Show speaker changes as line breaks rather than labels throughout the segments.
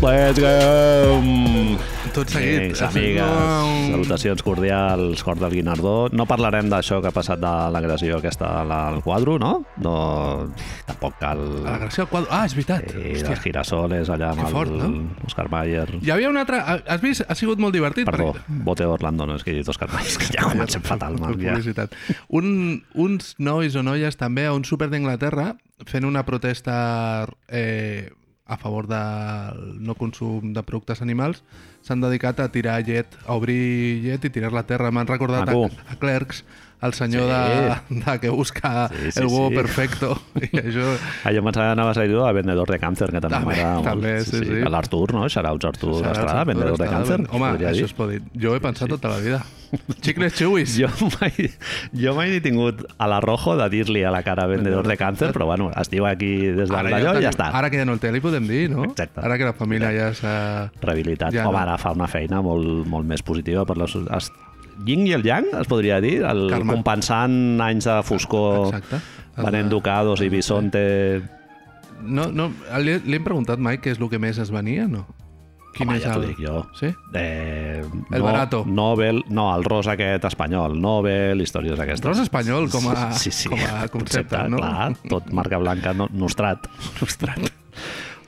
Let's go!
Tot seguit.
Amics, amigues,
No,
salutacions cordials, cor del Guinardó. No parlarem d'això que ha passat de l'agressió aquesta al quadro, no? No, tampoc cal...
L'agressió al quadre. Ah, és veritat.
Sí, dels
Hòstia.
girasoles allà amb
Que fort,
el
no?
Oscar Mayer.
Hi havia un altre... Has vist? Ha sigut molt divertit.
Perdó,
perquè-
Bote Orlando, no és que he dit Oscar Mayer, que ja comencem fatal, mal, ja.
Publicitat. Un, uns nois o noies també a un súper d'Anglaterra fent una protesta eh, a favor del no consum de productes animals s'han dedicat a tirar llet, a obrir llet i tirar la terra. M'han recordat a,
Maco.
a Clerks, el
Sí.
senyor de, de que busca
Sí, sí,
el huevo
sí.
perfecto. I això,
Ah, jo em pensava que anaves a dir a Vendedor de Càncer, que també,
També,
m'agrada molt.
també, sí, sí.
A L'Artur, no? Xarauts Artur
Serà
Estrada,
el
Vendedor de
Estrada,
Càncer.
ben- Home,
podria
això
dir.
es pot dir. Jo ho he pensat tota la vida. Xicles xuis.
Jo mai, jo mai he tingut a la rojo de dir-li a la cara vendedor de càncer, però bueno, es diu aquí des de
ja
d'allò i
tenim-
ja està.
Ara que ja no el té, li podem dir, no?
Exacte.
Ara que la família ja s'ha...
Rehabilitat.
Ja
Ja, Home,
no.
ara fa una feina molt, molt més positiva per les... Es, Ying i el Yang, es podria dir, el
Carme.
compensant anys de foscor
Exacte.
venent ducados i bisonte...
No, no, li, li hem preguntat mai què és el que més es venia, no?
Home, ja t'ho dic jo.
Sí?
Eh,
El barato.
Nobel, no, el ros aquest espanyol, Nobel, històries aquestes.
Ros espanyol com a-
sí, sí,
com a concepte, no?
Clar, tot marca blanca, no, nostrat. nostrat.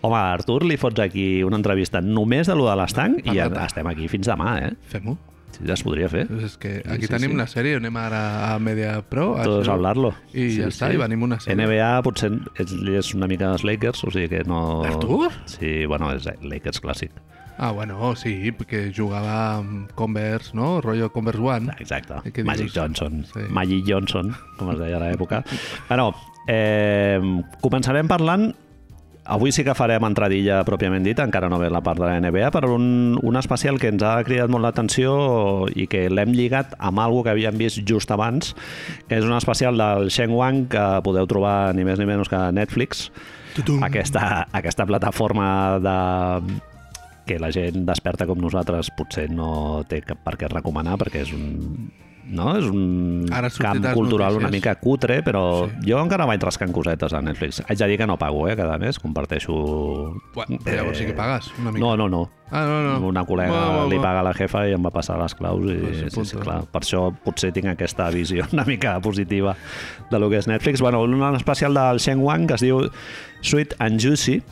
Home, Artur, li fots aquí una entrevista només de lo de l'estanc i ja
Patata.
estem aquí fins demà, eh?
Fem-ho.
Sí, Ja es podria fer.
És que
Sí,
aquí
sí,
tenim
sí.
la sèrie, anem ara a Media Pro. a
Todos
això,
hablarlo.
I ja està, i venim una sèrie.
NBA potser és, és una mica dels Lakers, o sigui que no...
Artur?
Sí, bueno, és Lakers clàssic.
Ah, bueno, sí, perquè jugava amb Converse, no? Rollo Converse One.
Exacte,
I Eh, què
Magic
dius?
Johnson.
Sí.
Sí. Magic Johnson, com es deia a l'època. bueno, eh, començarem parlant Avui sí que farem entradilla pròpiament dita, encara no ve la part de la NBA, però un, un especial que ens ha cridat molt l'atenció i que l'hem lligat amb algo que havíem vist just abans, que és un especial del Sheng Wang que podeu trobar ni més ni menys que a Netflix,
Tutum.
aquesta, aquesta plataforma de, que la gent desperta com nosaltres potser no té cap per què recomanar perquè és un no? És un
Ara surten
camp
les
cultural una
notícies.
mica cutre, però
Sí.
sí. jo encara vaig rascant cosetes a Netflix. Haig de dir que no pago, eh? Cada mes comparteixo...
Bueno, però llavors sí que pagues, una mica.
No, no, no.
Ah, no, no.
Una col·lega
Va, va,
li
va.
paga a la jefa i em va passar les claus. I,
Pues sí,
sí, sí,
punto.
clar. Per això potser tinc aquesta visió una mica positiva de lo que és Netflix. Bueno, un especial del Sheng Wang que es diu Sweet and Juicy,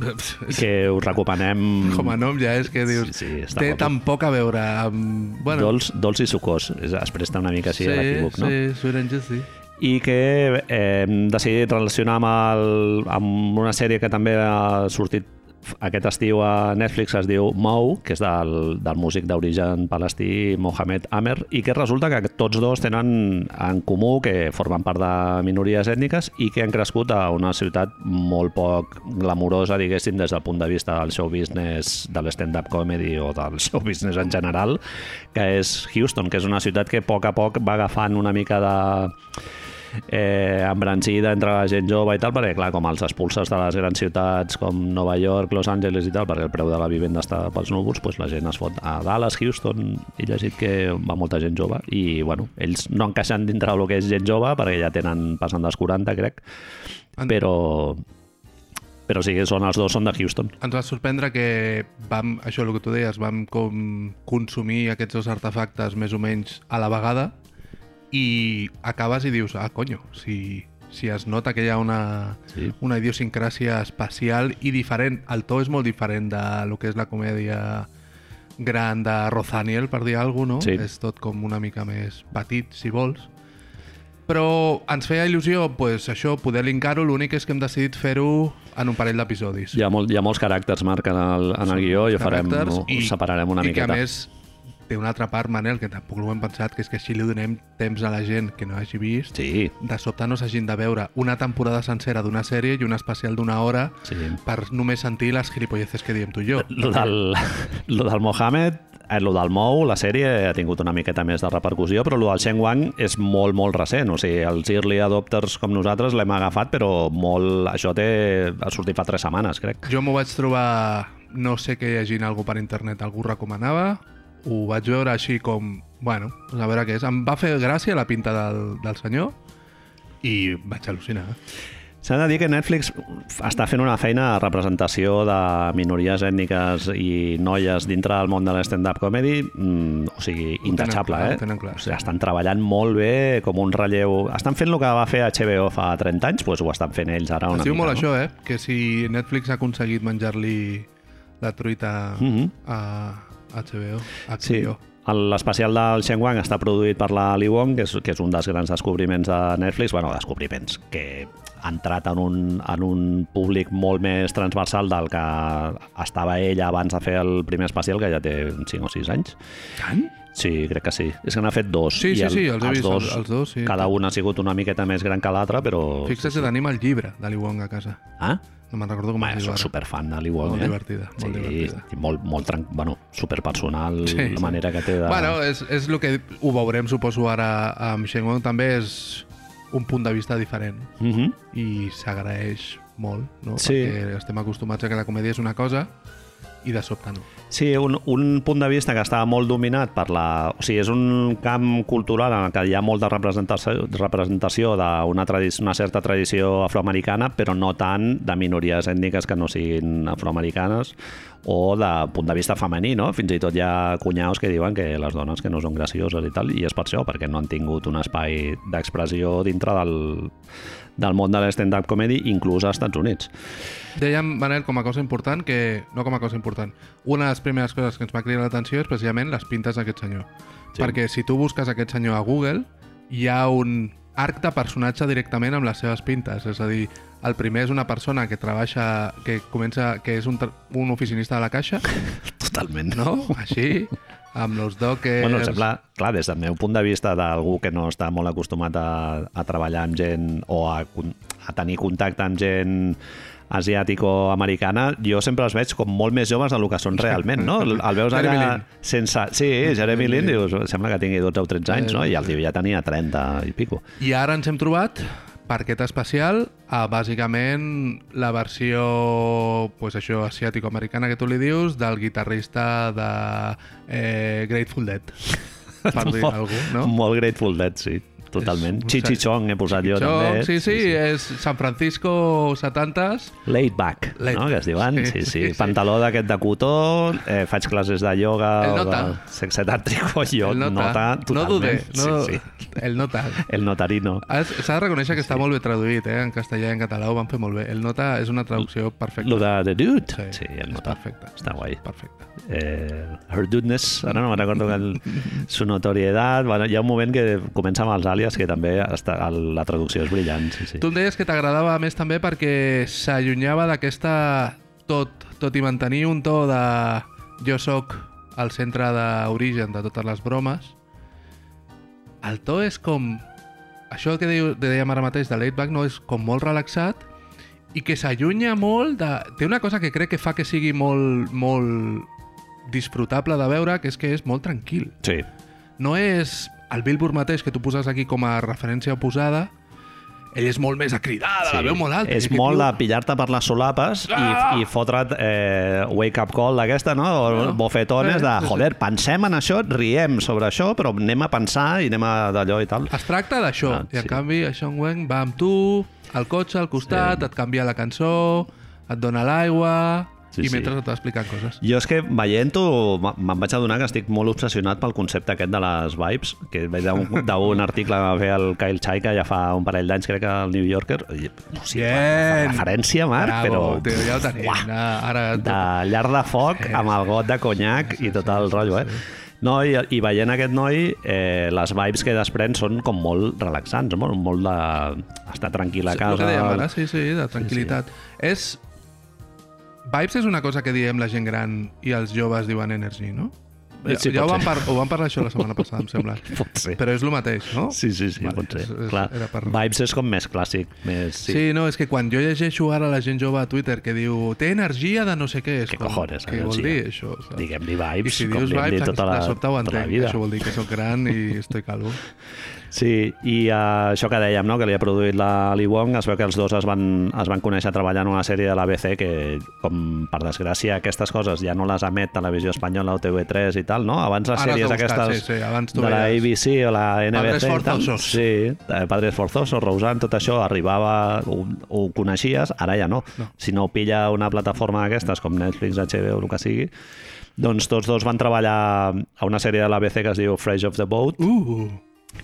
que us recomanem...
Com a nom ja és que dius...
Mm. Sí, sí, està
té
guapo.
tan poc a veure amb... Bueno,
Dolç, dolç i sucós. Es, es presta una mica així
sí,
a l'equívoc, no?
Sí, Sweet and Juicy.
I que eh, hem decidit relacionar amb, el, amb una sèrie que també ha sortit f- aquest estiu a Netflix es diu Mou, que és del, del músic d'origen palestí Mohamed Amer, i que resulta que tots dos tenen en comú que formen part de minories ètniques i que han crescut a una ciutat molt poc glamurosa, diguéssim, des del punt de vista del show business, de l'stand-up comedy o del show business en general, que és Houston, que és una ciutat que a poc a poc va agafant una mica de eh, embrancida entre la gent jove i tal, perquè clar, com els expulses de les grans ciutats com Nova York, Los Angeles i tal, perquè el preu de la vivenda està pels núvols, doncs la gent es fot a Dallas, Houston, he llegit que va molta gent jove i bueno, ells no encaixen dintre del que és gent jove perquè ja tenen passant dels 40, crec,
En-
però però sí que són els dos, són de Houston.
Ens va sorprendre que vam, això el que tu deies, vam com consumir aquests dos artefactes més o menys a la vegada i acabes i dius, ah, conyo, si, si es nota que hi ha una,
Sí.
una idiosincràsia especial i diferent, el to és molt diferent de lo que és la comèdia gran de Rozaniel, per dir alguna cosa,
Sí.
no? És tot com una mica més petit, si vols. Però ens feia il·lusió, pues, això, poder linkar-ho, l'únic és que hem decidit fer-ho en un parell d'episodis
Hi ha, molt, hi ha molts caràcters, Marc, en el, en el guió, i ho farem,
caràcters
ho separarem una
i
miqueta.
I que a més té una altra part, Manel, que tampoc ho hem pensat, que és que així li donem temps a la gent que no hagi vist,
Sí,
de sobte no s'hagin de veure una temporada sencera d'una sèrie i un especial d'una hora
sí.
per només sentir les gilipolleces que diem tu i jo.
Lo del, lo del Mohamed, eh, lo del Mou, la sèrie ha tingut una miqueta més de repercussió, però lo del Sheng Wang és molt, molt recent. O sigui, els early adopters com nosaltres l'hem agafat, però molt... Això té... ha sortit fa tres setmanes, crec.
Jo m'ho vaig trobar, no sé què llegint algú per internet, algú ho recomanava, ho vaig veure així com, bueno, a veure què és. Em va fer gràcia la pinta del, del senyor i vaig al·lucinar.
S'ha de dir que Netflix està fent una feina de representació de minories ètniques i noies dintre del món de l'stand-up comedy, mm, o sigui,
tenen
intachable,
clar,
eh?
ho tenen clar.
O sigui, estan treballant molt bé, com un relleu... Estan fent el que va fer HBO fa 30 anys, doncs ho estan fent ells ara una
Es diu
mica,
molt
no?
això, eh? Que si Netflix ha aconseguit menjar-li la truita
Mhm.
a HBO, a
Sí,
HBO.
el- l'especial del Shen Wang està produït per la Li Wong, que és, que és un dels grans descobriments de Netflix, bueno, descobriments, que ha entrat en un, en un públic molt més transversal del que estava ella abans de fer el primer especial, que ja té 5 o 6 anys.
Tant?
Sí, crec que sí. És que n'ha fet dos.
Sí,
i
sí, sí, els he vist, els- els dos, sí.
Cada un ha sigut una miqueta més gran que l'altre, però...
Fixa't que tenim el llibre d'Ali Wong a casa.
Ah?
No me'n recordo com
Home,
es diu
soc
ara.
superfan de Li Wong,
Molt
eh?
divertida, molt
sí,
divertida.
i molt, molt tran... bueno, superpersonal,
Sí,
sí,
sí.
la manera que té de...
Bueno, és, és el que ho veurem, suposo, ara amb Shen Wong. També és un punt de vista diferent
Mm -hmm.
i s'agraeix molt, no?
Sí.
Perquè estem acostumats a que la comèdia és una cosa i de sobte no.
Sí, un, un punt de vista que està molt dominat per la... O sigui, és un camp cultural en el que hi ha molta representació, representació d'una tradi una certa tradició afroamericana, però no tant de minories ètniques que no siguin afroamericanes o de punt de vista femení, no? Fins i tot hi ha cunyaus que diuen que les dones que no són gracioses i tal, i és per això, perquè no han tingut un espai d'expressió dintre del, del món de l'stand-up comedy, inclús als Estats Units.
Dèiem, Manel, com a cosa important, que... No com a cosa important. Una de les primeres coses que ens va cridar l'atenció és precisament les pintes d'aquest senyor.
Sí.
Sí. Perquè si tu busques aquest senyor a Google, hi ha un arc de personatge directament amb les seves pintes. És a dir, el primer és una persona que treballa, que comença, que és un, tra- un oficinista de la caixa,
Totalment.
no? Així, amb els dockers...
Bueno, em sembla, clar, des del meu punt de vista d'algú que no està molt acostumat a, a treballar amb gent o a, con- a tenir contacte amb gent asiàtic o americana, jo sempre els veig com molt més joves del que són realment, no? El el veus
Jeremy
allà
Lin.
sense... Sí, Jeremy Lin, dius, sembla que tingui 12 o 13 anys, no? I el tio ja tenia 30 i pico.
I ara ens hem trobat per aquest especial a bàsicament la versió pues això asiàtico-americana que tu li dius del guitarrista de eh, Grateful Dead per dir algú, no?
Molt Grateful Dead, sí, totalment.
És un
Chichi
sac-
Chong he posat jo també.
Xoc, sí, sí, és San Francisco 70s
Laid back,
Laid
no?
back.
Que es diuen, sí, sí. sí, sí. Pantaló d'aquest de cotó, eh, faig classes de ioga
El
o de
nota.
sexe tàntrico, jo
el nota, no
totalment.
dudé no,
sí, sí.
el nota
El notarino.
Has- s'ha de reconèixer que està molt bé traduït eh? en castellà i en català ho van fer molt bé el nota és una traducció perfecta
Lo de The Dude. Sí,
Sí,
sí el
és
nota.
perfecte.
Està guai.
perfecta
Eh, her dudeness, ara no me'n recordo que el, su notorietat... Bueno, hi ha un moment que comença amb els àlies que també està, el, la traducció és brillant. Sí, sí.
Tu em deies que t'agradava més també perquè s'allunyava d'aquesta tot, tot i mantenir un to de jo sóc el centre d'origen de totes les bromes el to és com això que deiu, que dèiem ara mateix de l'Aidback no és com molt relaxat i que s'allunya molt de... té una cosa que crec que fa que sigui molt, molt disfrutable de veure que és que és molt tranquil
Sí,
no és el Billboard mateix que tu poses aquí com a referència posada ell és molt més acridada, sí. la veu molt alta.
És
I aquest
molt
tio-
de pillar-te per les solapes
Ah!
i, i fotre't eh, wake-up call d'aquesta, no? O
No.
bofetones
Sí,
de,
sí, sí.
joder, pensem en això, riem sobre això, però anem a pensar i anem a d'allò i tal.
Es tracta d'això,
Ah,
ah, i en
sí.
canvi a Sean Wang va amb tu, al cotxe, al costat, sí. et canvia la cançó, et dona l'aigua,
Sí,
sí, i
sí.
mentre sí. t'expliquen coses.
Jo és que veient-ho me- me'n vaig adonar que estic molt obsessionat pel concepte aquest de les vibes, que veig d'un d'un article que va fer el Kyle Chaika ja fa un parell d'anys, crec que al New Yorker. I, o sigui,
Bien.
referència, Marc, però...
Tio, ja ho tenim.
Uah.
Ara, ara
de llar de foc amb el got de conyac i tot el rotllo, eh? No, i, i veient aquest noi, eh, les vibes que desprèn són com molt relaxants, molt, molt de estar tranquil a
El
casa.
que dèiem ara, sí, sí, de tranquil·litat. Sí, sí. És... Vibes és una cosa que diem la gent gran i els joves diuen energy, no?
Eh,
Ja,
sí,
sí, ja ho,
pot
vam
ser.
par ho vam parlar això la setmana passada, em sembla.
Pot ser.
Però és el mateix, no?
Sí, sí, sí,
Vale,
pot ser.
és- és-
Clar,
era per-
Vibes és com més clàssic, més...
Sí. sí, no, és que quan jo llegeixo ara la gent jove a Twitter que diu té energia de no sé què... És
Què
com,
cojones,
Què vol
energia?
dir, això? Saps?
Diguem-li
I
vibes,
si
com
dius
li hem
vibes,
dit tota la,
de sobte ho
tota la
entenc.
vida.
Això vol dir que sóc gran i estic calvo.
Sí, i uh, això que dèiem, no? que li ha produït la Li Wong, es veu que els dos es van, es van conèixer treballant en una sèrie de l'ABC que, com per desgràcia, aquestes coses ja no les emet Televisió Espanyola o TV3 i tal, no? Abans les
Ara t'ho
sèries
he buscat,
aquestes
sí, sí, abans t'ho
de la
veies.
ABC o la NBC... i tal,
Forzosos.
Sí, eh, Padres Forzosos, Rousant, tot això arribava, ho, ho coneixies, ara ja no. no. Si no pilla una plataforma d'aquestes com Netflix, HBO o el que sigui, doncs tots dos van treballar a una sèrie de l'ABC que es diu Fresh of the Boat,
Uh,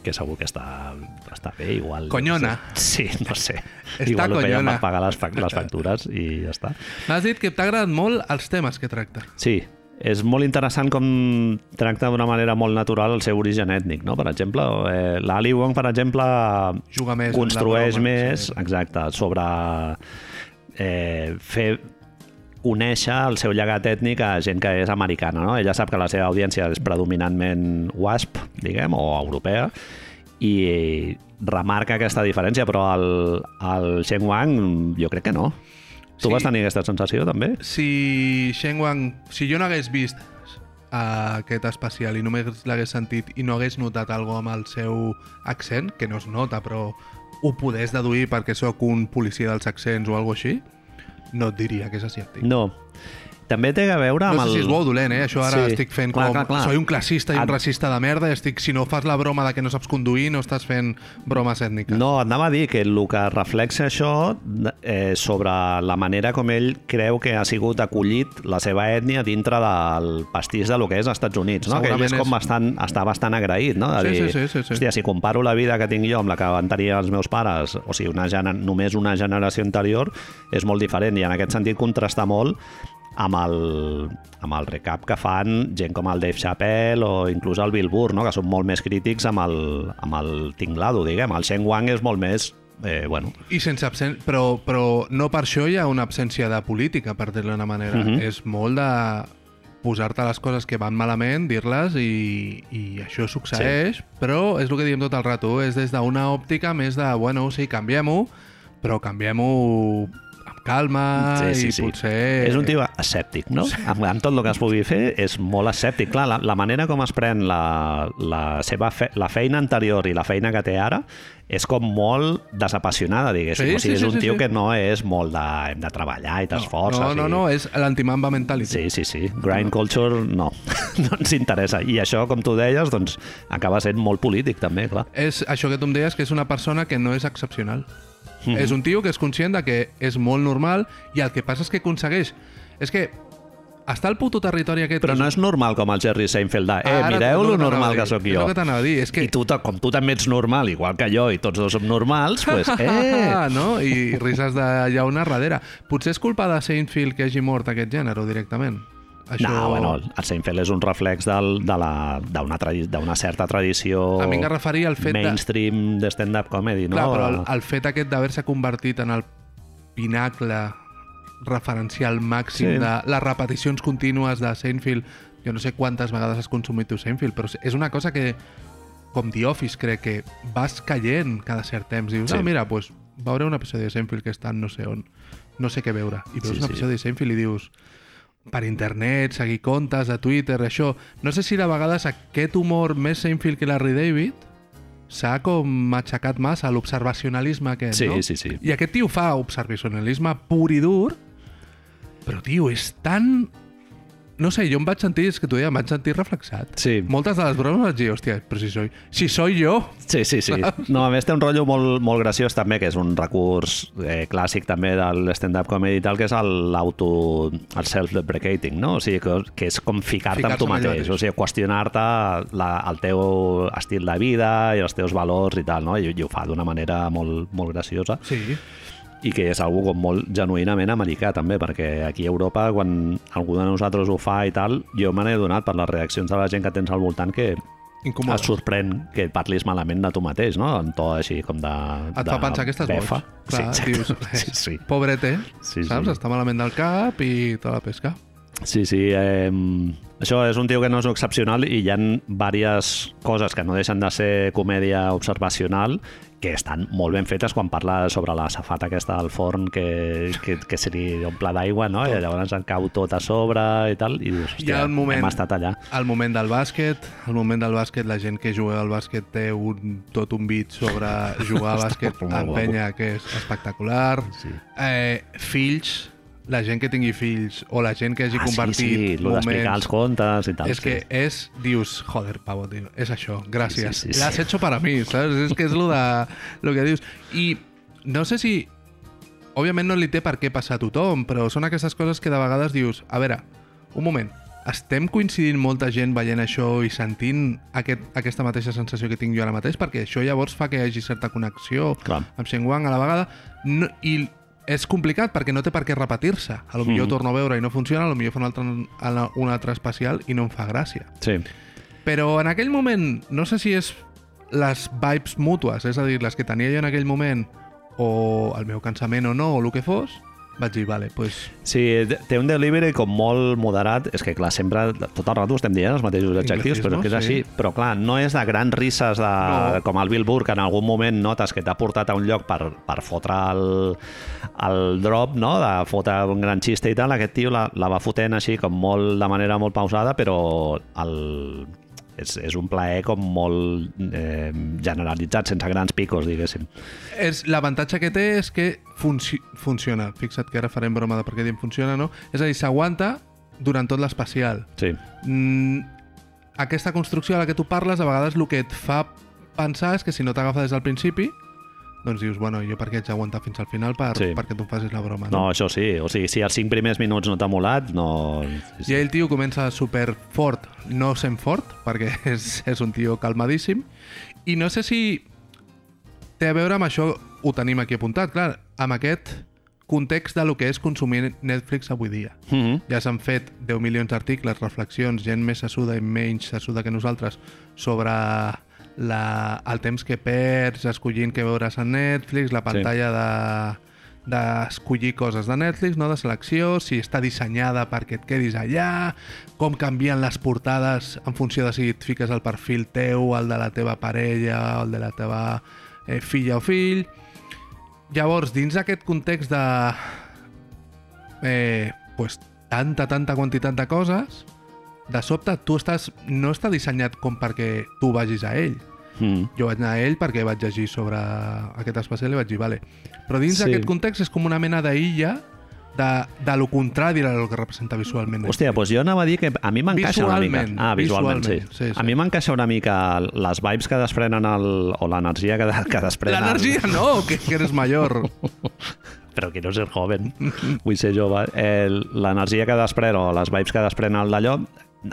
que segur que està, està bé, igual...
Conyona.
Sí, no sé.
Està
igual ho feien
conyona.
per pagar les, fac- les factures i ja està.
m'has dit que t'ha agradat molt els temes que tracta.
Sí, és molt interessant com tracta d'una manera molt natural el seu origen ètnic, no? Per exemple, eh, l'Ali Wong, per exemple,
Juga més amb la
construeix
broma,
més,
sí.
exacte, sobre eh, fer conèixer el seu llegat ètnic a gent que és americana. No? Ella sap que la seva audiència és predominantment WASP, diguem, o europea, i remarca aquesta diferència, però el, el Shen Wang jo crec que no. Tu
Sí.
vas tenir aquesta sensació, també?
Si Shen Wang, si jo no hagués vist eh, aquest especial i només l'hagués sentit i no hagués notat alguna amb el seu accent, que no es nota, però ho podés deduir perquè sóc un policia dels accents o alguna així, no et diria que és asiàtic.
No. També té a veure amb
No sé si
el...
és bo o dolent, eh? Això ara
Sí.
sí. estic fent
Clar,
clar, com...
clar,
Clar,
clar.
Soy un classista i un
Et-
racista de merda i estic... Si no fas la broma de que no saps conduir, no estàs fent bromes ètniques.
No, anava a dir que el que reflexa això eh, sobre la manera com ell creu que ha sigut acollit la seva ètnia dintre del pastís de lo que és als Estats Units, no? que ell
Segurament
és com
és-
bastant, està bastant agraït, no?
Sí,
De dir,
sí, sí, sí, sí.
Hòstia, si comparo la vida que tinc jo amb la que van tenir els meus pares, o sigui, una gener... només una generació anterior, és molt diferent i en aquest sentit contrasta molt amb el, amb el recap que fan gent com el Dave Chappelle o inclús el Bill Burr, no? que són molt més crítics amb el, amb el tinglado, diguem. El Shen Wang és molt més... Eh, bueno,
I sense absència... Però, però no per això hi ha una absència de política, per dir-ho d'una manera.
Mhm.
És molt de posar-te les coses que van malament, dir-les i, i això succeeix, sí. però és el que diem tot el rato, és des d'una òptica més de, bueno, sí, canviem-ho, però canviem-ho amb calma
Sí, sí,
i
sí.
potser...
És un tio escèptic, no? Amb, amb tot el que es pugui fer és molt escèptic. Clar, la, la manera com es pren la, la seva fe, la feina anterior i la feina que té ara és com molt desapassionada, diguéssim.
Sí,
o sigui,
sí,
és
sí,
un
sí,
tio
sí.
que no és molt de hem de treballar i t'esforces.
No, no,
i...
no, és l'antimamba mentality.
Sí, sí, sí. Grind culture no, no ens interessa. I això, com tu deies, doncs acaba sent molt polític també, clar.
és això que tu em deies, que és una persona que no és excepcional. Mm
Mhm.
-hmm. És un tio que és conscient de que és molt normal i el que passa és que aconsegueix... És que està al puto territori aquest...
Però
que
no és normal com el Jerry Seinfeld. de, Eh,
Ara,
mireu
no,
lo
no,
normal
no,
que sóc
és
jo.
el que t'anava a dir, és que-
I tu, ta- com tu també ets normal, igual que jo, i tots dos som normals, pues, eh...
no? I risses de llauna darrere. Potser és culpa de Seinfeld que hagi mort aquest gènere directament. Això...
No, bueno, el Seinfeld és un reflex del, de la- d'una tradi d'una certa tradició
A mi em referia al fet de-
mainstream de, stand-up comedy, no?
Clar, però el, el fet aquest d'haver-se convertit en el pinacle referencial màxim
Sí.
sí. de les repeticions contínues de Seinfeld, jo no sé quantes vegades has consumit tu Seinfeld, però és una cosa que, com The Office, crec que vas caient cada cert temps. Dius,
Sí.
sí. ah, mira, doncs veuré un episodi de Seinfeld que està en no sé on, no sé què veure. I veus
Sí,
sí, un
sí.
episodi de Seinfeld i dius, per internet, seguir comptes de Twitter, això... No sé si de vegades aquest humor més Seinfeld que Larry David s'ha com matxacat massa l'observacionalisme aquest,
Sí,
no?
sí, sí.
I aquest tio fa observacionalisme pur i dur, però, tio, és tan... No sé, jo em vaig sentir, és que t'ho deia, em vaig sentir reflexat.
Sí.
Moltes de les bromes vaig dir, hòstia, però si soy, si soy jo...
Sí, sí, sí. No, a més té un rotllo molt, molt graciós també, que és un recurs eh, clàssic també del stand-up comedy i tal, que és el- l'auto... el self-deprecating, no? O sigui, que, que és com ficar-te amb
Ficar-se
tu
amb ell
mateix,
mateix.
o sigui, qüestionar-te la- el teu estil de vida i els teus valors i tal, no? I, i ho fa d'una manera molt, molt graciosa
Sí.
i que és algo com molt genuïnament americà també, perquè aquí a Europa quan algú de nosaltres ho fa i tal jo me n'he donat per les reaccions de la gent que tens al voltant que
Incomoda.
et sorprèn que parlis malament de tu mateix, no? En to així com de...
Et
de
fa pensar que estàs boig.
befa.
Clar,
sí,
dius,
exacte. sí, sí.
pobret, eh?
Sí,
Saps?
sí.
Està malament del cap i tota la pesca.
Sí, sí. Eh, això és un tio que no és excepcional i hi ha diverses coses que no deixen de ser comèdia observacional que estan molt ben fetes quan parla sobre la safata aquesta del forn que, que, que se li omple d'aigua, no? I llavors en cau tot a sobre i tal, i dius,
Hi
hòstia,
ha un moment-
hem estat allà.
El moment del bàsquet, el moment del bàsquet, la gent que jugueu al bàsquet té un, tot un bit sobre jugar al bàsquet
molt
a
guapo.
penya, que és espectacular.
Sí.
Eh, fills, la gent que tingui fills o la gent que hagi compartit
Ah, sí, sí, lo d'explicar els
moments...
contes i tal.
És que
Sí.
és, dius, joder, Pavo, tio, és això, gràcies.
Sí, sí,
Sí,
sí,
sí, L'has
sí.
hecho para mí, saps? És que és lo, de, lo que dius. I no sé si... Òbviament no li té per què passar a tothom, però són aquestes coses que de vegades dius, a veure, un moment, estem coincidint molta gent veient això i sentint aquest, aquesta mateixa sensació que tinc jo ara mateix, perquè això llavors fa que hi hagi certa connexió
Clar.
amb Xenguang a la vegada no, i és complicat perquè no té per què repetir-se. A lo millor
Mhm.
torno a veure i no funciona, a lo millor fa un altre, ala- un altre especial i no em fa gràcia.
Sí.
Però en aquell moment, no sé si és les vibes mútues, és a dir, les que tenia jo en aquell moment, o el meu cansament o no, o el que fos, vaig dir, vale, pues,
Sí, té un delivery com molt moderat. És que, clar, sempre, tot el rato estem dient els mateixos adjectius, però és que és així.
Anglicismes,
Però, clar, no és de grans risses de,
No.
com el Billboard, que en algun moment notes que t'ha portat a un lloc per, per fotre el, el drop, no? de fotre un gran xiste i tal. Aquest tio la, la va fotent així, com molt, de manera molt pausada, però el, és, és un plaer com molt eh, generalitzat, sense grans picos, diguéssim.
és l'avantatge que té és que funci funciona. Fixa't que ara farem broma de per què diem funciona, no? És a dir, s'aguanta durant tot l'especial.
Sí,
mm, aquesta construcció a la que tu parles, a vegades el que et fa pensar és que si no t'agafa des del principi, doncs dius, bueno, jo per què haig d'aguantar fins al final per,
Sí.
sí. perquè tu em facis la broma.
no, això sí. O sigui, si els cinc primers minuts no t'ha molat, no...
I el tio comença super fort, no sent fort, perquè és, és un tio calmadíssim. I no sé si té a veure amb això, ho tenim aquí apuntat, clar, amb aquest context de lo que és consumir Netflix avui dia.
Mm -hmm.
Ja s'han fet 10 milions d'articles, reflexions, gent més sassuda i menys sassuda que nosaltres sobre la, el temps que perds, escollint què veuràs a Netflix, la pantalla sí. de d'escollir coses de Netflix, no? de selecció, si està dissenyada perquè et quedis allà, com canvien les portades en funció de si et fiques el perfil teu, el de la teva parella, el de la teva eh, filla o fill. Llavors, dins d'aquest context de eh, pues, tanta, tanta quantitat de coses, de sobte tu estàs, no està dissenyat com perquè tu vagis a ell.
Mm.
Jo vaig anar a ell perquè vaig llegir sobre aquest especial i vaig dir, vale. Però dins
Sí.
sí. d'aquest context és com una mena d'illa de, de lo contrari a lo que representa visualment.
Hòstia, doncs jo anava a dir que a mi m'encaixa una mica.
Visualment,
Ah, visualment,
visualment,
sí.
sí, sí.
A mi m'encaixa una mica les vibes que desprenen el, o l'energia que, de, que desprenen...
L'energia no, que, que eres major.
Però quiero ser joven, vull ser jove. Eh, l'energia que desprèn o les vibes que desprèn el d'allò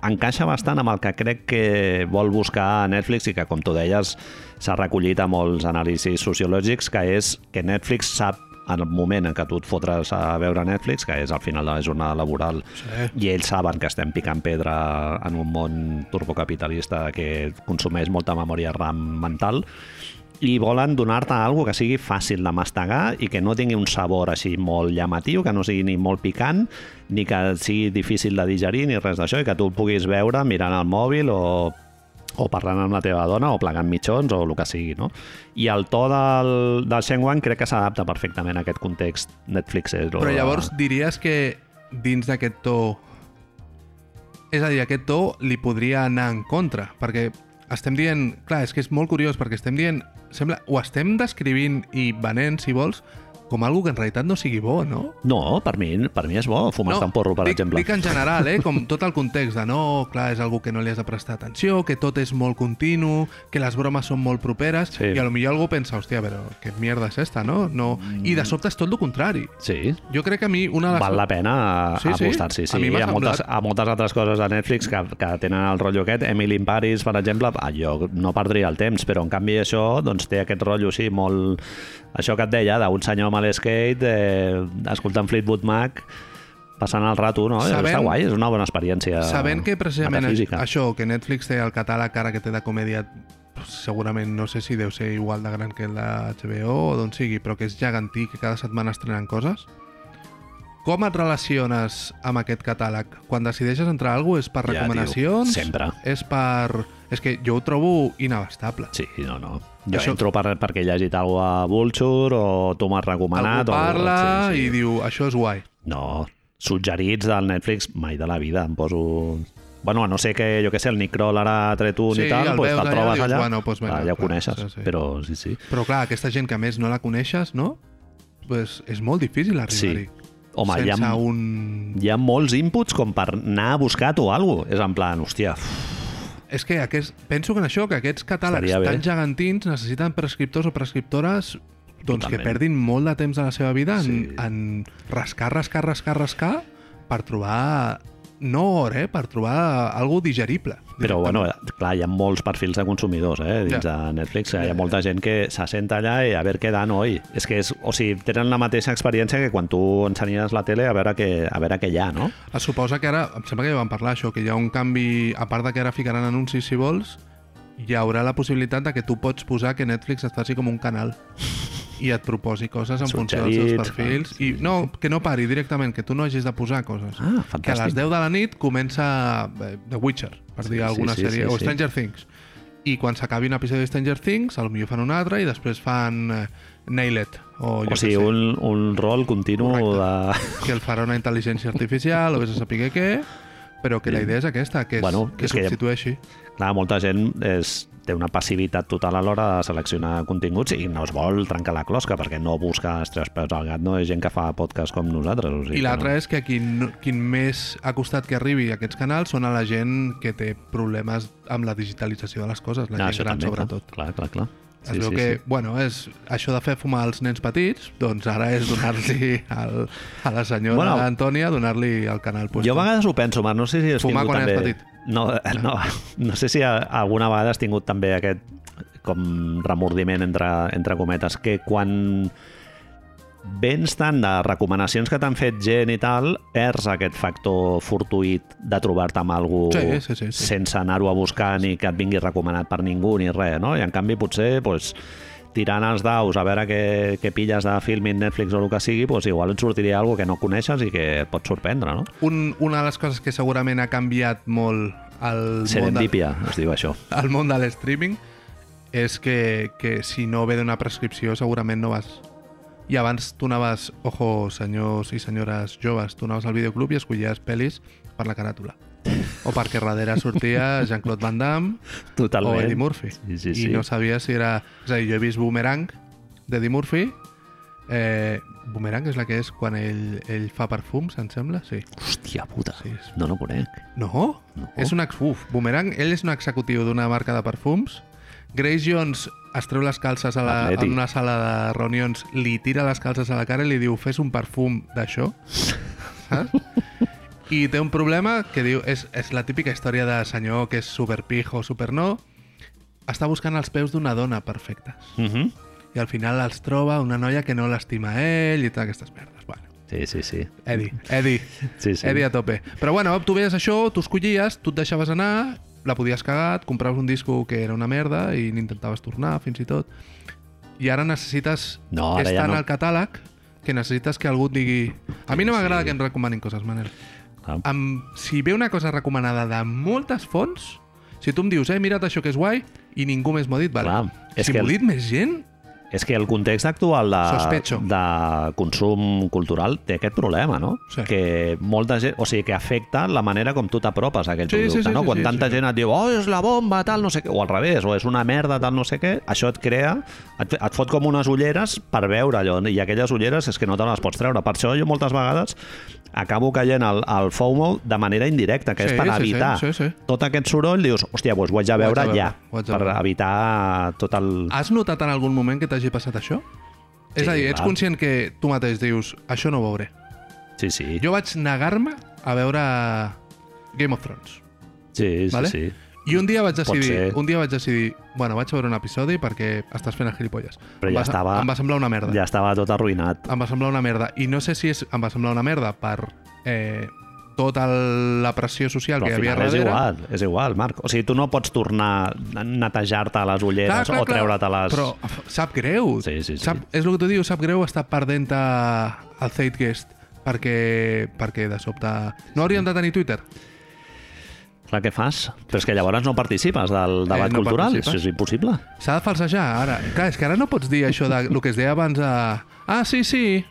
encaixa bastant amb el que crec que vol buscar Netflix i que, com tu deies, s'ha recollit a molts anàlisis sociològics, que és que Netflix sap en el moment en què tu et fotres a veure Netflix, que és al final de la jornada laboral,
Sí.
i ells saben que estem picant pedra en un món turbocapitalista que consumeix molta memòria RAM mental i volen donar-te alguna que sigui fàcil de mastegar i que no tingui un sabor així molt llamatiu, que no sigui ni molt picant, ni que sigui difícil de digerir, ni res d'això, i que tu el puguis veure mirant el mòbil o, o parlant amb la teva dona o plegant mitjons o el que sigui, no? I el to del, del Shen Wang crec que s'adapta perfectament a aquest context Netflix.
Però llavors diries que dins d'aquest to... És a dir, aquest to li podria anar en contra, perquè estem dient... Clar, és que és molt curiós, perquè estem dient... Sembla, ho estem descrivint i venent, si vols, com algo que en realitat no sigui bo, no?
No, per mi, per mi és bo fumar-te no, un porro, per
dic,
exemple.
Dic en general, eh? com tot el context de no, clar, és algú que no li has de prestar atenció, que tot és molt continu, que les bromes són molt properes,
Sí.
i a lo millor algú pensa, hòstia, però que mierda és esta, no? no... I de sobte és tot el contrari.
Sí,
Jo crec que a mi una de les
Mm. val la pena sí,
Ah, Sí, sí.
apostar-s'hi. Sí.
A mi m'ha
a, moltes,
semblat.
a moltes altres coses de Netflix que, que tenen el rotllo aquest, Emily in Paris, per exemple, ah, jo no perdria el temps, però en canvi això doncs, té aquest rotllo, sí, molt... Això que et deia, d'un senyor amb l'esquate, eh, escoltant Fleetwood Mac, passant el rato, no? Eh,
Sabent-
Està guai, és una bona experiència
Sabent que precisament
Eh, metafísica.
això, que Netflix té el catàleg ara que té de comèdia pues, segurament no sé si deu ser igual de gran que el de HBO o d'on sigui, però que és gegantí, que cada setmana estrenen coses. Com et relaciones amb aquest catàleg? Quan decideixes entrar a alguna cosa, és per
Ja,
recomanacions?
tio, sempre.
És per... És que jo ho trobo inabastable.
Sí, no, no. Jo
Això-
Això... entro per, perquè he llegit alguna cosa a Vulture o tu m'has recomanat.
Algú parla
o...
i diu, això és guai.
No, suggerits del Netflix, mai de la vida. Em poso... Bueno, a no sé que, jo què sé, el Nick Kroll ara ha tret un
Sí,
i tal,
el
doncs
veus
te'l
allà,
trobes
dius,
allà,
bueno, doncs vinga,
ah, ja ho
clar,
coneixes,
sí, sí.
però sí, sí.
Però clar, aquesta gent que a més no la coneixes, no? Pues és molt difícil arribar-hi.
Sí. Home, hi
sense
ha,
un...
hi ha molts inputs com per anar a buscar-ho o alguna cosa. És en plan, hòstia, uf,
És que aquest... penso que en això, que aquests catàlegs
Estaria bé.
tan gegantins necessiten prescriptors o prescriptores doncs, que
Totalment.
perdin molt de temps de la seva vida en,
Sí.
en rascar, rascar, rascar, rascar per trobar no or, eh? per trobar algú digerible.
Però, bueno, clar, hi ha molts perfils de consumidors, eh, dins
Ja.
de Netflix. Hi ha molta gent que s'assenta allà i a veure què dan, oi? És que és, o sigui, tenen la mateixa experiència que quan tu encendies la tele a veure què, a veure què hi ha, no?
Es Ah, suposa que ara, em sembla que ja vam parlar això, que hi ha un canvi, a part de que ara ficaran anuncis si vols, hi haurà la possibilitat de que tu pots posar que Netflix et faci com un canal i et proposi coses en funció dels seus
Suggerits,
perfils
ah,
i no, que no pari directament, que tu no hagis de posar coses.
Ah,
que a les
fantàstic.
10 de la nit comença eh, The Witcher, per
Sí,
dir
sí,
alguna
sí, sí,
sèrie, o
sí.
Stranger Things. I quan s'acabi un episodi de Stranger Things, a lo millor fan un altre i després fan eh, Nailed, o jo
O sigui,
què sé,
un, un rol continu
Correcte.
de...
que el farà una intel·ligència artificial, o vés a saber què, però que la idea és aquesta, que, és,
Bueno,
que
és que-
substitueixi.
Clar, molta gent és, té una passivitat total a l'hora de seleccionar continguts i no es vol trencar la closca perquè no busca els tres peus al gat, no és gent que fa podcast com nosaltres. O sigui,
I
que
l'altre
no.
és que qui, no- qui més ha costat que arribi a aquests canals són a la gent que té problemes amb la digitalització de les coses, la
Ah,
gent
això
gran,
també,
sobretot.
Clar, clar, clar.
Es veu que, bueno, és això de fer fumar als nens petits, doncs ara és donar-li al- a la senyora bueno,
Bueno.
Antònia, donar-li al canal. Pues,
Jo a vegades ho penso, Marc, no sé si has
Fumar
tingut
quan
també...
eres petit.
No, eh, no, no sé si a- alguna vegada has tingut també aquest com remordiment entre, entre cometes, que quan vens tant de recomanacions que t'han fet gent i tal, perds aquest factor fortuït de trobar-te amb algú
Sí, sí, sí, sí.
sense anar-ho a buscar ni que et vingui recomanat per ningú ni res, no? I en canvi potser pues, tirant els daus a veure què, què pilles de filming, Netflix o el que sigui, pues, igual et sortiria alguna que no coneixes i que et pot sorprendre, no?
Un, una de les coses que segurament ha canviat molt el món, de,
Serendipia, es diu això.
el món de l'streaming és que, que si no ve d'una prescripció segurament no vas... I abans tu anaves, ojo, senyors i senyores joves, tu anaves al videoclub i escollies pel·lis per la caràtula. O perquè darrere sortia Jean-Claude Van Damme,
Totalment.
o Eddie Murphy.
Sí, sí, sí.
I no sabia si era... És a dir, jo he vist Boomerang d'Eddie Murphy. Eh, Boomerang és la que és quan ell, ell fa perfums, em sembla? Sí.
Hòstia puta,
Sí, és-
no no conec.
No?
No.
És un ex... Uf, Boomerang, ell és un executiu d'una marca de perfums. Grace Jones es treu les calces a la,
Atleti.
en una sala de reunions, li tira les calces a la cara i li diu fes un perfum d'això. Saps? I té un problema que diu... És, és la típica història de senyor que és superpijo, superno. Està buscant els peus d'una dona perfectes.
Uh -huh.
I al final els troba una noia que no l'estima a ell i totes aquestes merdes. Bueno,
Sí, sí, sí.
Edi, Edi,
Sí, sí.
Edi a tope. Però bueno, tu veies això, tu escollies, tu et deixaves anar, la podies cagar, et compraves un disco que era una merda i n'intentaves tornar, fins i tot. I ara necessites...
No, ara
és
ja
tant
no.
al catàleg que necessites que algú et digui... A mi no
Sí,
m'agrada
sí.
que em recomanin coses, Manel.
Clar.
Em, si ve una cosa recomanada de moltes fonts, si tu em dius, eh, mira't això que és guai, i ningú més m'ho ha dit, vale.
Clar, és
si
que
m'ho ha
el-
dit més gent,
És que el context actual de,
Sospecho.
de consum cultural té aquest problema, no?
Sí.
Que molta gent, o sigui, que afecta la manera com tu t'apropes a aquell
Sí, sí,
producte,
sí,
no?
sí,
Quan
sí,
tanta
sí.
gent et diu, oh, és la bomba, tal, no sé què, o al revés, o és una merda, tal, no sé què, això et crea, et, et fot com unes ulleres per veure allò, i aquelles ulleres és que no te les pots treure. Per això jo moltes vegades acabo caient al, al FOMO de manera indirecta, que
Sí,
és per
sí, sí,
evitar
sí, sí.
tot aquest soroll, dius, hòstia, doncs ho haig de
Ho haig de
veure,
veure, ho haig de
ja, per
veure. Ah.
evitar tot el...
Has notat en algun moment que t'hagi passat això?
Sí,
és a dir, ets
clar.
conscient que tu mateix dius, això no ho veuré.
Sí, sí,
Jo vaig negar-me a veure Game of Thrones.
sí, sí,
Vale?
sí.
I un dia vaig decidir,
ser.
un dia vaig decidir, bueno, vaig a veure un episodi perquè estàs fent el gilipolles.
Però
Em
ja
va, se-
estava-
Em va semblar una merda.
Ja estava tot arruïnat.
Em va semblar una merda. I no sé si és, em va semblar una merda per eh, tota el- la pressió social
Però
que
al
hi havia
final és
darrere.
igual, és igual, Marc. O sigui, tu no pots tornar a netejar-te les
Clar,
ulleres
clar,
o
clar.
treure-te-les...
Però f- sap greu.
Sí, sí, sí.
Sap, és el que tu dius, sap greu estar perdent a- al Zeitgeist perquè, perquè de sobte... No hauríem de tenir Twitter?
Clar, què fas? Però és que llavors no participes del debat
Eh, no
cultural,
participes.
això és impossible.
S'ha de falsejar, ara. Clar, és que ara no pots dir això de lo que es deia abans de... Ah, sí, sí,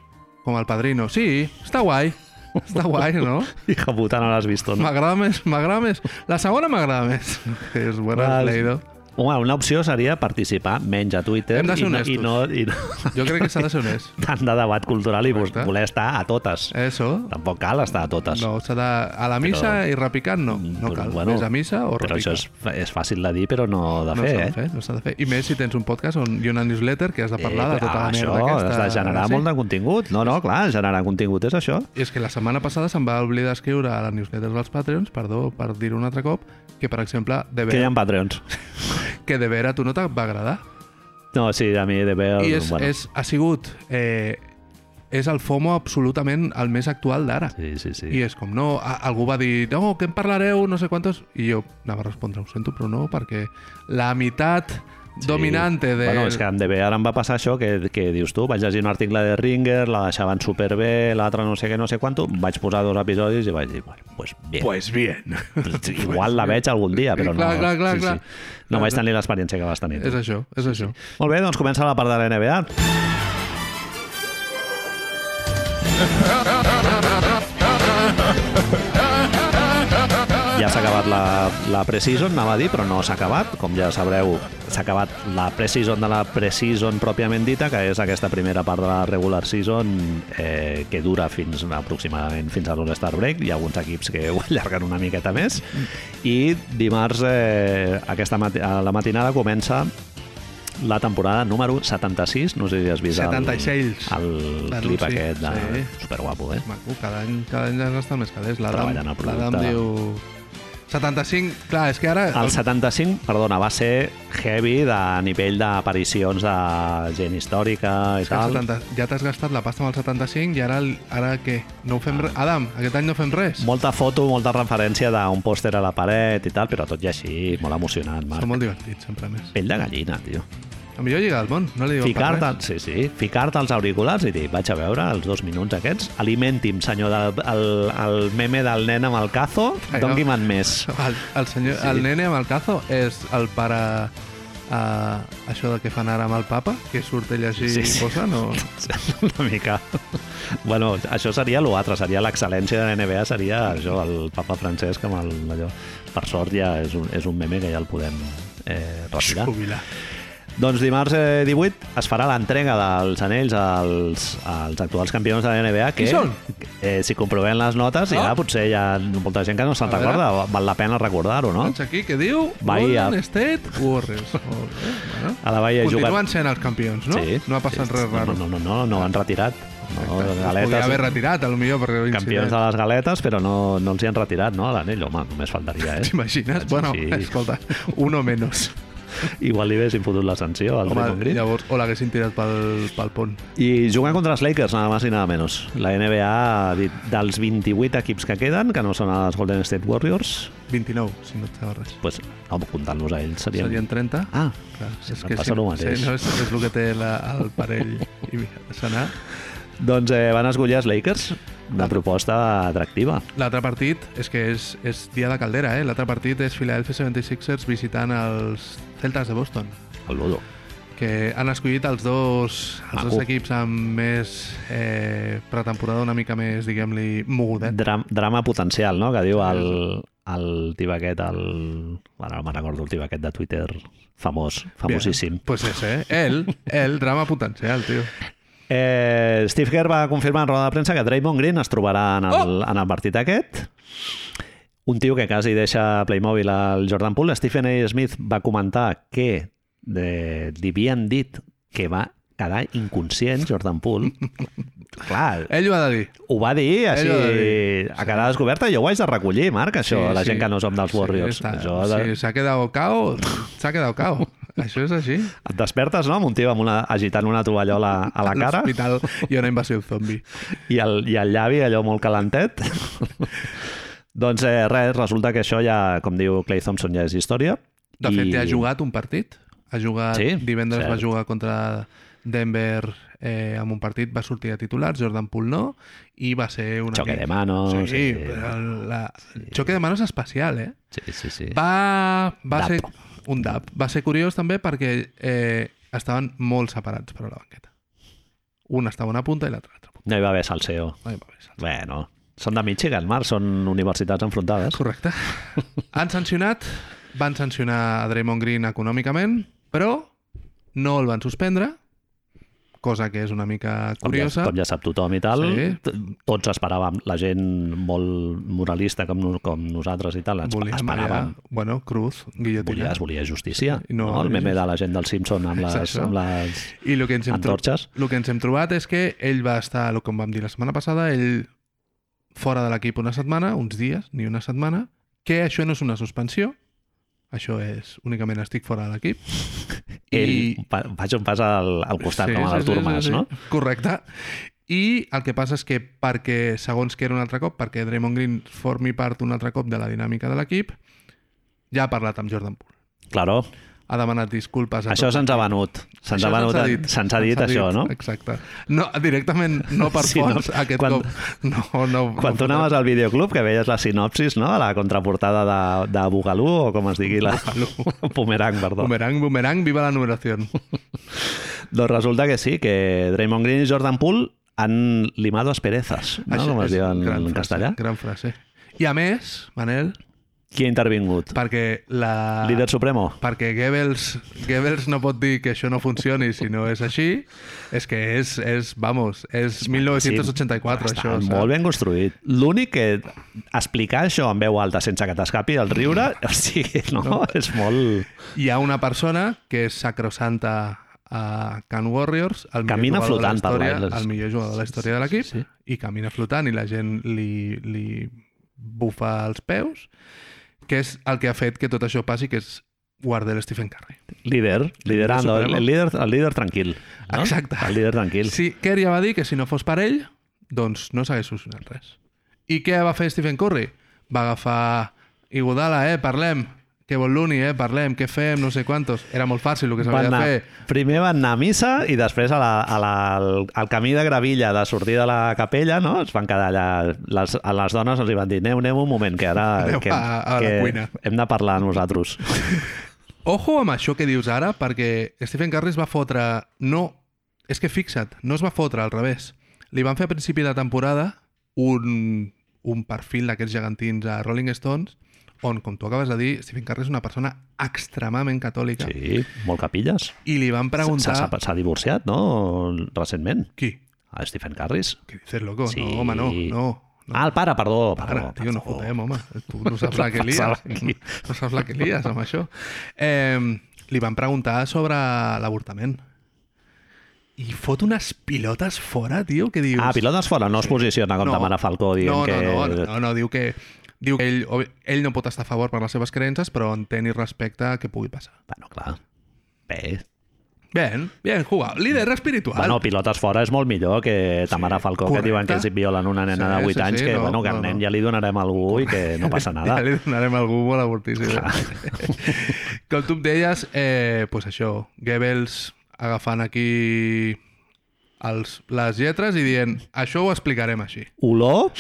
com el padrino. Sí, està guai. Està guai, no?
Hija puta, no l'has vist, no?
M'agrada més, m'agrada més. La segona m'agrada més. És bona,
Val.
Leido.
Home, una opció seria participar menys a Twitter
Hem de ser
i, no, i,
honestos.
no, i no,
Jo crec que s'ha de ser honest.
tant de debat cultural i vos-
Correcte.
voler estar a totes.
Eso.
Tampoc cal estar a totes.
No, s'ha de... A la missa i repicant no. No
Mm, Però,
cal. Més a missa o
Però
repicar.
això és, fa- és fàcil de dir, però no de
no
fer,
s'ha de
eh?
fer, no s'ha de fer. I més si tens un podcast on, i una newsletter que has de parlar de
però
tota la
Eh, això,
merda aquesta.
has de generar molt de contingut. No, no, clar, generar contingut és això.
I és que la setmana passada se'm va oblidar escriure a la newsletter dels Patreons, perdó per dir-ho un altre cop, que per exemple, de
Que hi
vera,
ha Patreons.
que de vera a tu no te va agradar.
No, sí, a mi de veure...
I és,
Ah, doncs, bueno,
és, ha sigut... Eh, és el FOMO absolutament el més actual d'ara.
Sí, sí, sí.
I és com, no, a, algú va dir, no, que en parlareu, no sé quantos... I jo anava a respondre, ho sento, però no, perquè la meitat
Sí.
dominante de...
Bueno, és que amb DB ara em va passar això que, que dius tu, vaig llegir un article de Ringer, la deixaven superbé, l'altre no sé què, no sé quanto, vaig posar dos episodis i vaig dir, bueno, pues bien.
Pues bien.
Igual la veig algun dia, però
Clar,
no...
clar, clar, clar.
No
Clar,
vaig
clar.
tenir l'experiència que vas tenir. tu.
És això, és això.
Molt bé, doncs comença la part de la NBA. Ja s'ha acabat la, la pre-season, anava a dir, però no s'ha acabat. Com ja sabreu, s'ha acabat la pre-season de la pre-season pròpiament dita, que és aquesta primera part de la regular season eh, que dura fins aproximadament fins a l'All-Star Break. Hi ha alguns equips que ho allarguen una miqueta més. I dimarts, eh, aquesta mati a la matinada, comença la temporada número 76, no sé si has vist
76.
el, el
L'anunci,
clip aquest de...
sí.
superguapo, eh?
Maco, uh, cada any, cada any es gasten més calés. L'Adam
Treballant el producte.
l'Adam diu... 75, clar, és que ara...
El 75, perdona, va ser heavy de nivell d'aparicions de gent històrica i
és que el
tal.
70, ja t'has gastat la pasta amb el 75 i ara, el- ara què? No ho fem res? Adam, aquest any no fem res?
Molta foto, molta referència d'un pòster a la paret i tal, però tot i així, molt emocionant, Marc.
Són molt divertits, sempre més.
Pell de gallina, tio.
La millor lliga del món, no li diuen
Ficar-te
per res.
sí, sí, ficar als auriculars i dir, vaig a veure els dos minuts aquests, alimenti'm, senyor, del, el, el meme del nen amb el cazo,
Ai, no.
dongui-me'n més.
El, el, senyor,
Sí.
el nene amb el cazo és el pare... Uh, això del que fan ara amb el papa, que surt ell així
Sí,
sí,
sí.
sí. i posa, no...
una mica... Bueno, això seria l'altre, seria l'excel·lència de la NBA, seria això, el papa Francesc amb el, allò. Per sort ja és un, és un meme que ja el podem eh, retirar.
Jubilar.
Doncs dimarts eh, 18 es farà l'entrega dels anells als, als actuals campions de la NBA. Que,
Qui són?
Eh, si comprovem les notes, ja
Ah.
potser hi ha molta gent que no se'n
A veure.
recorda. Val la pena recordar-ho, no?
Doncs aquí, què diu?
Bahia.
Golden State Warriors. Molt bé, bueno.
A la Bahia
Continuen
juguen-
sent els campions, no?
Sí,
no ha passat
sí,
res raro.
No, no, no, no, no han retirat. No,
Galetes...
galetes,
Podia haver retirat, a lo millor, perquè l'incident.
campions de les galetes, però no, no els hi han retirat, no? A l'anell, home, només faltaria, eh?
T'imagines?
Sí,
Bueno,
sí.
escolta, uno menos.
Igual li haguessin fotut la sanció al
Home,
Draymond Green.
llavors, o l'haguessin tirat pel, pel pont.
I jugant contra els Lakers, nada més i nada menys. La NBA ha dit dels 28 equips que queden, que no són els Golden State Warriors,
29, si no et sap res.
pues, no, comptant-los a ells serien...
Serien 30.
Ah,
Clar,
sí, em passa el mateix.
Sí, no, és, és el que té la, el parell i mira, senar.
doncs eh, van escollir els Lakers, una proposta atractiva.
L'altre partit és que és, és dia de caldera, eh? L'altre partit és Philadelphia 76ers visitant els Celtas de Boston.
El Ludo.
que han escollit els dos, els dos
Maco.
equips amb més eh, pretemporada una mica més, diguem-li, mogudet.
Dram, drama potencial, no?, que diu el, el tio aquest, el... Bueno, no me'n recordo, el tio aquest de Twitter famós, famosíssim.
Pues és, eh? El, el drama potencial, tio.
Eh, Steve Kerr va confirmar en roda de premsa que Draymond Green es trobarà en el, oh! en el partit aquest. Un tio que quasi deixa Playmobil al Jordan Poole. Stephen A. Smith va comentar que de, li havien dit que va quedar inconscient Jordan Poole. Clar,
Ell ho ha de dir.
ho va dir així,
Ell ho va
a quedar descoberta. Jo ho haig de recollir, Marc, això,
Sí,
la
sí.
gent que no som dels Warriors.
Sí, està.
Això de-
Sí, s'ha quedat cao, s'ha quedat cao. Això és així.
Et despertes, no?, amb un tio amb una, agitant una tovallola a la
A
cara
L'hospital hi ha una invasió zombi.
i el, i el llavi allò molt calentet. doncs eh, res, resulta que això ja, com diu Clay Thompson, ja és història.
De fet, ja ha jugat un partit. Ha jugat
Sí,
divendres,
cert.
va jugar contra Denver eh, amb un partit va sortir a titular, Jordan Poole no, i va ser una
Choque de
mica-
manos. eh,
Sí, eh.
sí.
el- la... Choque de manos especial, eh?
Sí, sí, sí.
Va, va
Dap.
ser un dap. Va ser curiós també perquè eh, estaven molt separats per a la banqueta. Un estava a una punta i l'altre a l'altra punta.
No hi va haver salseo.
No hi va haver salts.
Bueno, són de Michigan, Marc, són universitats enfrontades.
Correcte. Han sancionat, van sancionar a Draymond Green econòmicament, però no el van suspendre, cosa que és una mica
Com ja,
curiosa.
com ja sap tothom i tal, sí.
Sí.
tots esperàvem, la gent molt moralista com, no- com nosaltres i tal, ens
Volia
esperàvem.
marear- Bueno, cruz,
Volia,
guillotina.
es volia justícia,
I
no,
no-
no? el meme de la gent del Simpson amb
És
les,
això.
amb les
I el que, ens hem tro-
antorxes.
el que ens hem trobat és que ell va estar, el com vam dir la setmana passada, ell fora de l'equip una setmana, uns dies, ni una setmana, que això no és una suspensió, això és únicament estic fora de l'equip.
Ell
I-
fa- faig un pas al, al costat, sí, com a l'Artur Mas, no?
Correcte. I el que passa és que perquè, segons que era un altre cop, perquè Draymond Green formi part un altre cop de la dinàmica de l'equip, ja ha parlat amb Jordan Poole.
Claro,
Ha demanat disculpes a
això
tots.
se'ns ha venut. Se'ns
Això
ha venut, se'ns
ha
ha dit, se'ns ha dit això, no?
Exacte. No, directament no per
Sí,
sí,
no.
fons, no. aquest
Quan-
quan, cop. No, no.
Quan
no
tu
fotré.
anaves al videoclub, que veies la sinopsis, no?, a la contraportada de, de Bugalú, o com es digui la... Pomerang, perdó.
Bumerang, bumerang, viva la numeració.
Doncs resulta que sí, que Draymond Green i Jordan Poole han limado asperezas, no? com es
és
diu en,
gran
en
frase,
castellà.
Gran frase. I a més, Manel,
Qui ha intervingut?
perquè la...
Líder supremo?
perquè Goebbels, Goebbels no pot dir que això no funcioni si no és així, és que és, és vamos, és 1984
Sí,
això.
està
saps?
molt ben construït. L'únic que explicar això en veu alta sense que t'escapi el riure,
Mm.
o sigui, no? no. És molt...
Hi ha una persona que és sacrosanta a Can Warriors, el
Camina
millor jugador
flotant per
de la història,
l'aire.
el millor jugador de la història de l'equip, sí, i camina flotant i la gent li, li bufa els peus, que és el que ha fet que tot això passi, que és guardar el Stephen Curry.
Líder, liderando,
Líder
el,
supremo.
el líder, el líder tranquil. No?
Exacte.
El líder tranquil. Sí.
Sí, Kerry va dir que si no fos per ell, doncs no s'hagués solucionat res. I què va fer Stephen Curry? Va agafar Iguodala, eh, parlem, que vol l'uni, eh, parlem, què fem, no sé quantos. Era molt fàcil el que
Van
s'havia de
anar,
fer.
primer van anar a missa i després a la, a la, al, al camí de Gravilla de sortir de la capella no? es van quedar allà, les, a les dones els hi van dir aneu, aneu un moment que ara
Aneu
que,
a- a la
que
cuina."
hem de parlar nosaltres
Ojo amb això que dius ara, perquè Stephen Curry es va fotre... No, és que fixa't, no es va fotre, al revés. Li van fer a principi de temporada un, un perfil d'aquests gegantins a Rolling Stones, on, com tu acabes de dir, Stephen Curry és una persona extremament catòlica.
sí, molt capilles
I li van
S'ha-
preguntar...
s'ha s'ha divorciat no? recentment
Qui?
a Stephen Carris
¿Qué dices, loco?
Sí.
No, home, no, no. no.
ah, el pare, perdó, perdó
Ara, tio, no
perdó.
fotem, home. Tu no saps la que
Passava
lies.
aquí.
No saps la que lies amb això. Eh, li van preguntar sobre l'avortament. I fot unes pilotes fora, tio, que dius...
ah, pilotes fora, no es posiciona com demana Falcó dient
no,
que...
No, no, no, no, diu que, diu que ell, obvi- ell no pot estar a favor per les seves creences, però entén i respecta que pugui passar.
Bueno, clar. Bé,
Bien, bien jugado. Líder espiritual.
Bueno, pilotes fora és molt millor que Tamara sí, Falcó,
correcte.
que diuen que si violen una nena
Sí,
de 8
sí,
anys,
sí,
que,
no,
bueno, que
no,
al nen
no.
ja li donarem algú i que no passa nada.
Ja li donarem algú molt avortíssim. Com tu em deies, eh, pues això, Goebbels agafant aquí els, les lletres i dient això ho explicarem així.
Olor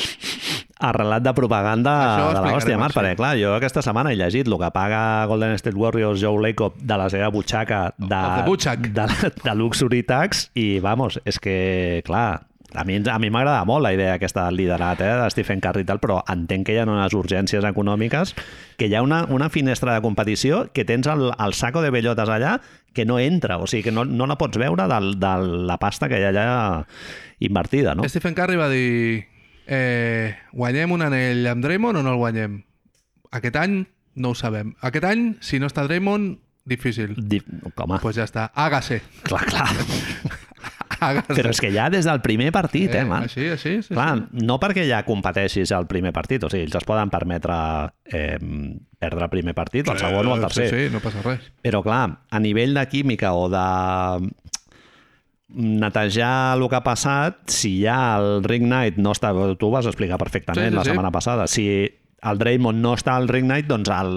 arrelat de propaganda
Això ho
de la
explicarem
hòstia, Marc,
així.
perquè clar, jo aquesta setmana he llegit el que paga Golden State Warriors Joe Lacob de la seva butxaca de,
El de butxac.
de, de Luxury Tax i, vamos, és que, clar, a mi ens- a mi m'agrada molt la idea aquesta del liderat eh, de Stephen Curry i tal, però entenc que hi ha unes urgències econòmiques, que hi ha una, una finestra de competició que tens el, el saco de bellotes allà que no entra, o sigui que no, no la pots veure del, de la pasta que hi ha allà invertida, no?
Stephen Curry va dir eh, guanyem un anell amb Draymond o no el guanyem? Aquest any no ho sabem. Aquest any, si no està Draymond, difícil. Doncs
Di... Home,
pues ja està. Hágase.
clar, clar.
Hágase.
Però és que ja des del primer partit, eh, Marc?
Així, així. Sí,
Clar, no perquè ja competeixis al primer partit, o sigui, ells es poden permetre eh, perdre el primer partit, el segon o el tercer.
Sí, sí, no passa res.
Però clar, a nivell de química o de netejar el que ha passat, si ja el Ring Knight no està... Tu ho vas explicar perfectament
Sí, sí,
la
sí.
setmana passada. Si el Draymond no està al Ring Knight, doncs el,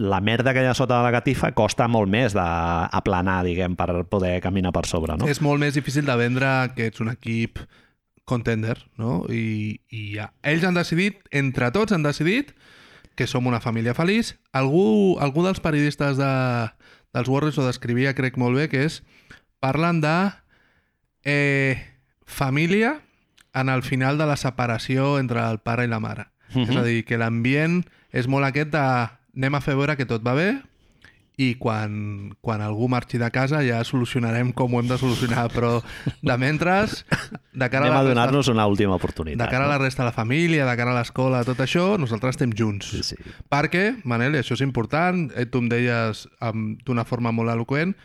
la merda que hi ha sota de la catifa costa molt més d'aplanar, diguem, per poder caminar per sobre, no?
És molt més difícil de vendre que ets un equip contender, no? I, i ja. ells han decidit, entre tots han decidit, que som una família feliç. Algú, algú dels periodistes de, dels Warriors ho descrivia, crec, molt bé, que és... Parlen de eh, família en el final de la separació entre el pare i la mare. Uh
Mhm.
-huh. És a dir, que l'ambient és molt aquest de anem a fer veure que tot va bé i quan, quan algú marxi de casa ja solucionarem com ho hem de solucionar, però de mentre... De cara
Anem a,
la resta-
donar-nos una última oportunitat.
de cara a la resta de la família, de cara a l'escola, tot això, nosaltres estem junts.
Sí, sí.
Perquè, Manel, i això és important, eh, tu em deies amb- d'una forma molt eloquent,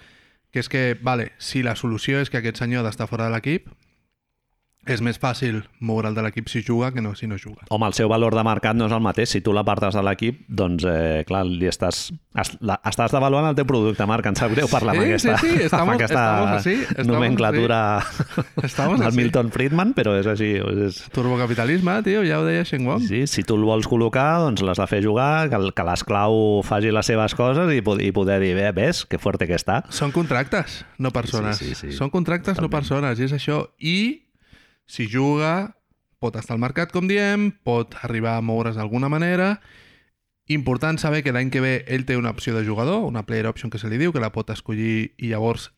que és que, vale, si la solució és que aquest senyor ha d'estar fora de l'equip, és més fàcil moure'l de l'equip si juga que no si no juga.
Home, el seu valor de mercat no és el mateix. Si tu l'apartes de l'equip, doncs, eh, clar, li estàs, es, la, estàs devaluant el teu producte, Marc. Em sap greu parlar amb
Sí,
aquesta,
sí, sí, estamos-
amb aquesta
estamos así, estamos
nomenclatura
Estamos
del
así.
Milton Friedman, però és així. És,
Turbocapitalisme, tio, ja ho deia Sheng Wong.
sí, si tu el vols col·locar, doncs l'has de fer jugar, que, el- que l'esclau faci les seves coses i, po- i poder dir, bé, ves, que fuerte que està.
Són contractes, no persones.
Sí, sí, sí.
Són contractes, no persones, i és això. I si juga, pot estar al mercat, com diem, pot arribar a moure's d'alguna manera. Important saber que l'any que ve ell té una opció de jugador, una player option que se li diu, que la pot escollir i llavors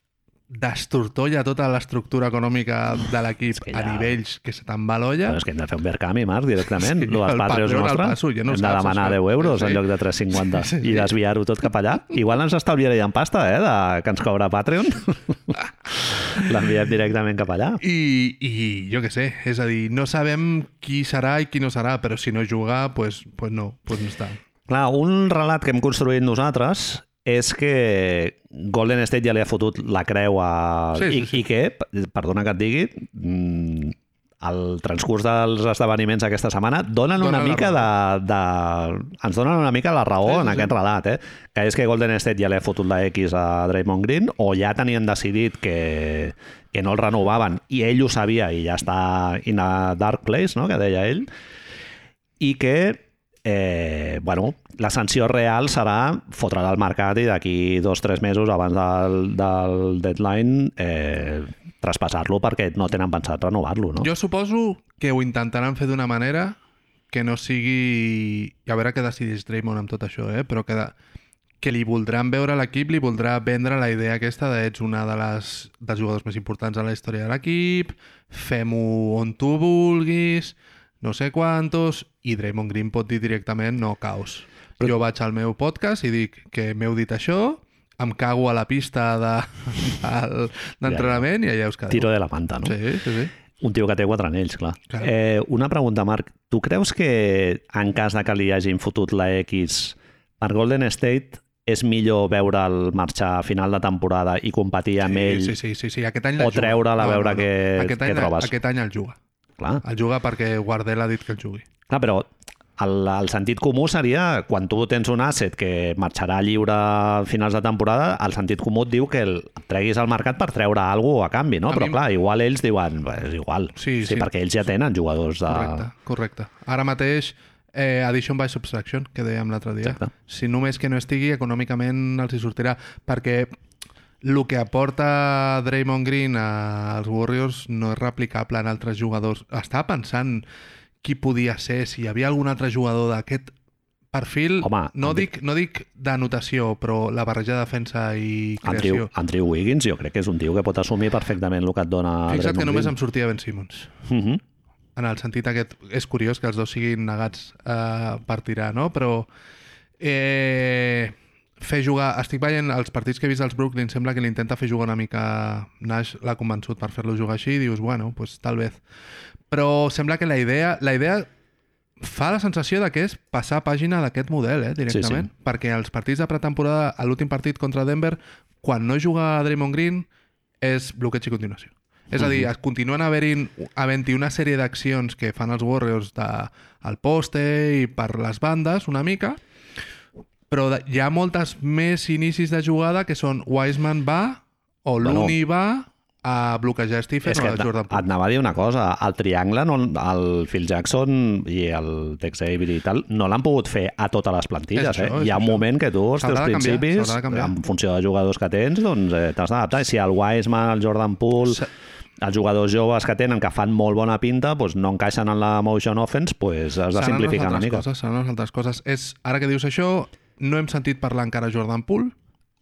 destortolla tota l'estructura econòmica de l'equip
que
a
ja-
nivells que se te'n va l'olla.
Però és que hem de fer un Verkami, Marc, directament.
Sí,
Sí, els
el
Patreons
Patreon al
nostres.
passo, ja no
hem de
saps,
demanar
això.
10 euros
Sí.
en lloc de 3,50
Sí, sí.
i desviar-ho tot cap allà. Igual ens estalviaríem pasta, eh, de, que ens cobra Patreon. L'enviem directament cap allà.
I, i jo que sé, és a dir, no sabem qui serà i qui no serà, però si no juga, pues, pues no, pues no està.
Clar, un relat que hem construït nosaltres és que Golden State ja li ha fotut la creu a...
Sí, sí,
I,
sí.
I que, p- perdona que et digui, mm, al transcurs dels esdeveniments aquesta setmana donen
Dona
una
la
mica de, de... ens donen una mica la raó
Sí, sí,
en
sí.
aquest relat, eh? Que és que Golden State ja li ha fotut la X a Draymond Green o ja tenien decidit que, que no el renovaven i ell ho sabia i ja està in a dark place, no?, que deia ell i que eh, bueno, la sanció real serà fotre al mercat i d'aquí dos o tres mesos abans del, del deadline eh, traspassar-lo perquè no tenen pensat renovar-lo, no?
Jo suposo que ho intentaran fer d'una manera que no sigui... I a veure què decideix Draymond amb tot això, eh? Però que, de... que li voldran veure a l'equip, li voldrà vendre la idea aquesta de ets una de les dels jugadors més importants de la història de l'equip, fem-ho on tu vulguis, no sé quantos, i Draymond Green pot dir directament no caos. Però... Jo vaig al meu podcast i dic que m'heu dit això, em cago a la pista de- d'entrenament de, i allà us quedeu.
Tiro de la manta, no?
Sí, sí, sí.
Un tio que té quatre anells, clar.
Clar.
Eh, una pregunta, Marc. Tu creus que en cas de que li hagin fotut la X per Golden State és millor veure'l marxar a final de temporada i competir amb ell?
Sí, sí, sí, sí. Aquest any
o treure-la a veure què-
aquest
què
any,
trobes.
Aquest any el juga.
Clar.
El juga perquè Guardel ha dit que el jugui.
Clar, però el, el sentit comú seria, quan tu tens un asset que marxarà lliure a finals de temporada, el sentit comú et diu que el et treguis al mercat per treure alguna cosa a canvi, no?
A
però
mi-
clar, igual ells diuen, "Bé, és igual,
Sí, sí.
perquè ells ja tenen jugadors de...
Correcte, correcte. Ara mateix, eh, addition by subtraction, que dèiem l'altre dia.
Exacte.
Si només que no estigui, econòmicament els hi sortirà, perquè el que aporta Draymond Green als Warriors no és replicable en altres jugadors. Estava pensant qui podia ser, si hi havia algun altre jugador d'aquest perfil,
Home,
no,
em
dic, no dic d'anotació, però la barreja de defensa i creació.
Andrew, Andrew Wiggins jo crec que és un tio que pot assumir perfectament el que et dona
Fixa't que
Ah, Draymond
només
Green.
em sortia Ben Simmons.
Mhm.
En el sentit aquest, és curiós que els dos siguin negats eh, per tirar, no? Però eh, fer jugar... Estic veient els partits que he vist als Brooklyn, sembla que l'intenta fer jugar una mica... Nash l'ha convençut per fer-lo jugar així i dius, bueno, pues tal vez. Però sembla que la idea... La idea fa la sensació de que és passar pàgina d'aquest model, eh, directament. Sí, sí. Perquè els partits de pretemporada, a l'últim partit contra Denver, quan no juga Draymond Green, és bloqueig i continuació. És a dir, es continuen havent havent una sèrie d'accions que fan els Warriors de, al poste i per les bandes una mica, però de, hi ha moltes més inicis de jugada que són Wiseman va, o
Bueno.
Looney va, a bloquejar Stephen
És
o
que
a
et,
Jordan
et
Poole.
anava a dir una cosa, el triangle, no, el Phil Jackson i el Tex Avery i tal, no l'han pogut fer a totes les plantilles.
És això,
eh?
és
Hi ha un
això.
moment que tu, els
S'haurà
teus
de canviar,
principis,
s'haurà de canviar.
en funció de jugadors que tens, doncs eh, t'has d'adaptar. I Si el Wiseman, el Jordan Poole,
S'ha-
els jugadors joves que tenen, que fan molt bona pinta, doncs no encaixen en la motion offense, doncs has de
Seran les
simplificar una
altres
mica.
Coses, seran les altres coses. És, ara que dius això, no hem sentit parlar encara de Jordan Poole.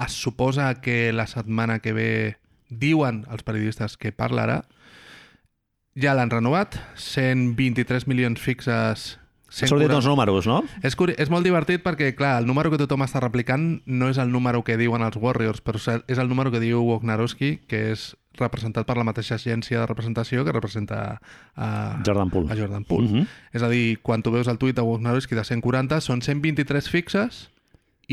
Es suposa que la setmana que ve diuen els periodistes que parlarà. Ja l'han renovat, 123 milions fixes,
Han sortit
140
uns números, no?
És, curi... és molt divertit perquè, clar, el número que tothom està replicant no és el número que diuen els Warriors, però és- és el número que diu Wojnarowski, que és representat per la mateixa agència de representació que representa a
Jordan Poole.
A Jordan Poole.
Mhm.
És a dir, quan tu veus el tuit de Wojnarowski de 140, són 123 fixes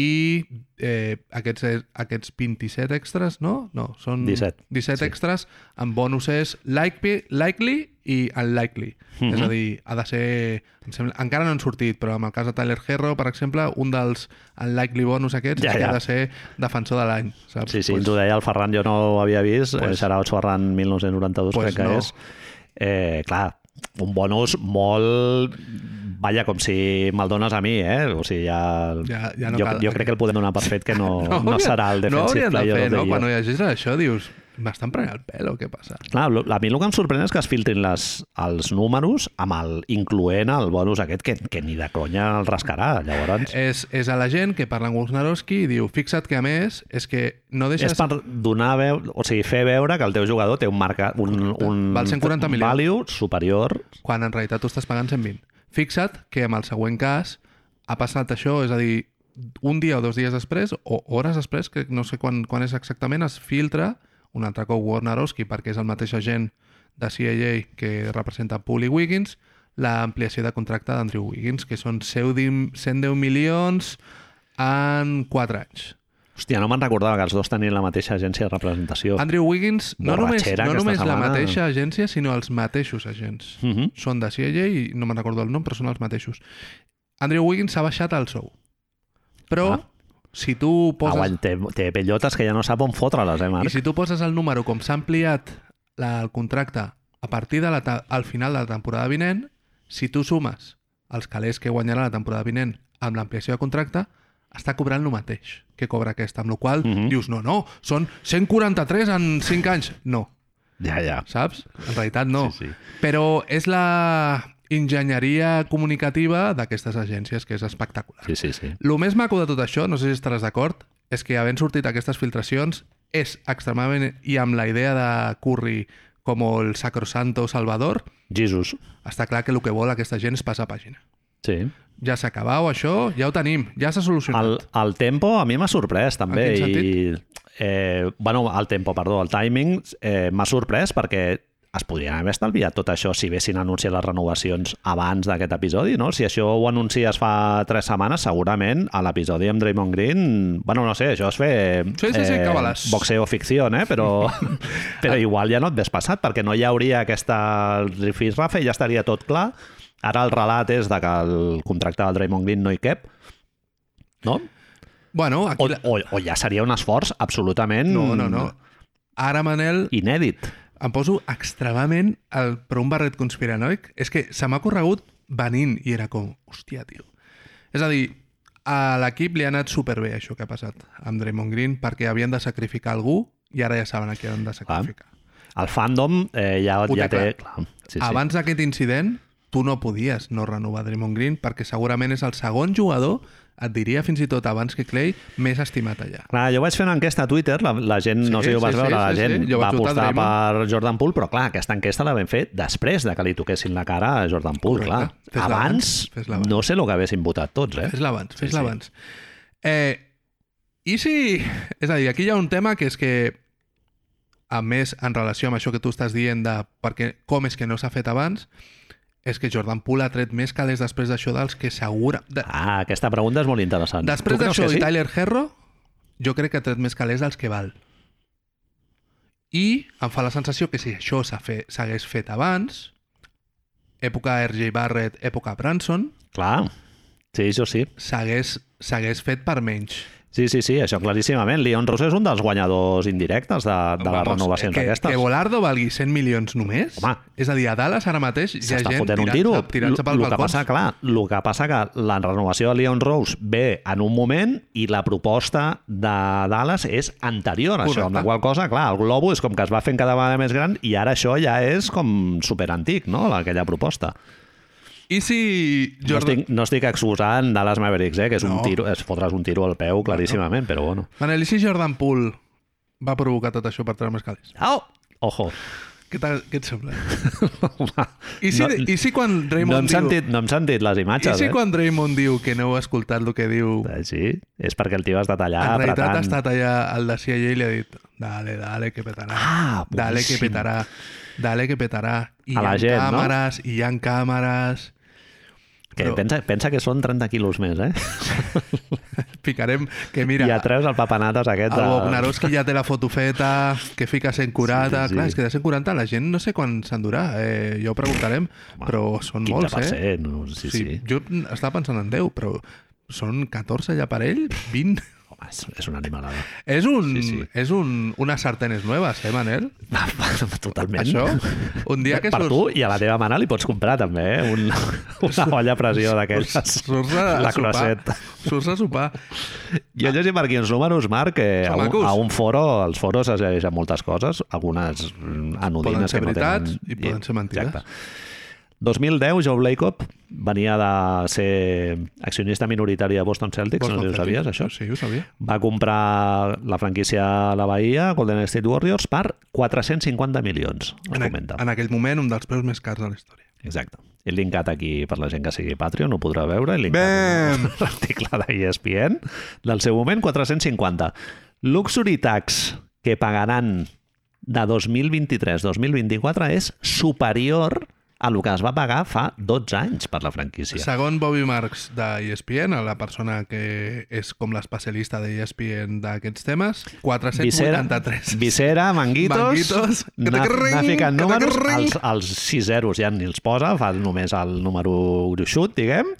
i eh, aquests, aquests 27 extras, no? No, són
17.
17
Sí.
extras amb bonuses likely, likely i unlikely.
Mhm.
És a dir, ha de ser... Em sembla, encara no han sortit, però en el cas de Tyler Herro, per exemple, un dels unlikely bonus aquests
Ja,
és que
ja.
ha de ser defensor de l'any. saps?
Sí, sí,
Pues-
ens ho deia el Ferran, jo no ho havia vist, pues, Xarauts Ferran 1992
Pues
pues crec que
no.
és. Eh, clar, un bonus molt... Vaja, com si me'l dones a mi, eh? O sigui, ja...
Ja- ja no
jo,
cal.
jo crec que el podem donar per fet que no, no, no
hauria-
serà el defensive
no
player of the
hauries de fer, no?
year.
Quan ho llegeixes això dius, m'estan prenent el pèl o què passa?
Clar, lo- a mi el que em sorprèn és que es filtrin les, els números amb el, incloent el bonus aquest, que, que ni de conya el rascarà, llavors.
És, és a la gent que parla amb Wojnarowski i diu, fixa't que a més és que no deixes...
És per donar veu, o sigui, fer veure que el teu jugador té un marca, un, un
Val 140 milions.
value superior
quan en realitat tu estàs pagant 120. Fixa't que amb el següent cas ha passat això, és a dir, un dia o dos dies després, o hores després, que no sé quan, quan és exactament, es filtra un altre cop Warnerowski, perquè és el mateix agent de CIA que representa Poole i Wiggins, l'ampliació de contracte d'Andrew Wiggins, que són 110 110 milions en 4 anys.
Hòstia, no me'n recordava que els dos tenien la mateixa agència de representació.
Andrew Wiggins, no només,
Borratxera
no
aquesta
només la
setmana.
mateixa agència, sinó els mateixos agents.
Mhm.
Són de CIA i no me'n recordo el nom, però són els mateixos. Andrew Wiggins s'ha baixat el sou. Però,
Ah.
si tu
Poses...
poses...
té, té pellotes que ja no sap on fotre-les, eh,
I
Marc?
si tu poses el número com s'ha ampliat la, el contracte a partir de la, ta- al final de la temporada vinent, si tu sumes els calés que guanyarà la temporada vinent amb l'ampliació de contracte, està cobrant el mateix que cobra aquesta, amb la qual cosa
Mhm.
dius, no, no, són 143 en 5 anys. No,
Ja, ja.
saps? En realitat no.
Sí, sí.
Però és la enginyeria comunicativa d'aquestes agències, que és espectacular.
Sí, sí, sí.
Lo més maco de tot això, no sé si estaràs d'acord, és que havent sortit aquestes filtracions és extremadament, i amb la idea de Curry com el sacrosanto salvador,
Jesus.
està clar que el que vol aquesta gent és passar pàgina.
Sí.
Ja s'ha acabat això, ja ho tenim, ja s'ha solucionat.
El, el tempo a mi m'ha sorprès, també.
En quin
I, eh, bueno, el tempo, perdó, el timing eh, m'ha sorprès perquè es podrien haver estalviat tot això si vessin a anunciar les renovacions abans d'aquest episodi, no? Si això ho anuncies fa tres setmanes, segurament a l'episodi amb Draymond Green... Bueno, no sé, això és fer...
Sí, sí, sí, que vales.
Eh, Boxeo ficció, eh? Però, però igual ja no et ves passat, perquè no hi hauria aquesta rifirrafe, ja estaria tot clar. Ara el relat és de que el contracte del Draymond Green no hi cap, no?
Bueno,
O,
aquí... la-
o, o ja seria un esforç absolutament
No, no, no. Ara, Manel,
inèdit.
em poso extremadament el, però un barret conspiranoic. És que se m'ha corregut venint i era com, hòstia, tio. És a dir, a l'equip li ha anat superbé això que ha passat amb Draymond Green perquè havien de sacrificar algú i ara ja saben a qui han de sacrificar.
El fandom eh, ja,
Ho
ja
té Ah,
té... Clar. Sí,
Sí,
sí.
Abans d'aquest incident, tu no podies no renovar Draymond Green perquè segurament és el segon jugador, et diria fins i tot abans que Clay, més estimat allà.
Clar, jo vaig fer una enquesta a Twitter, la, la gent, no
Sí,
sé si ho
sí,
vas
sí,
veure, la
sí,
gent
sí, jo
va
vaig votar
apostar
Draymond.
per Jordan Poole, però clar, aquesta enquesta la vam fer després de que li toquessin la cara a Jordan Poole,
Correcte.
clar.
Fes-la
Abans,
abans, fes-la abans.
no sé el que haguessin votat tots, eh?
Fes-la abans,
Sí,
fes-la
sí.
abans. Eh, I si... És a dir, aquí hi ha un tema que és que, a més, en relació amb això que tu estàs dient de perquè, com és que no s'ha fet abans, és que Jordan Poole ha tret més calés després d'això dels que segura... De,
Ah, aquesta pregunta és molt interessant.
després
Tu creus
d'això
que
sí?
sí?
i Tyler Herro, jo crec que ha tret més calés dels que val. I em fa la sensació que si això s'ha fe- s'hagués fet abans, època RJ Barrett, època Branson,
Clar, sí, això sí.
s'hagués s'hagués fet per menys.
Sí, sí, sí, això claríssimament. Leon Russo és un dels guanyadors indirectes de, de les
Vamos, eh,
renovacions
que,
aquestes.
Que Volardo valgui 100 milions només?
Home.
És a dir, a Dallas ara mateix hi ha
s'està
gent
fotent un
tirant-se
tiro.
tirant
Lo-
pel
lo que
balcó.
passa, clar, el que passa que la renovació de Leon Rose ve en un moment i la proposta de Dallas és anterior a això, amb la
Correcte.
qual cosa, clar, el globo és com que es va fent cada vegada més gran i ara això ja és com superantic, no?, la- aquella proposta.
I si
No
Jordan...
estic, no estic exposant Dallas Mavericks, eh, que és
No.
un tiro, es fotre's un tiro al peu claríssimament, però bueno.
Manel, i si Jordan Poole va provocar tot això per treure més calés?
Au! Ojo.
Què, t'ha- què et sembla?
Home,
I si,
no,
I si quan
no, hem
Raymond diu...
sentit, no hem sentit les
I
imatges,
si
eh?
quan Raymond diu que no heu escoltat el que diu...
Eh, Sí, és perquè el tio has de tallar
en realitat
apretant.
ha estat allà al de CIA i li ha dit dale, dale, que petarà.
Ah,
dale, que
boníssim.
petarà. Dale, que petarà. I
A la
hi ha
gent, no?
càmeres, no? hi ha càmeres...
Que
Però-
pensa, pensa que són 30 quilos més, eh?
Ficarem... Que
Mira,
mira,
I ja treus el papanates aquest
el
de...
Bognarowski ja té la foto feta, que fica 140...
Sí, sí, sí.
Clar, és que de 140 la gent no sé quan s'endurà. Eh, ja ho preguntarem, però són molts, eh?
15%, no? sí, sí. sí.
Jo estava pensant en 10, però són 14 ja per ell, 20...
Home, és, és una animalada.
És un...
Sí, sí.
És un, unes sartenes noves, eh, Manel?
Totalment.
Això, un dia que
per
surts,
tu i a la teva mana li pots comprar també eh? Un, una olla a pressió d'aquelles.
surts a, a
La
sopar,
croisset.
surts a sopar.
Jo llegim per aquí uns números, Marc, que a
Són
un,
macos.
a un foro, als foros es llegeixen moltes coses, algunes mm, anodines
Poden ser
que no tenen...
veritats i poden ser mentides.
Exacte. 2010, Joe Blacob venia de ser accionista minoritari de Boston Celtics, Boston no sé si ho sabies, això.
Sí, ho sabia.
Va comprar la franquícia a la Bahia, Golden State Warriors, per 450 milions, es
En, a,
comenta.
en aquell moment, un dels preus més cars de la història.
Exacte. He linkat aquí per la gent que sigui Patreon, ho podrà veure. He linkat
Bam!
un article d'ESPN del seu moment, 450. Luxury tax que pagaran de 2023-2024 és superior a lo que es va pagar fa 12 anys per la franquícia.
Segon Bobby Marks E d'ESPN, la persona que és com l'especialista E d'ESPN d'aquests temes, 483.
Visera, Manguitos,
Manguitos, que
anar,
te
anar
ring,
ficant
que te
números,
ring.
els, els sis zeros ja ni els posa, fa només el número gruixut, diguem,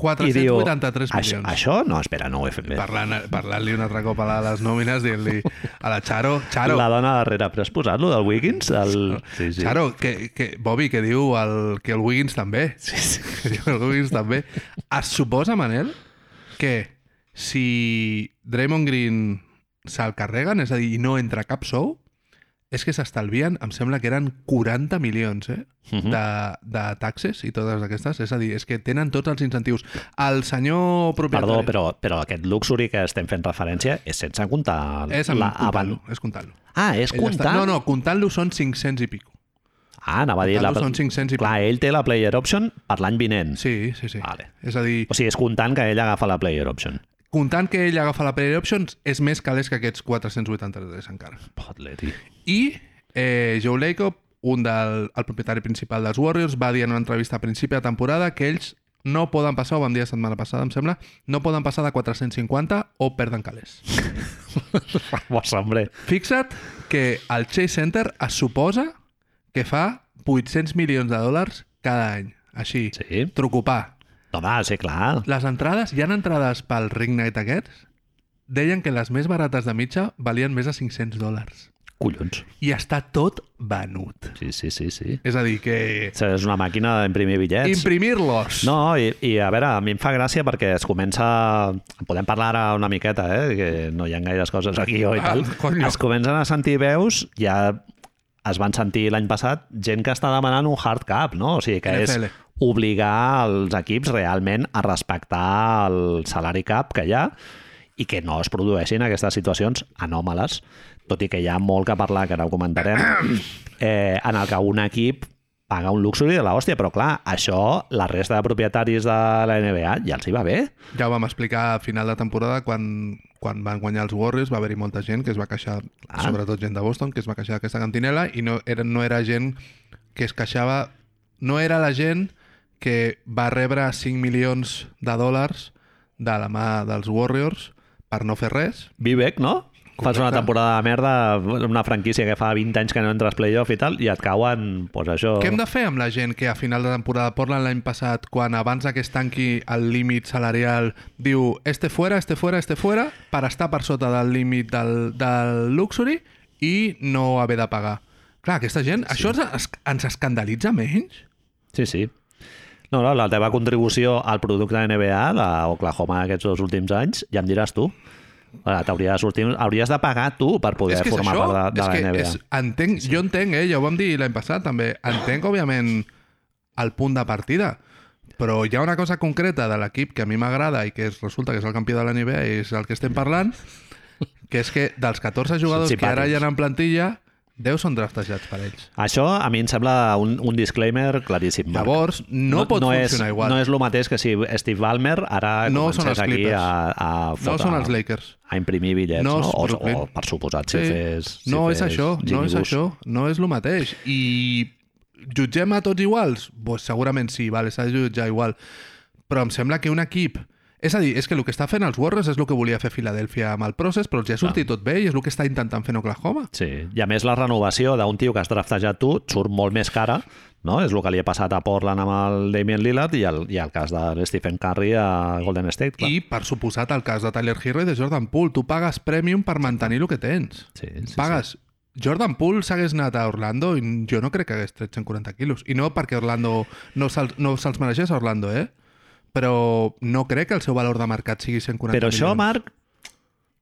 i diu,
483
això,
milions.
això, no, espera, no ho he fet bé.
Parlant- Parlant-li un altre cop a la- les nòmines, dient-li a la Charo, Charo,
La dona darrere, però has posat lo del Wiggins? El... Sí, sí.
Claro, que, que, Bobby, que diu el, que el Wiggins també. Sí, sí. Que diu el Wiggins també. Es suposa, Manel, que si Draymond Green se'l carreguen, és a dir, i no entra cap sou, és que s'estalvien, em sembla que eren 40 milions eh,
Mhm.
de, de taxes i totes aquestes. És a dir, és que tenen tots els incentius. El senyor propietari...
Perdó, però, però aquest luxury que estem fent referència és sense comptar...
És
la-
comptant-lo, és comptant-lo.
Ah, és
Ell està-
comptant?
No, no, comptant-lo són 500 i pico.
Ah, anava a dir... La...
Comptant-lo són 500 i pico.
Clar, ell té la player option per l'any vinent.
Sí, sí, sí.
Vale.
És a dir,
O sigui, és comptant que ell agafa la player option.
comptant que ell agafa la player options, és més calés que aquests 483 encara.
Potle, tio.
I eh, Joe Lacob, un del el propietari principal dels Warriors, va dir en una entrevista a principi de temporada que ells no poden passar, ho vam dir la setmana passada, em sembla, no poden passar de 450 o perden calés.
Vamos, hombre.
Fixa't que el Chase Center es suposa que fa 800 milions de dòlars cada any. Així,
Sí.
trucopar.
Home, sí, clar.
Les entrades, hi han entrades pel Ring Night aquests? Deien que les més barates de mitja valien més de 500 dòlars.
Collons.
I està tot venut.
Sí, sí, sí, sí.
És a dir, que
Això És una màquina d'imprimir bitllets.
imprimir-los.
No, i, i a veure, a mi em fa gràcia perquè es comença... Podem parlar ara una miqueta, eh? Que no hi ha gaires coses aquí o i
Ah,
tal.
coño.
es comencen a sentir veus, ja es van sentir l'any passat gent que està demanant un hard cap, no? O sigui que
NFL.
és obligar els equips realment a respectar el salari cap que hi ha i que no es produeixin aquestes situacions anòmales, tot i que hi ha molt que parlar, que ara ho comentarem, eh, en el que un equip paga un luxuri de l'hòstia, però clar, això la resta de propietaris de la NBA ja els hi va bé.
Ja ho vam explicar a final de temporada, quan, quan van guanyar els Warriors, va haver-hi molta gent que es va queixar,
Ah.
sobretot gent de Boston, que es va queixar d'aquesta cantinela, i no era, no era gent que es queixava... No era la gent que va rebre 5 milions de dòlars de la mà dels Warriors per no fer res,
Vivek, no? Fas una temporada de merda, una franquícia que fa 20 anys que no entres playoff i tal, i et cauen, doncs això...
Què hem de fer amb la gent que a final de temporada Portland l'any passat, quan abans de que es tanqui el límit salarial, diu este fuera, este fuera, este fuera, per estar per sota del límit del, del luxury i no haver de pagar? Clar, aquesta gent, sí. això ens, es- ens escandalitza menys?
Sí, sí. No, no, la teva contribució al producte NBA, la Oklahoma aquests dos últims anys, ja em diràs tu. Ara, T'hauries de sortir, hauries de pagar tu per poder
és que és
formar
això,
part de, de
és
la
que
NBA.
és, entenc, jo entenc, eh, ja ho vam dir l'any passat també, entenc, òbviament, el punt de partida, però hi ha una cosa concreta de l'equip que a mi m'agrada i que és, resulta que és el campió de la NBA i és el que estem parlant, que és que dels 14 jugadors
Són
que ara hi ha
simpàtics.
en plantilla, 10 són draftejats per ells.
Això a mi em sembla un, un disclaimer claríssim. Marc.
Llavors, no, pot funcionar
és,
igual.
No és el mateix que si Steve Ballmer ara
No
comencés
són els
aquí
Clippers.
a, a,
no
fotre,
són els Lakers.
a imprimir bitllets,
No
no?
és
O,
Brooklyn.
o, per suposat, si fes... Si
no
fes
és això, no
Jimmy
és
Bus.
això, no és el mateix. I jutgem a tots iguals? Pues segurament sí, vale, s'ha de jutjar igual. Però em sembla que un equip... És a dir, és que el que està fent els Warriors és el que volia fer Filadèlfia amb el procés, però els hi ha sortit tot bé i és el que està intentant fer en Oklahoma.
Sí, i a més la renovació d'un tio que has draftejat tu et surt molt més cara, no? És el que li ha passat a Portland amb el Damien Lillard i el, i el cas de Stephen Curry a Golden State, clar.
I, per suposat, el cas de Tyler Hero i de Jordan Poole. Tu pagues premium per mantenir el que tens.
Sí, sí,
pagues... Jordan Poole s'hagués anat a Orlando i jo no crec que hagués tret 140 quilos. I no perquè Orlando no se'ls no se mereixés a Orlando, eh? Però no crec que el seu valor de mercat sigui 140
Però això,
milions.
Marc,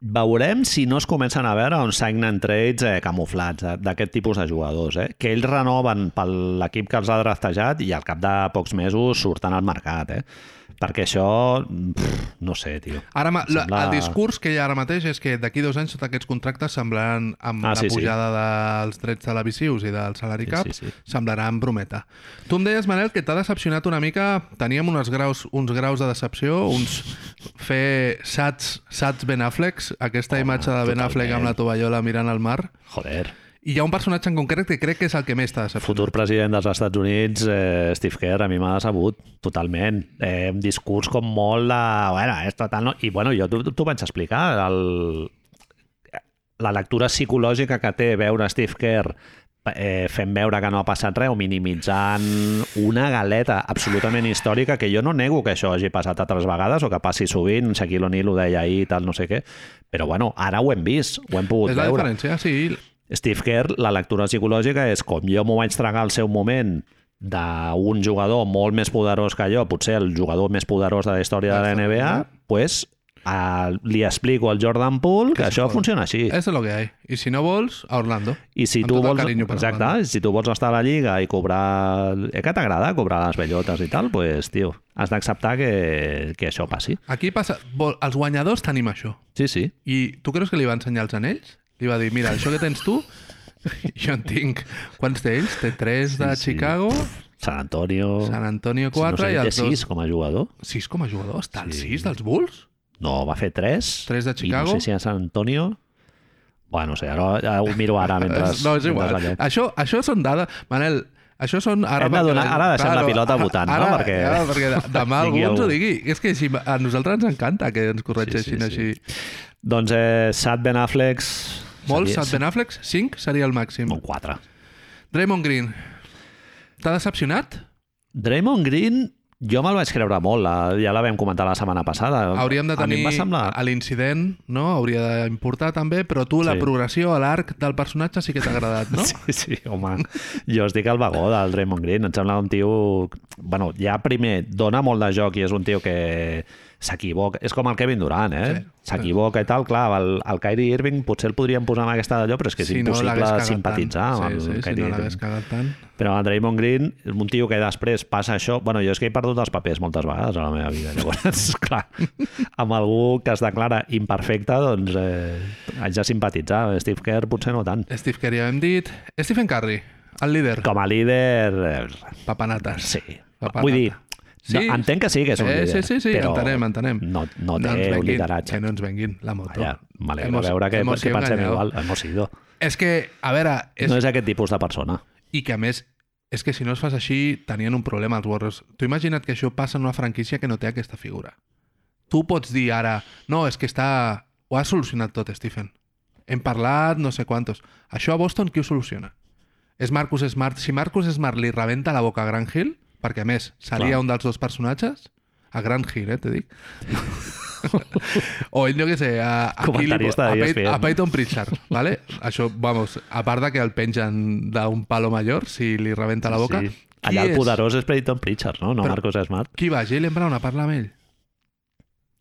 veurem si no es comencen a veure uns sign and trades eh, camuflats eh, d'aquest tipus de jugadors, eh? que ells renoven per l'equip que els ha draftejat i al cap de pocs mesos surten al mercat, eh? perquè això, pff, no sé, tio.
Ara, ma- la,
Sembla-
El discurs que hi ha ara mateix és que d'aquí dos anys sota aquests contractes semblaran, amb
Ah,
la
sí, sí.
pujada dels drets televisius i del salari
Sí,
cap,
sí, sí.
semblaran brometa. Tu em deies, Manel, que t'ha decepcionat una mica. Teníem uns graus, uns graus de decepció, uns fer sats, sats Ben Afflecks, aquesta
Home,
imatge de Ben
totalment.
Affleck amb la tovallola mirant al mar.
Joder,
I hi ha un personatge en concret que crec que és el que més t'ha decepcionat.
futur president dels Estats Units, eh, Steve Kerr, a mi m'ha decebut totalment. Eh, un discurs com molt de... Bueno, és total... No? I bueno, jo t'ho t'ho vaig explicar. El, la lectura psicològica que té veure Steve Kerr eh, fent veure que no ha passat res o minimitzant una galeta absolutament històrica que jo no nego que això hagi passat altres vegades o que passi sovint, Shaquille O'Neal ho deia ahir i tal, no sé què, però bueno, ara ho hem vist, ho hem pogut
És la
veure.
diferència, sí.
Steve Kerr, la lectura psicològica és com jo m'ho vaig tragar al seu moment d'un jugador molt més poderós que jo, potser el jugador més poderós de la història de la NBA, pues, a, li explico al Jordan Poole que,
Que se
això
joda.
funciona així.
És el que hi ha. I si no vols, a Orlando.
I si
Amb
tu
tot el
vols,
carinyo per
exacte,
Orlando.
si tu vols estar a la Lliga i cobrar... Eh, que t'agrada cobrar les bellotes i tal, pues, tio, has d'acceptar que, que això passi.
Aquí passa... Vol, els guanyadors tenim això.
Sí, sí.
I tu creus que li va ensenyar els anells? Li va dir, mira, això que tens tu, jo en tinc. Quants té ells? Té tres de
Sí, sí.
Chicago,
San Antonio...
San Antonio
no
4
sé,
i
té
els dos...
sis com a jugador.
Sis com a jugador? Està el
Sí.
sis dels Bulls?
No, va fer 3.
Tres de Chicago.
I no sé si a San Antonio... Bueno, no sé, ara, ara ho miro ara mentre...
no, és igual.
mentre ballem.
Això, això són dades... Manel, això són... Ara
Hem de
perquè-
donar- ara deixem la
Claro,
pilota
ara-
votant, no?
ara,
Perquè-
Ara, perquè de- demà algú
Vingui
ens ho
algú.
digui. És que així, a nosaltres ens encanta que ens
Sí,
corregeixin
sí, sí.
així.
Doncs eh, Sad Ben Affleck...
Molts, Sat Ben Affleck, 5 seria el màxim.
No, 4.
Draymond Green, t'ha decepcionat?
Draymond Green, jo me'l vaig creure molt, la, ja la vam comentar la setmana passada.
Hauríem de
A mi
tenir
em va semblar...
a l'incident, no? Hauria d'importar també, però tu la
Sí.
progressió a l'arc del personatge sí que t'ha agradat, no?
Sí, sí, home. Jo estic al vagó del Draymond Green. Em sembla un tio... bueno, ja primer, dona molt de joc i és un tio que s'equivoca. És com el Kevin Durant, eh? S'equivoca i tal. Clar, el, el Kyrie Irving potser el podríem posar en aquesta d'allò, però és que és impossible
l'hagués cagat
simpatitzar
tant.
amb
sí,
el
sí, si
Kyrie
no l'hagués
Irving.
cagat tant.
Però el Draymond Green és un tio que després passa això... bueno, jo és que he perdut els papers moltes vegades a la meva vida. Llavors, clar, amb algú que es declara imperfecte, doncs eh, haig de simpatitzar. Steve Kerr potser no tant.
Steve Kerr ja hem dit. Stephen Curry, el líder.
Com a líder, eh,
Papanates.
Sí.
Papanata.
Vull dir,
Sí.
sí. entenc que sí que és un
Eh,
líder.
sí, sí, sí,
però
entenem, entenem.
No, no té
ens
un
venguin,
lideratge.
Que no ens venguin la moto.
Allà, m'alegra
Hemos-
veure que,
hemos
que
sido
pensem
engañados.
igual. Hemos ido.
És que, a veure, és,
No és aquest tipus de persona.
I que a més, és que si no es fas així, tenien un problema els Warriors. Tu imagina't que això passa en una franquícia que no té aquesta figura. Tu pots dir ara, no, és que està... Ho ha solucionat tot, Stephen. hem parlat no sé quantos. Això a Boston qui ho soluciona? És Marcus Smart. Si Marcus Smart li rebenta la boca a Grant Hill, perquè a més seria
Clar.
un dels dos personatges, a Grant Hill, eh, te dic. o ell, jo què sé, a, a, qui li-
Comentarista
a,
de
Pey-
ESPN.
a Peyton Pritchard, ¿vale? Això, vamos, a part de que el pengen d'un palo major si li rebenta la boca,
Sí.
qui
Allà el
és?
poderós és Peyton Pritchard, no? No
Però-
Marcus Smart.
qui va? Jalen Brown a parlar amb ell?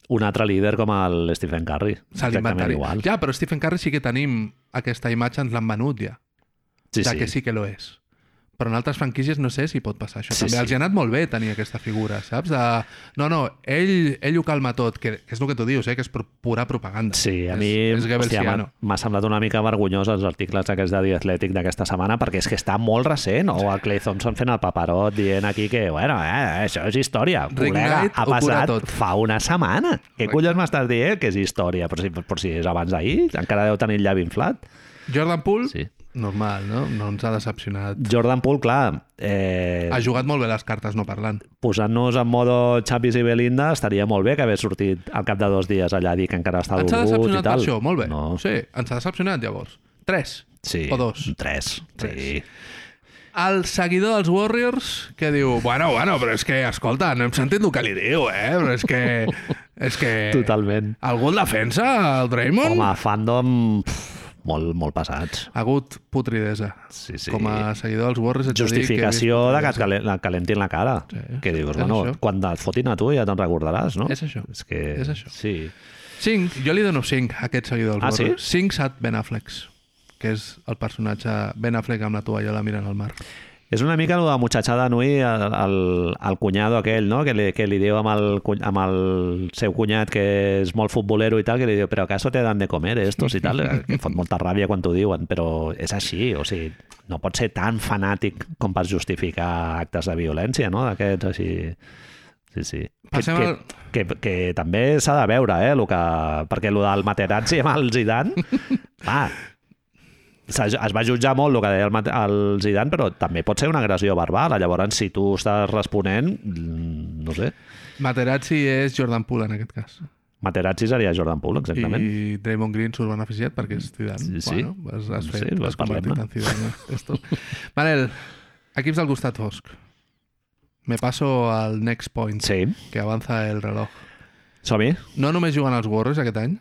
Un altre líder com el Stephen Curry.
Se
Exactament
l'inventaria.
igual.
Ja, però Stephen Curry sí que tenim aquesta imatge, ens l'han venut ja.
Sí,
ja que
sí.
sí que lo és. Però en altres franquícies no sé si pot passar
Sí,
això. Sí, També
sí.
sí. els hi ha anat molt bé tenir aquesta figura, saps? De... No, no, ell, ell ho calma tot, que, que és el que tu dius, eh? que és pro- pura propaganda.
Sí, a
és,
mi
És
hòstia, m'ha
Goebbelsiano.
m'ha semblat una mica vergonyós els articles aquests de The Athletic d'aquesta setmana perquè és que està molt recent, o el Clay Thompson fent el paperot dient aquí que, bueno, eh, això és història.
Rick
Col·lega,
Knight
ha
ho cura
passat
tot.
fa una setmana. Què
Rick-
collons m'estàs dient que és història? Però si, però si és abans d'ahir, encara deu tenir el llavi inflat.
Jordan Poole, sí.
Sí.
normal, no? No ens ha decepcionat.
Jordan Poole, clar, eh,
Ha jugat molt bé les cartes no parlant.
posant-nos en modo Chapis i Belinda estaria molt bé que hagués sortit al cap de dos dies allà a dir que encara està
ens ha
dolgut i
decepcionat per
tal.
això, molt bé.
No.
Sí, ens ha decepcionat llavors. Tres.
Sí.
O dos.
Tres. Sí.
Tres. El seguidor dels Warriors que diu, bueno, bueno, però és que, escolta, no hem sentit el que li diu, eh? Però és que... És que...
Totalment.
Algú el defensa, el Draymond?
Home, fandom pf, molt, molt pesats.
Ha hagut putridesa.
Sí, sí.
Com a seguidor dels Warriors... haig de dir que he vist
Justificació de que et
putridesa.
calen- la calentin la cara.
Sí,
que dius,
és
bueno,
això.
quan et fotin a tu ja te'n recordaràs, no?
És això.
És que...
És això.
Sí.
Cinc. Jo li dono cinc a aquest seguidor
Ah,
dels
sí?
Warriors. Cinc sat Ben Affleck, que és el personatge Ben Affleck amb la tovallola mirant al mar.
És una mica el de muchachada Nui, el, el, el cunyado aquell, no? Que li, que li diu amb el, cuny- amb el seu cunyat que és molt futbolero i tal, que li diu, però acaso te dan de comer estos i tal? Que fot molta ràbia quan t'ho diuen, però és així, o sigui, no pot ser tan fanàtic com per justificar actes de violència, no? D'aquests així... Sí, sí. Que,
Passem
que,
al-
que, que, també s'ha de veure, eh? Lo que, perquè el del Materazzi amb el Zidane... Va, s'ha- es va jutjar molt el que deia el, Mat- el Zidane, però també pot ser una agressió verbal. Llavors, si tu estàs responent, mm, no sé,
Materazzi és Jordan Poole, en aquest cas.
Materazzi seria Jordan Poole, exactament. I...
I Draymond Green s'ho van beneficiat perquè és Zidane.
Sí, sí.
Bueno, has, has,
Sí,
fet,
doncs
has convertit
parlem-ne.
en Zidane. eh? Esto. Manel, equips del costat fosc. Me passo al next point,
Sí,
que avança el reloj.
som-hi.
No només juguen els Warriors aquest any.